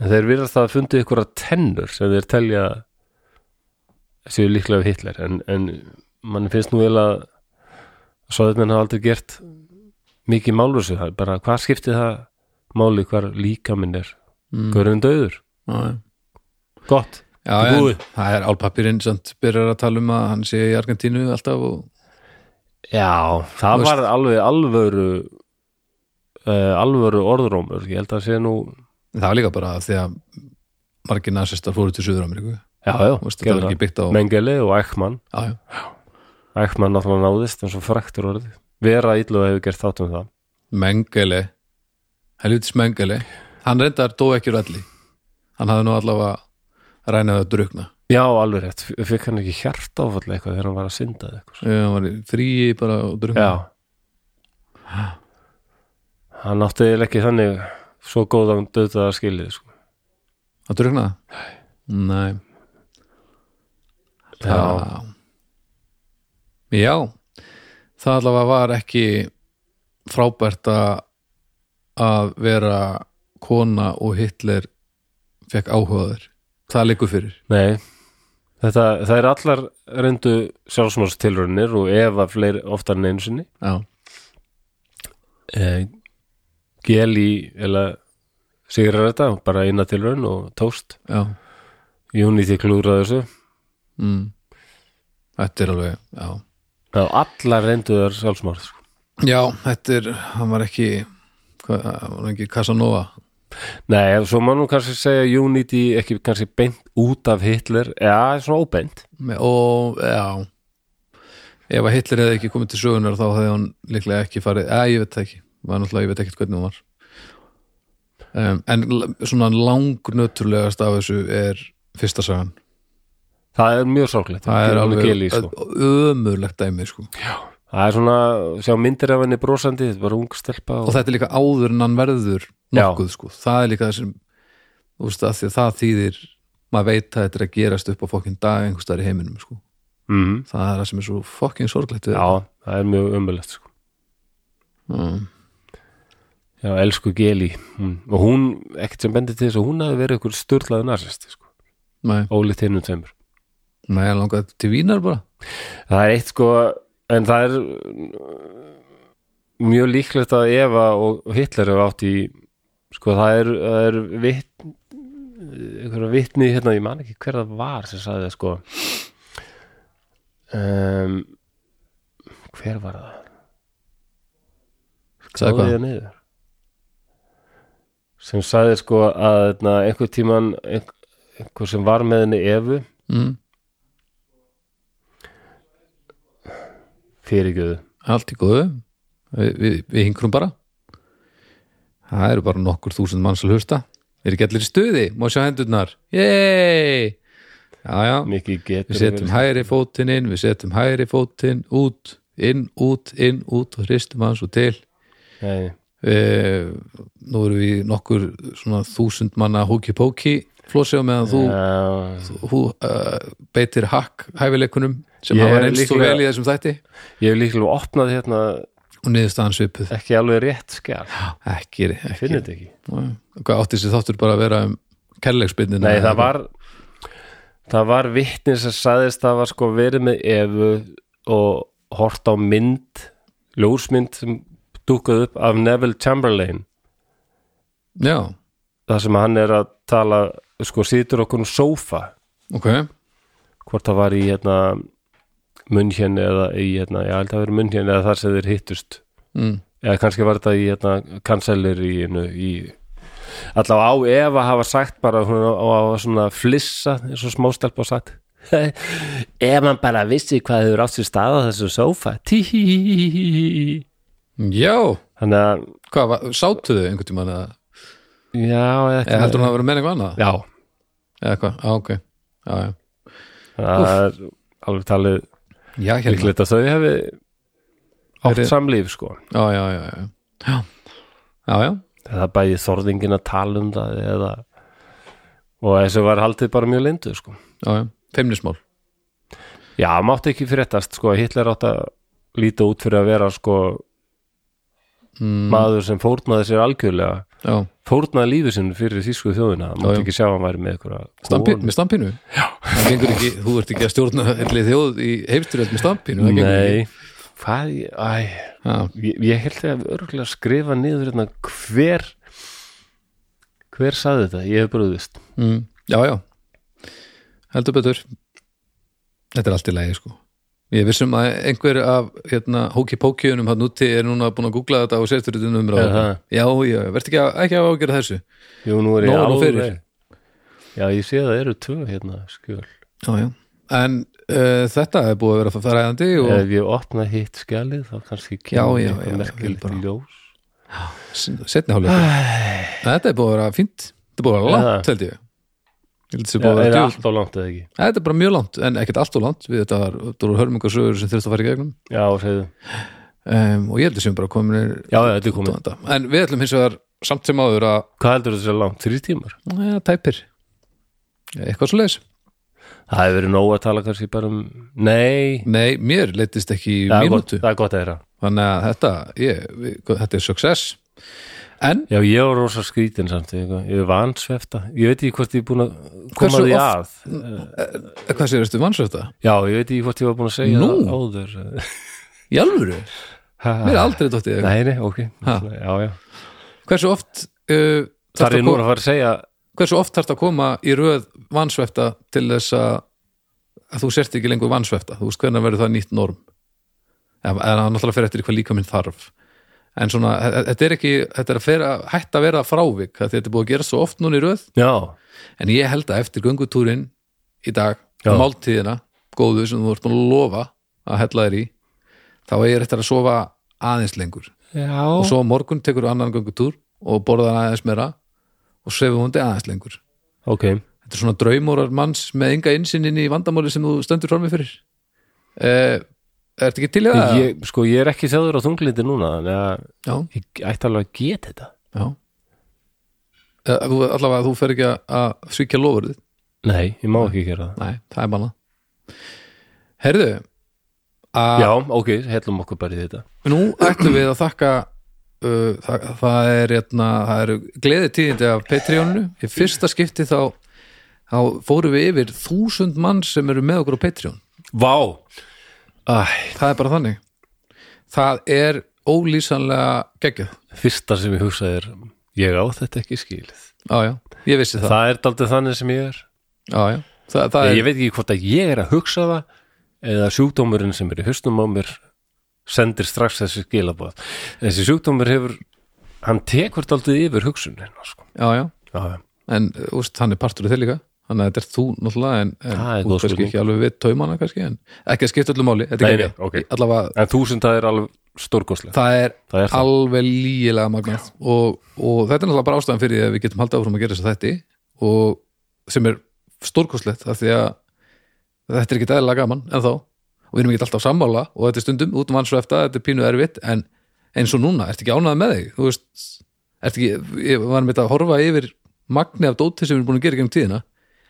Speaker 4: en þeir virðast að hafa fundið ykkur að tennur sem þeir telja séu líklega af Hitler en, en mann finnst nú vel að svo þetta menn hafa aldrei gert mikið málur sig það er bara hvað skipti það máli hvar líkaminn er mm. Görðin döður,
Speaker 5: já,
Speaker 4: gott
Speaker 5: já
Speaker 4: Þetta er
Speaker 5: en,
Speaker 4: búið.
Speaker 5: það er álpapirinn sem byrjar að tala um að hann sé í Argentínu alltaf og
Speaker 4: Já, það
Speaker 5: Þú
Speaker 4: var alveg alvöru uh, alvöru orðrómur, ég held að sé nú
Speaker 5: en það var líka bara af því að margir nasistar fóru til Suður-Ameríku
Speaker 4: Já, já,
Speaker 5: Veistu, það
Speaker 4: gerðu
Speaker 5: var ekki byggt á já,
Speaker 4: Mengele og Ekman
Speaker 5: já,
Speaker 4: Ekman náttúrulega náðist eins og fræktur orðið Vera illu hefur gert þátt um það
Speaker 5: Mengele helvitis Mengele hann reyndar dó ekki úr allir hann hafði nú allavega rænað að drukna
Speaker 4: Já, alveg rétt, fikk hann ekki hjart áfall eitthvað þegar hann var að synda eða eitthvað
Speaker 5: Já, hann var í fríi bara og drukna
Speaker 4: Já Hann átti eiginlega ekki þannig svo góðan döðaða skilið sko.
Speaker 5: að drukna nei
Speaker 4: Já.
Speaker 5: já það allavega var ekki frábært að að vera kona og Hitler fekk áhugaður það liggur fyrir
Speaker 4: Nei Þetta, það er allar reyndu sjálfsmálstilrunir og ef að fleiri oftar en einu sinni
Speaker 5: já,
Speaker 4: eh, Geli eða sigrar þetta bara eina tilraun og tóst
Speaker 5: já,
Speaker 4: Unity klúraði þessu
Speaker 5: mm. þetta er alveg já,
Speaker 4: Já, allar reynduðar sjálfsmorð sko.
Speaker 5: já þetta er, hann var ekki hvað, hann var ekki Casanova
Speaker 4: Nei, en svo má nú kannski segja Unity ekki kannski beint út af Hitler Já, svona óbeint
Speaker 5: Me- og já ef að Hitler hefði ekki komið til sögunar þá hefði hann líklega ekki farið eða ég veit það ekki, var náttúrulega ég veit ekkert hvernig hún var um, en l- svona langnöturlegast af þessu er fyrsta sagan
Speaker 4: Það er mjög sorglegt
Speaker 5: það er
Speaker 4: Hún
Speaker 5: alveg
Speaker 4: Geli, sko.
Speaker 5: ömurlegt dæmi sko.
Speaker 4: Það er svona, sjá myndir af henni brosandi þetta var ung stelpa
Speaker 5: og
Speaker 4: og,
Speaker 5: þetta er líka áður en hann verður nokkuð sko, það er líka það sem þú veist að því að það þýðir maður veit að þetta er að gerast upp á fokkin dag einhverstaðar í heiminum sko,
Speaker 4: Mhm.
Speaker 5: það er það sem er svo fokkin sorglegt við
Speaker 4: Já, það er mjög ömulegt sko.
Speaker 5: Mm.
Speaker 4: Já, elsku Geli hún, og hún, ekkert sem bendir til þess að hún hafi verið ykkur sturlaði narsist sko.
Speaker 5: nei,
Speaker 4: ólíkt hinn um tveimur
Speaker 5: nei, hann langaði til vínar bara
Speaker 4: Það er eitt sko en það er uh, mjög líklegt að Eva og Hitler hefur átt í sko það er, það er vitt einhverja vitni hérna, ég man ekki hver það var sem sagði það sko um, hver var það?
Speaker 5: Sagði
Speaker 4: Náði
Speaker 5: hvað?
Speaker 4: það niður. sem sagði sko að na, einhver tíman einhver, einhver sem var með henni Evu
Speaker 5: mm.
Speaker 4: fyrirgjöðu
Speaker 5: allt í góðu við, við, við hingrum bara það eru bara nokkur þúsund manns að hlusta er ekki allir í stuði, má sjá hendurnar yey já já,
Speaker 4: mikið getur
Speaker 5: við setjum hægri fótinn inn við setjum hægri fótinn út inn, út, inn, út og hristum hans og til
Speaker 4: hæg
Speaker 5: e, nú erum við nokkur svona þúsund manna hóki-póki flósið meðan þú
Speaker 4: Já,
Speaker 5: hú, uh, beitir hakk hæfileikunum sem
Speaker 4: Ég
Speaker 5: hafa
Speaker 4: er
Speaker 5: reynst og
Speaker 4: líklega-
Speaker 5: vel í þessum þætti
Speaker 4: Ég hef líklega opnað hérna
Speaker 5: og niðurstaðan svipuð
Speaker 4: ekki alveg rétt skjál,
Speaker 5: ekki, ekki
Speaker 4: finnir þetta ekki
Speaker 5: Nei. hvað átti þessi þáttur bara að vera um kærleiksbyrnina
Speaker 4: Nei, það var það var vitni sem sagðist það var sko verið með efu og hort á mynd ljósmynd sem dúkað upp af Neville Chamberlain
Speaker 5: já,
Speaker 4: þar sem hann er að tala sko situr okkur um sófa
Speaker 5: ok,
Speaker 4: hvort það var í hérna munnhjenni eða í hérna, ég held að vera munnhjenni eða þar sem þeir hittust
Speaker 5: mm.
Speaker 4: eða kannski var þetta í hérna, kanselir í, í allavega á Eva hafa sagt bara hún á að svona flissa eins og smástelpa og sagt ef hann bara vissi hvað hefur átt sér stað á þessu sófa tíhihihihihi
Speaker 5: já
Speaker 4: þannig að,
Speaker 5: hvað, var, sátu þau einhvern tímann eða,
Speaker 4: já eða
Speaker 5: eða
Speaker 4: ekki,
Speaker 5: heldur hún að vera með eitthvað annað
Speaker 4: já
Speaker 5: eða hvað, á ok já, já,
Speaker 4: það er alveg talið
Speaker 5: já, hérna.
Speaker 4: líklegt að þau hefi átt
Speaker 5: Verið-
Speaker 4: samlíf sko
Speaker 5: já, já, já, já. já, já, já.
Speaker 4: það bæði þorðingin að tala um það eða og þessu var haldið bara mjög lindu sko
Speaker 5: já, já. feimnismál
Speaker 4: Já, mátti ekki fréttast sko, Hitler átt að líta út fyrir að vera sko
Speaker 5: Mm.
Speaker 4: maður sem fórnaði sér algjörlega
Speaker 5: já,
Speaker 4: fórnaði lífið sinn fyrir þýsku þjóðina það mátti
Speaker 5: já.
Speaker 4: ekki sjá að hann væri með einhverja
Speaker 5: Stampi,
Speaker 4: konu.
Speaker 5: með stampinu já. Ekki, þú ert ekki að stjórna allir þjóð í heimstyrjöld með stampinu það gengur ekki.
Speaker 4: Nei, hvað ég, æ,
Speaker 5: Já.
Speaker 4: ég, ég held að örgulega skrifa niður hérna hver hver saði þetta? Ég hef brúðist
Speaker 5: mm. Já, já, heldur betur Þetta er allt í lægi sko Ég er vissum að einhver af hérna, hóki-pókiunum hann úti er núna búin að googla þetta og sérstur þetta um
Speaker 4: Er
Speaker 5: ráða
Speaker 4: það?
Speaker 5: Já, já, verð ekki, að- ekki að ágjöra þessu
Speaker 4: Jú, nú er ég
Speaker 5: Nóg er nú
Speaker 4: alveg-
Speaker 5: fyrir.
Speaker 4: Já, ég sé að það eru tvö hérna skjöl
Speaker 5: Já, já En uh, þetta er búið að vera fræðandi og
Speaker 4: Ef ég opna hitt skjalið þá kannski kemur
Speaker 5: já, já,
Speaker 4: eitthvað merkilegt
Speaker 5: bara-
Speaker 4: í ljós
Speaker 5: setni hálfleikur Þetta er búið að vera fínt Þetta er búið að vera
Speaker 4: Já.
Speaker 5: langt, held ég Ég held að Þetta
Speaker 4: Já,
Speaker 5: er búið að
Speaker 4: það er
Speaker 5: vera djúl
Speaker 4: allt á langt eða ekki
Speaker 5: Þetta er bara mjög langt, en ekkert allt og langt við þetta var, þetta voru hörmungarsögur sem þurfti að fara í gegnum
Speaker 4: Já, segðu
Speaker 5: um, og ég held að sem bara komin
Speaker 4: Já, já, þetta er komið
Speaker 5: en við ætlum hins vegar samt sem áður að
Speaker 4: Hvað heldur þetta sér langt? Þrý tímar?
Speaker 5: ja, tæpir eitthvað svo leis
Speaker 4: Það hefur verið nóg að tala kannski bara um Nei,
Speaker 5: Nei, mér leittist ekki
Speaker 4: það er gott,
Speaker 5: mínútu
Speaker 4: það er gott að þeirra
Speaker 5: þannig að þetta, ég, við, þetta er success en
Speaker 4: Já, ég var rosa skrítin samt Ég ég er vansvefta Ég veit ekki hvort ég er búin að koma
Speaker 5: Hversu
Speaker 4: því
Speaker 5: oft-
Speaker 4: að
Speaker 5: eh, hvað séu þetta mannsöfta?
Speaker 4: Já, ég veit ekki hvort ég var búin að segja
Speaker 5: Nú?
Speaker 4: það áður
Speaker 5: Í alvöru? Mér er aldrei dóttið
Speaker 4: Nei, nei, ok
Speaker 5: Ha.
Speaker 4: Já, já
Speaker 5: Hversu oft uh,
Speaker 4: Þar
Speaker 5: þarftu
Speaker 4: er
Speaker 5: að
Speaker 4: ég núna
Speaker 5: koma-
Speaker 4: að fara að segja
Speaker 5: hversu oft þarfst að koma í röð vansvefta til þess að, að þú sért ekki lengur vansvefta þú veist hvernig verður það nýtt norm en en það náttúrulega fer eftir í hvað líka minn þarf en svona, þe- þe- þetta er ekki þetta er að fer að hætta að vera frávik af því þetta er búið að gera svo oft núna í röð
Speaker 4: Já,
Speaker 5: en ég held að eftir göngutúrin í dag,
Speaker 4: Já.
Speaker 5: máltíðina góðu sem þú ert búin að lofa að hella þér í, þá er ég eftir að sofa aðeins lengur
Speaker 4: já.
Speaker 5: og svo á morgun tekur annan göngutúr og borðar aðeins meira og svefum hundi aðeins lengur
Speaker 4: Ok,
Speaker 5: þetta er svona draumórar manns með enga einsinn inn í vandamáli sem þú stendur frammi fyrir uh, Ertu ekki til í það?
Speaker 4: ég, sko ég er ekki þjáður á þunglindi núna Þannig að
Speaker 5: Já,
Speaker 4: ég ætti alveg að geta þetta
Speaker 5: já Eh, þú, Allavega þú fer ekki að- að svíkja lofurðið
Speaker 4: Nei, ég má ekki gera það
Speaker 5: Nei, það er bara Herðu að
Speaker 4: Já, ok, hellum okkur bara í þetta
Speaker 5: nú ætlum við að þakka uh, það, það er hérna, það eru gleði tíðindi af Patreonu í fyrsta skipti þá þá fórum við yfir þúsund mann sem eru með okkur á Patreon
Speaker 4: Vá,
Speaker 5: það er bara þannig það er ólýsanlega geggjað
Speaker 4: fyrsta sem ég hugsa er ég á þetta ekki skilið
Speaker 5: já, já, ég vissi það,
Speaker 4: það er daldið þannig sem ég er
Speaker 5: Já, já. það, það
Speaker 4: ég,
Speaker 5: er,
Speaker 4: veit ekki hvort að ég er að hugsa það eða sjúkdómurinn sem er í haustum á mér sendir strax þessi skilabóð þessi sjúkdómur hefur hann tekur daldið yfir hugsunin sko.
Speaker 5: já, já,
Speaker 4: já, já.
Speaker 5: en úst, hann er partur af þér líka þannig að þetta er þú náttúrulega en, en
Speaker 4: Það er
Speaker 5: þú
Speaker 4: góð
Speaker 5: kannski
Speaker 4: spurning.
Speaker 5: ekki alveg við taumana kannski en ekki að skipta öllu máli þetta er
Speaker 4: Nei,
Speaker 5: geggjað.
Speaker 4: nei, ok.
Speaker 5: allavega,
Speaker 4: en þúsund það er alveg stórkostlega
Speaker 5: það er
Speaker 4: það er það
Speaker 5: alveg lígilega magnað og, og þetta er náttúrulega bara ástæðan fyrir því að við getum haldið áfram að gera þess að þetta og sem er stórkostlegt af því að þetta er ekki eðlilega gaman en þá og við erum ekki alltaf sammála og þetta er stundum út um hans og eftir, þetta er pínu erfitt en eins og núna, ertu ekki ánægð með þig þú veist, ertu ekki, ég var með þetta að horfa yfir magni af dóti sem við erum búin að gera í gegnum tíðina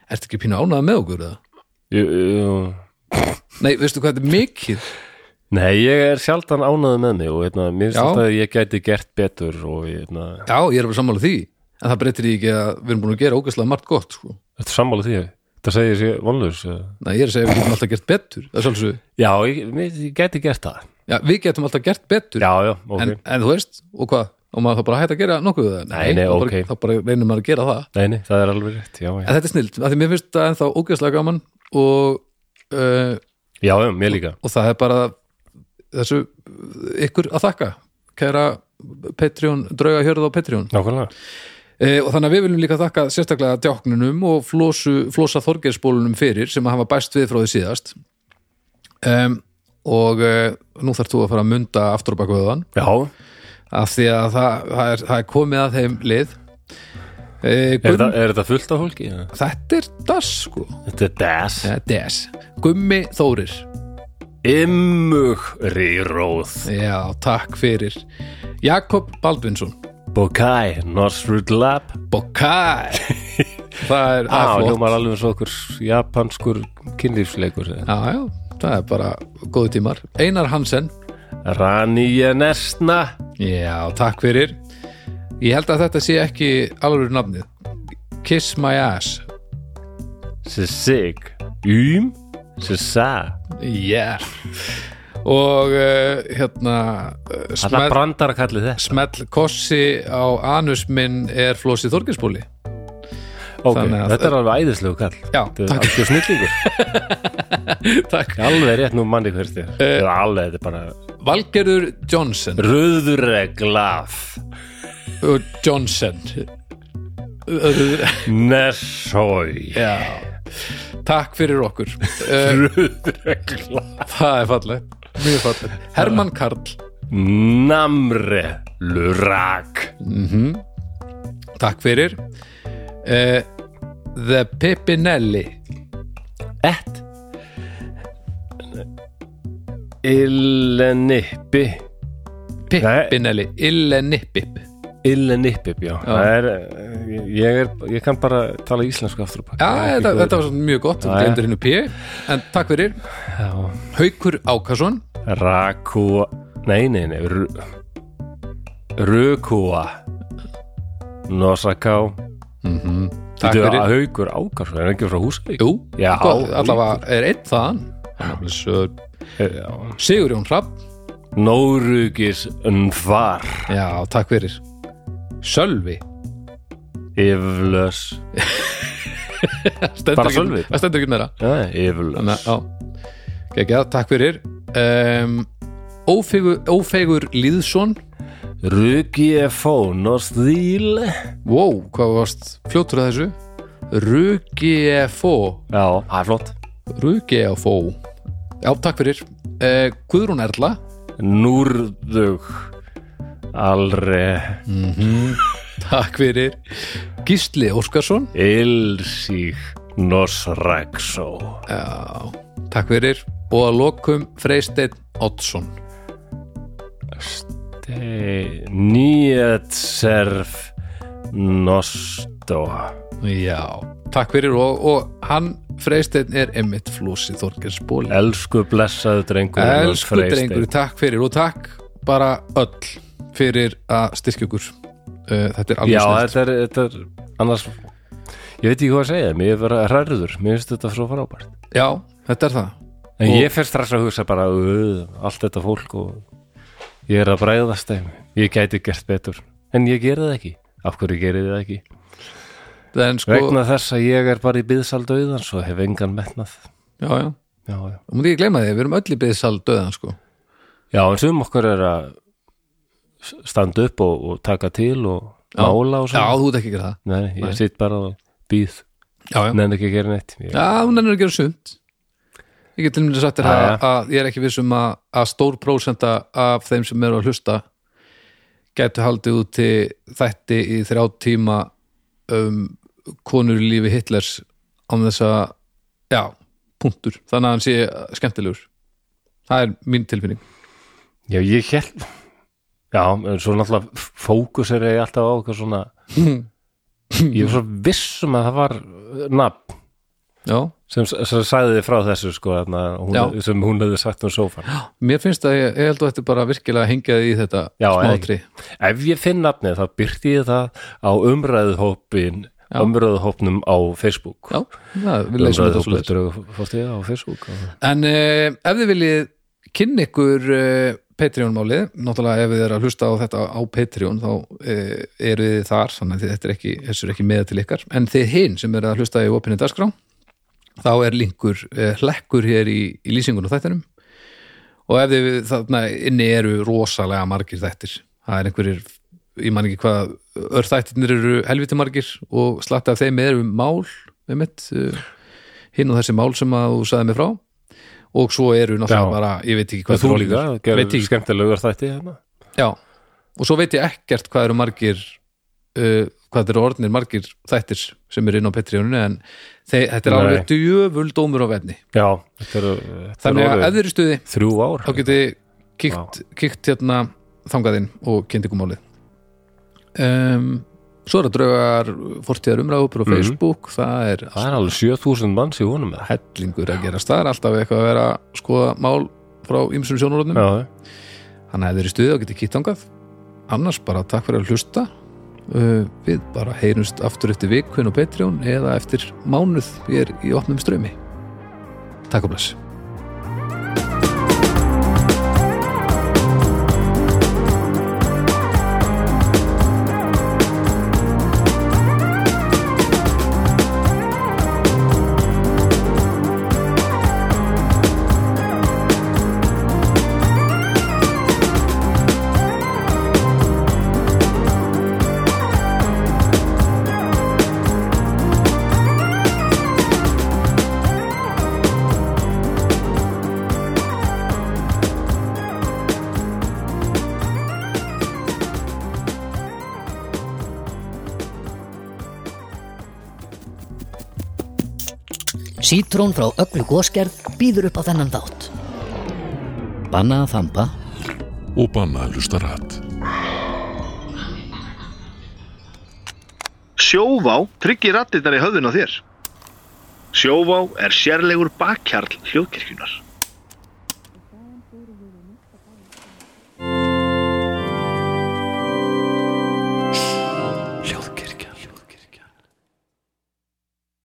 Speaker 5: ertu ekki pínu ánægð með okkur eða?
Speaker 4: Jú, jú.
Speaker 5: Nei, veistu hvað þetta er mikið?
Speaker 4: nei, ég er sjaldan ánaði með mig og hérna, mér finnst
Speaker 5: Já.
Speaker 4: alltaf að ég gæti gert betur og hérna,
Speaker 5: Já, ég er bara sammála því en það breytir því ekki að við erum búin að gera ógæslega margt gott sko.
Speaker 4: þetta sammála því þetta segir sér vonlaus eða?
Speaker 5: Nei, ég er að segja við getum alltaf gert betur Það er sjálfsögðu.
Speaker 4: já, ég, mér- ég gæti gert það
Speaker 5: Já, við getum alltaf gert betur
Speaker 4: já, já, ok
Speaker 5: en, en þú veist, og hvað? Og maður þá bara hægt að gera nokkuð við það?
Speaker 4: Nei, nei,
Speaker 5: þá, bara,
Speaker 4: ok.
Speaker 5: þá bara reynir maður að gera það
Speaker 4: Nei, nei, það er alveg rétt, já, já.
Speaker 5: En þetta er snilt, af því mér finnst það ennþá ógeðslega gaman og, uh,
Speaker 4: Já, já, mér líka.
Speaker 5: og það er bara þessu ykkur að þakka kæra Patreon, drauga hjörð á Patreon
Speaker 4: Nákvæmlega.
Speaker 5: Eh, og þannig að við viljum líka þakka sérstaklega djáknunum og flosu, flosa þorgersbólunum fyrir sem að hafa bæst við frá því síðast um, og uh, nú þarf þú að fara að munda aftur á bakvöðan
Speaker 4: Já,
Speaker 5: af því að það, það, er, það er komið að þeim lið uh,
Speaker 4: er,
Speaker 5: Gum,
Speaker 4: það, er þetta fullt af fólki? eða?
Speaker 5: þetta er das sko
Speaker 4: Þetta er des.
Speaker 5: ja, des. Gummi Þórir
Speaker 4: Immugri róð.
Speaker 5: já, takk fyrir Jakob Baldvinsson
Speaker 4: Bokai, Norsrud Lab.
Speaker 5: Bokai það er
Speaker 4: Á,
Speaker 5: það er flott
Speaker 4: hljómar alveg svo okkur japanskur kynlífsleikur. eða?
Speaker 5: já, já, það er bara góðu tímar Einar Hansen
Speaker 4: Rani Jenesna.
Speaker 5: Já, takk fyrir Ég held að þetta sé ekki alveg nafnið Kiss my ass
Speaker 4: Sissig. Ym. Sissa.
Speaker 5: Yeah Og uh, hérna uh,
Speaker 4: Alla
Speaker 5: smell,
Speaker 4: brandar að kalli þess.
Speaker 5: smell kossi á anus minn er flósið þorginsbúli
Speaker 4: Ok,
Speaker 5: Þannig að-
Speaker 4: þetta er alveg æðislegu kall
Speaker 5: Já,
Speaker 4: Þetta er algjör snillingur
Speaker 5: Takk.
Speaker 4: Alveg rétt nú manni hvert þér
Speaker 5: Eh.
Speaker 4: Þetta er alveg, þetta er bara
Speaker 5: Valgerður Johnson
Speaker 4: Röðureglaf
Speaker 5: Ö, Johnson Ö,
Speaker 4: Nessói
Speaker 5: Já Takk fyrir okkur Ö,
Speaker 4: Röðureglaf
Speaker 5: Það er falleg Mjög falleg Hermann Karl
Speaker 4: Namre Lurak
Speaker 5: Takk fyrir uh, The Pippinelli
Speaker 4: Et Illenippi
Speaker 5: Pippinelli Illenipip
Speaker 4: Illenippi, já Það er, eh, ég, er, ég kann bara tala íslensku aftur á bak.
Speaker 5: Já,
Speaker 4: Það er ekki
Speaker 5: þetta,
Speaker 4: góður.
Speaker 5: þetta var svona mjög gott Þú
Speaker 4: Já, já.
Speaker 5: glemdir hennu P En takk fyrir Haukur Ákason
Speaker 4: Rakúa Nei, nei, nei Ru- Rukúa Nosaká
Speaker 5: Takk
Speaker 4: Þetta
Speaker 5: fyrir
Speaker 4: er haukur ákarsson Er hann ekki frá Húsavík?
Speaker 5: Jú,
Speaker 4: Já,
Speaker 5: gott, allavega er einn þaðan
Speaker 4: Eh,
Speaker 5: Sigurjón Hrapp
Speaker 4: Nórugis Nvar
Speaker 5: Já, takk fyrir Sölvi
Speaker 4: Yflös
Speaker 5: Stendur
Speaker 4: Bara
Speaker 5: ekki-
Speaker 4: Sölvi?
Speaker 5: Það stendur ekki meira
Speaker 4: Nei, Yflös
Speaker 5: Þannig, að, já, geggjað, takk fyrir um, ófegur, ófegur Lýðsson
Speaker 4: Rugiefón og stíl
Speaker 5: wow, hvað varst fljótur að þessu Rugiefó
Speaker 4: Já, það er flott
Speaker 5: Rugiefó já, takk fyrir uh, Guðrún Erla
Speaker 4: Núrðug Alre
Speaker 5: takk fyrir Gísli Óskarsson
Speaker 4: Ilsík Nosraksó
Speaker 5: já, takk fyrir og að lokum Freysteinn Oddsson
Speaker 4: Nýjetserf Nosto
Speaker 5: já, takk fyrir og, og hann Freysteinn er Emmett Flósi Þorgers Bóli
Speaker 4: Elsku blessaðu drengur
Speaker 5: Elsku drengur, takk fyrir og takk bara öll fyrir að styrkja okkur uh, Þetta er alveg
Speaker 4: Já,
Speaker 5: snillt
Speaker 4: þetta er, þetta er annars Ég veit ekki hvað að segja, mér er verið hrærður Mér finnst þetta svo frábært
Speaker 5: Já, þetta er það
Speaker 4: En
Speaker 5: Og-
Speaker 4: ég fer strax að hugsa bara "Uð, Allt þetta fólk og Ég er að bræðast þeim Ég gæti gert betur En ég geri það ekki Af hverju gerið þið það ekki?
Speaker 5: En sko,
Speaker 4: Vegna þess að ég er bara í byðsaldauðans og hef engan metnað
Speaker 5: já, já,
Speaker 4: Já, já
Speaker 5: og múti ég gleyma því Við erum öll í byggðsal döðan sko
Speaker 4: Já, en sum okkar er að standa upp og, og taka til og mála og
Speaker 5: Já,
Speaker 4: svona.
Speaker 5: þú ert ekki að gera það
Speaker 4: Nei, ég sitt bara og býð,
Speaker 5: Já, já,
Speaker 4: nefn ekki að gera neitt. Ég,
Speaker 5: já þú nennir að gera sumt Ég get til mér sagt þér
Speaker 4: Já,
Speaker 5: að,
Speaker 4: já.
Speaker 5: að ég er ekki vissum að, að stór prósenta af þeim sem eru að hlusta gætu haldið út til þætti í þrjá tíma um konur í lífi Hitlers án þess að já, punktur, þannig að hann sé skemmtilegur það er mín tilfinning
Speaker 4: já, ég held, já, en svo náttúrulega fókus er ég alltaf á okkar svona, ég er svo vissum að það var uh, nafn
Speaker 5: já,
Speaker 4: sem, sem sagði þið frá þessu sko, þarna, hún,
Speaker 5: Já.
Speaker 4: sem hún hefði sagt um sófan.
Speaker 5: mér finnst að ég, ég held að þetta bara virkilega hengjaði í þetta
Speaker 4: Já, eða
Speaker 5: smátri
Speaker 4: Ef ég finn nafnið, þá byrti ég það á umræðuhópin, umræðuhópnum á Facebook.
Speaker 5: já, það, við leysum þetta
Speaker 4: Umræðuhópnum
Speaker 5: úr
Speaker 4: Draugafortíða á Facebook. og-
Speaker 5: En uh, ef þið viljið kynna ykkur uh, Patreon-málið, náttúrulega ef þið er að hlusta á þetta á Patreon þá uh, eru þið þar, þannig að þið- þetta er ekki, þessu er ekki með til ykkar, en þið hinn sem er að hlusta í opinni dagskrá, þá er linkur uh, hlekkur hér í, í lýsingun og þættinum og ef þið þarna inni eru rosalega margir þættir, það er einhverjir ég man ekki hvað, örþættirnir eru helviti margir og slatta af þeim eru mál, með mitt uh, hinn og þessi mál sem að þú sagði mig frá og svo eru náttúrulega
Speaker 4: Já.
Speaker 5: bara, ég veit ekki
Speaker 4: Hvað
Speaker 5: hvað
Speaker 4: þú
Speaker 5: þetta
Speaker 4: líka,
Speaker 5: líður. veit
Speaker 4: gerðu
Speaker 5: ekki,
Speaker 4: skemmtilegur þætti hérna.
Speaker 5: já og svo veit ég ekkert hvað eru margir uh, hvað þetta eru orðnir margir þættir sem eru inn á Patreoninu en þeir, þetta er
Speaker 4: Nei.
Speaker 5: alveg djöfull dómur á venni
Speaker 4: Já, þetta eru þetta
Speaker 5: þannig að
Speaker 4: eru
Speaker 5: ef þeir eru í stuði
Speaker 4: þrjú ár.
Speaker 5: þá getið þið kíkt, kíkt hérna þangaðinn og kynnt ykkur málið um, svo er að draugar fortíðar umræðupur á Facebook það er
Speaker 4: Mhm. Það er alveg 7000 manns í honum með.
Speaker 5: hellingur að gerast það er alltaf eitthvað að vera að skoða mál frá ymsum sjónurotnum
Speaker 4: Já,
Speaker 5: hann hefði verið stuðið og getið kýtt þangað annars bara takk fyrir að hlusta uh, við bara heyrumst aftur eftir vikun og Patreon eða eftir mánuð ég er í opnum strömi takk og bless
Speaker 2: Sítrón frá öllu góskerð býður upp á þennan þátt. Banna að þamba
Speaker 3: og banna að hlusta rætt.
Speaker 1: Sjóvá tryggir rattirnar í höfðun á þér. Sjóvá er sérlegur bakkjarl hljóðkirkjunar.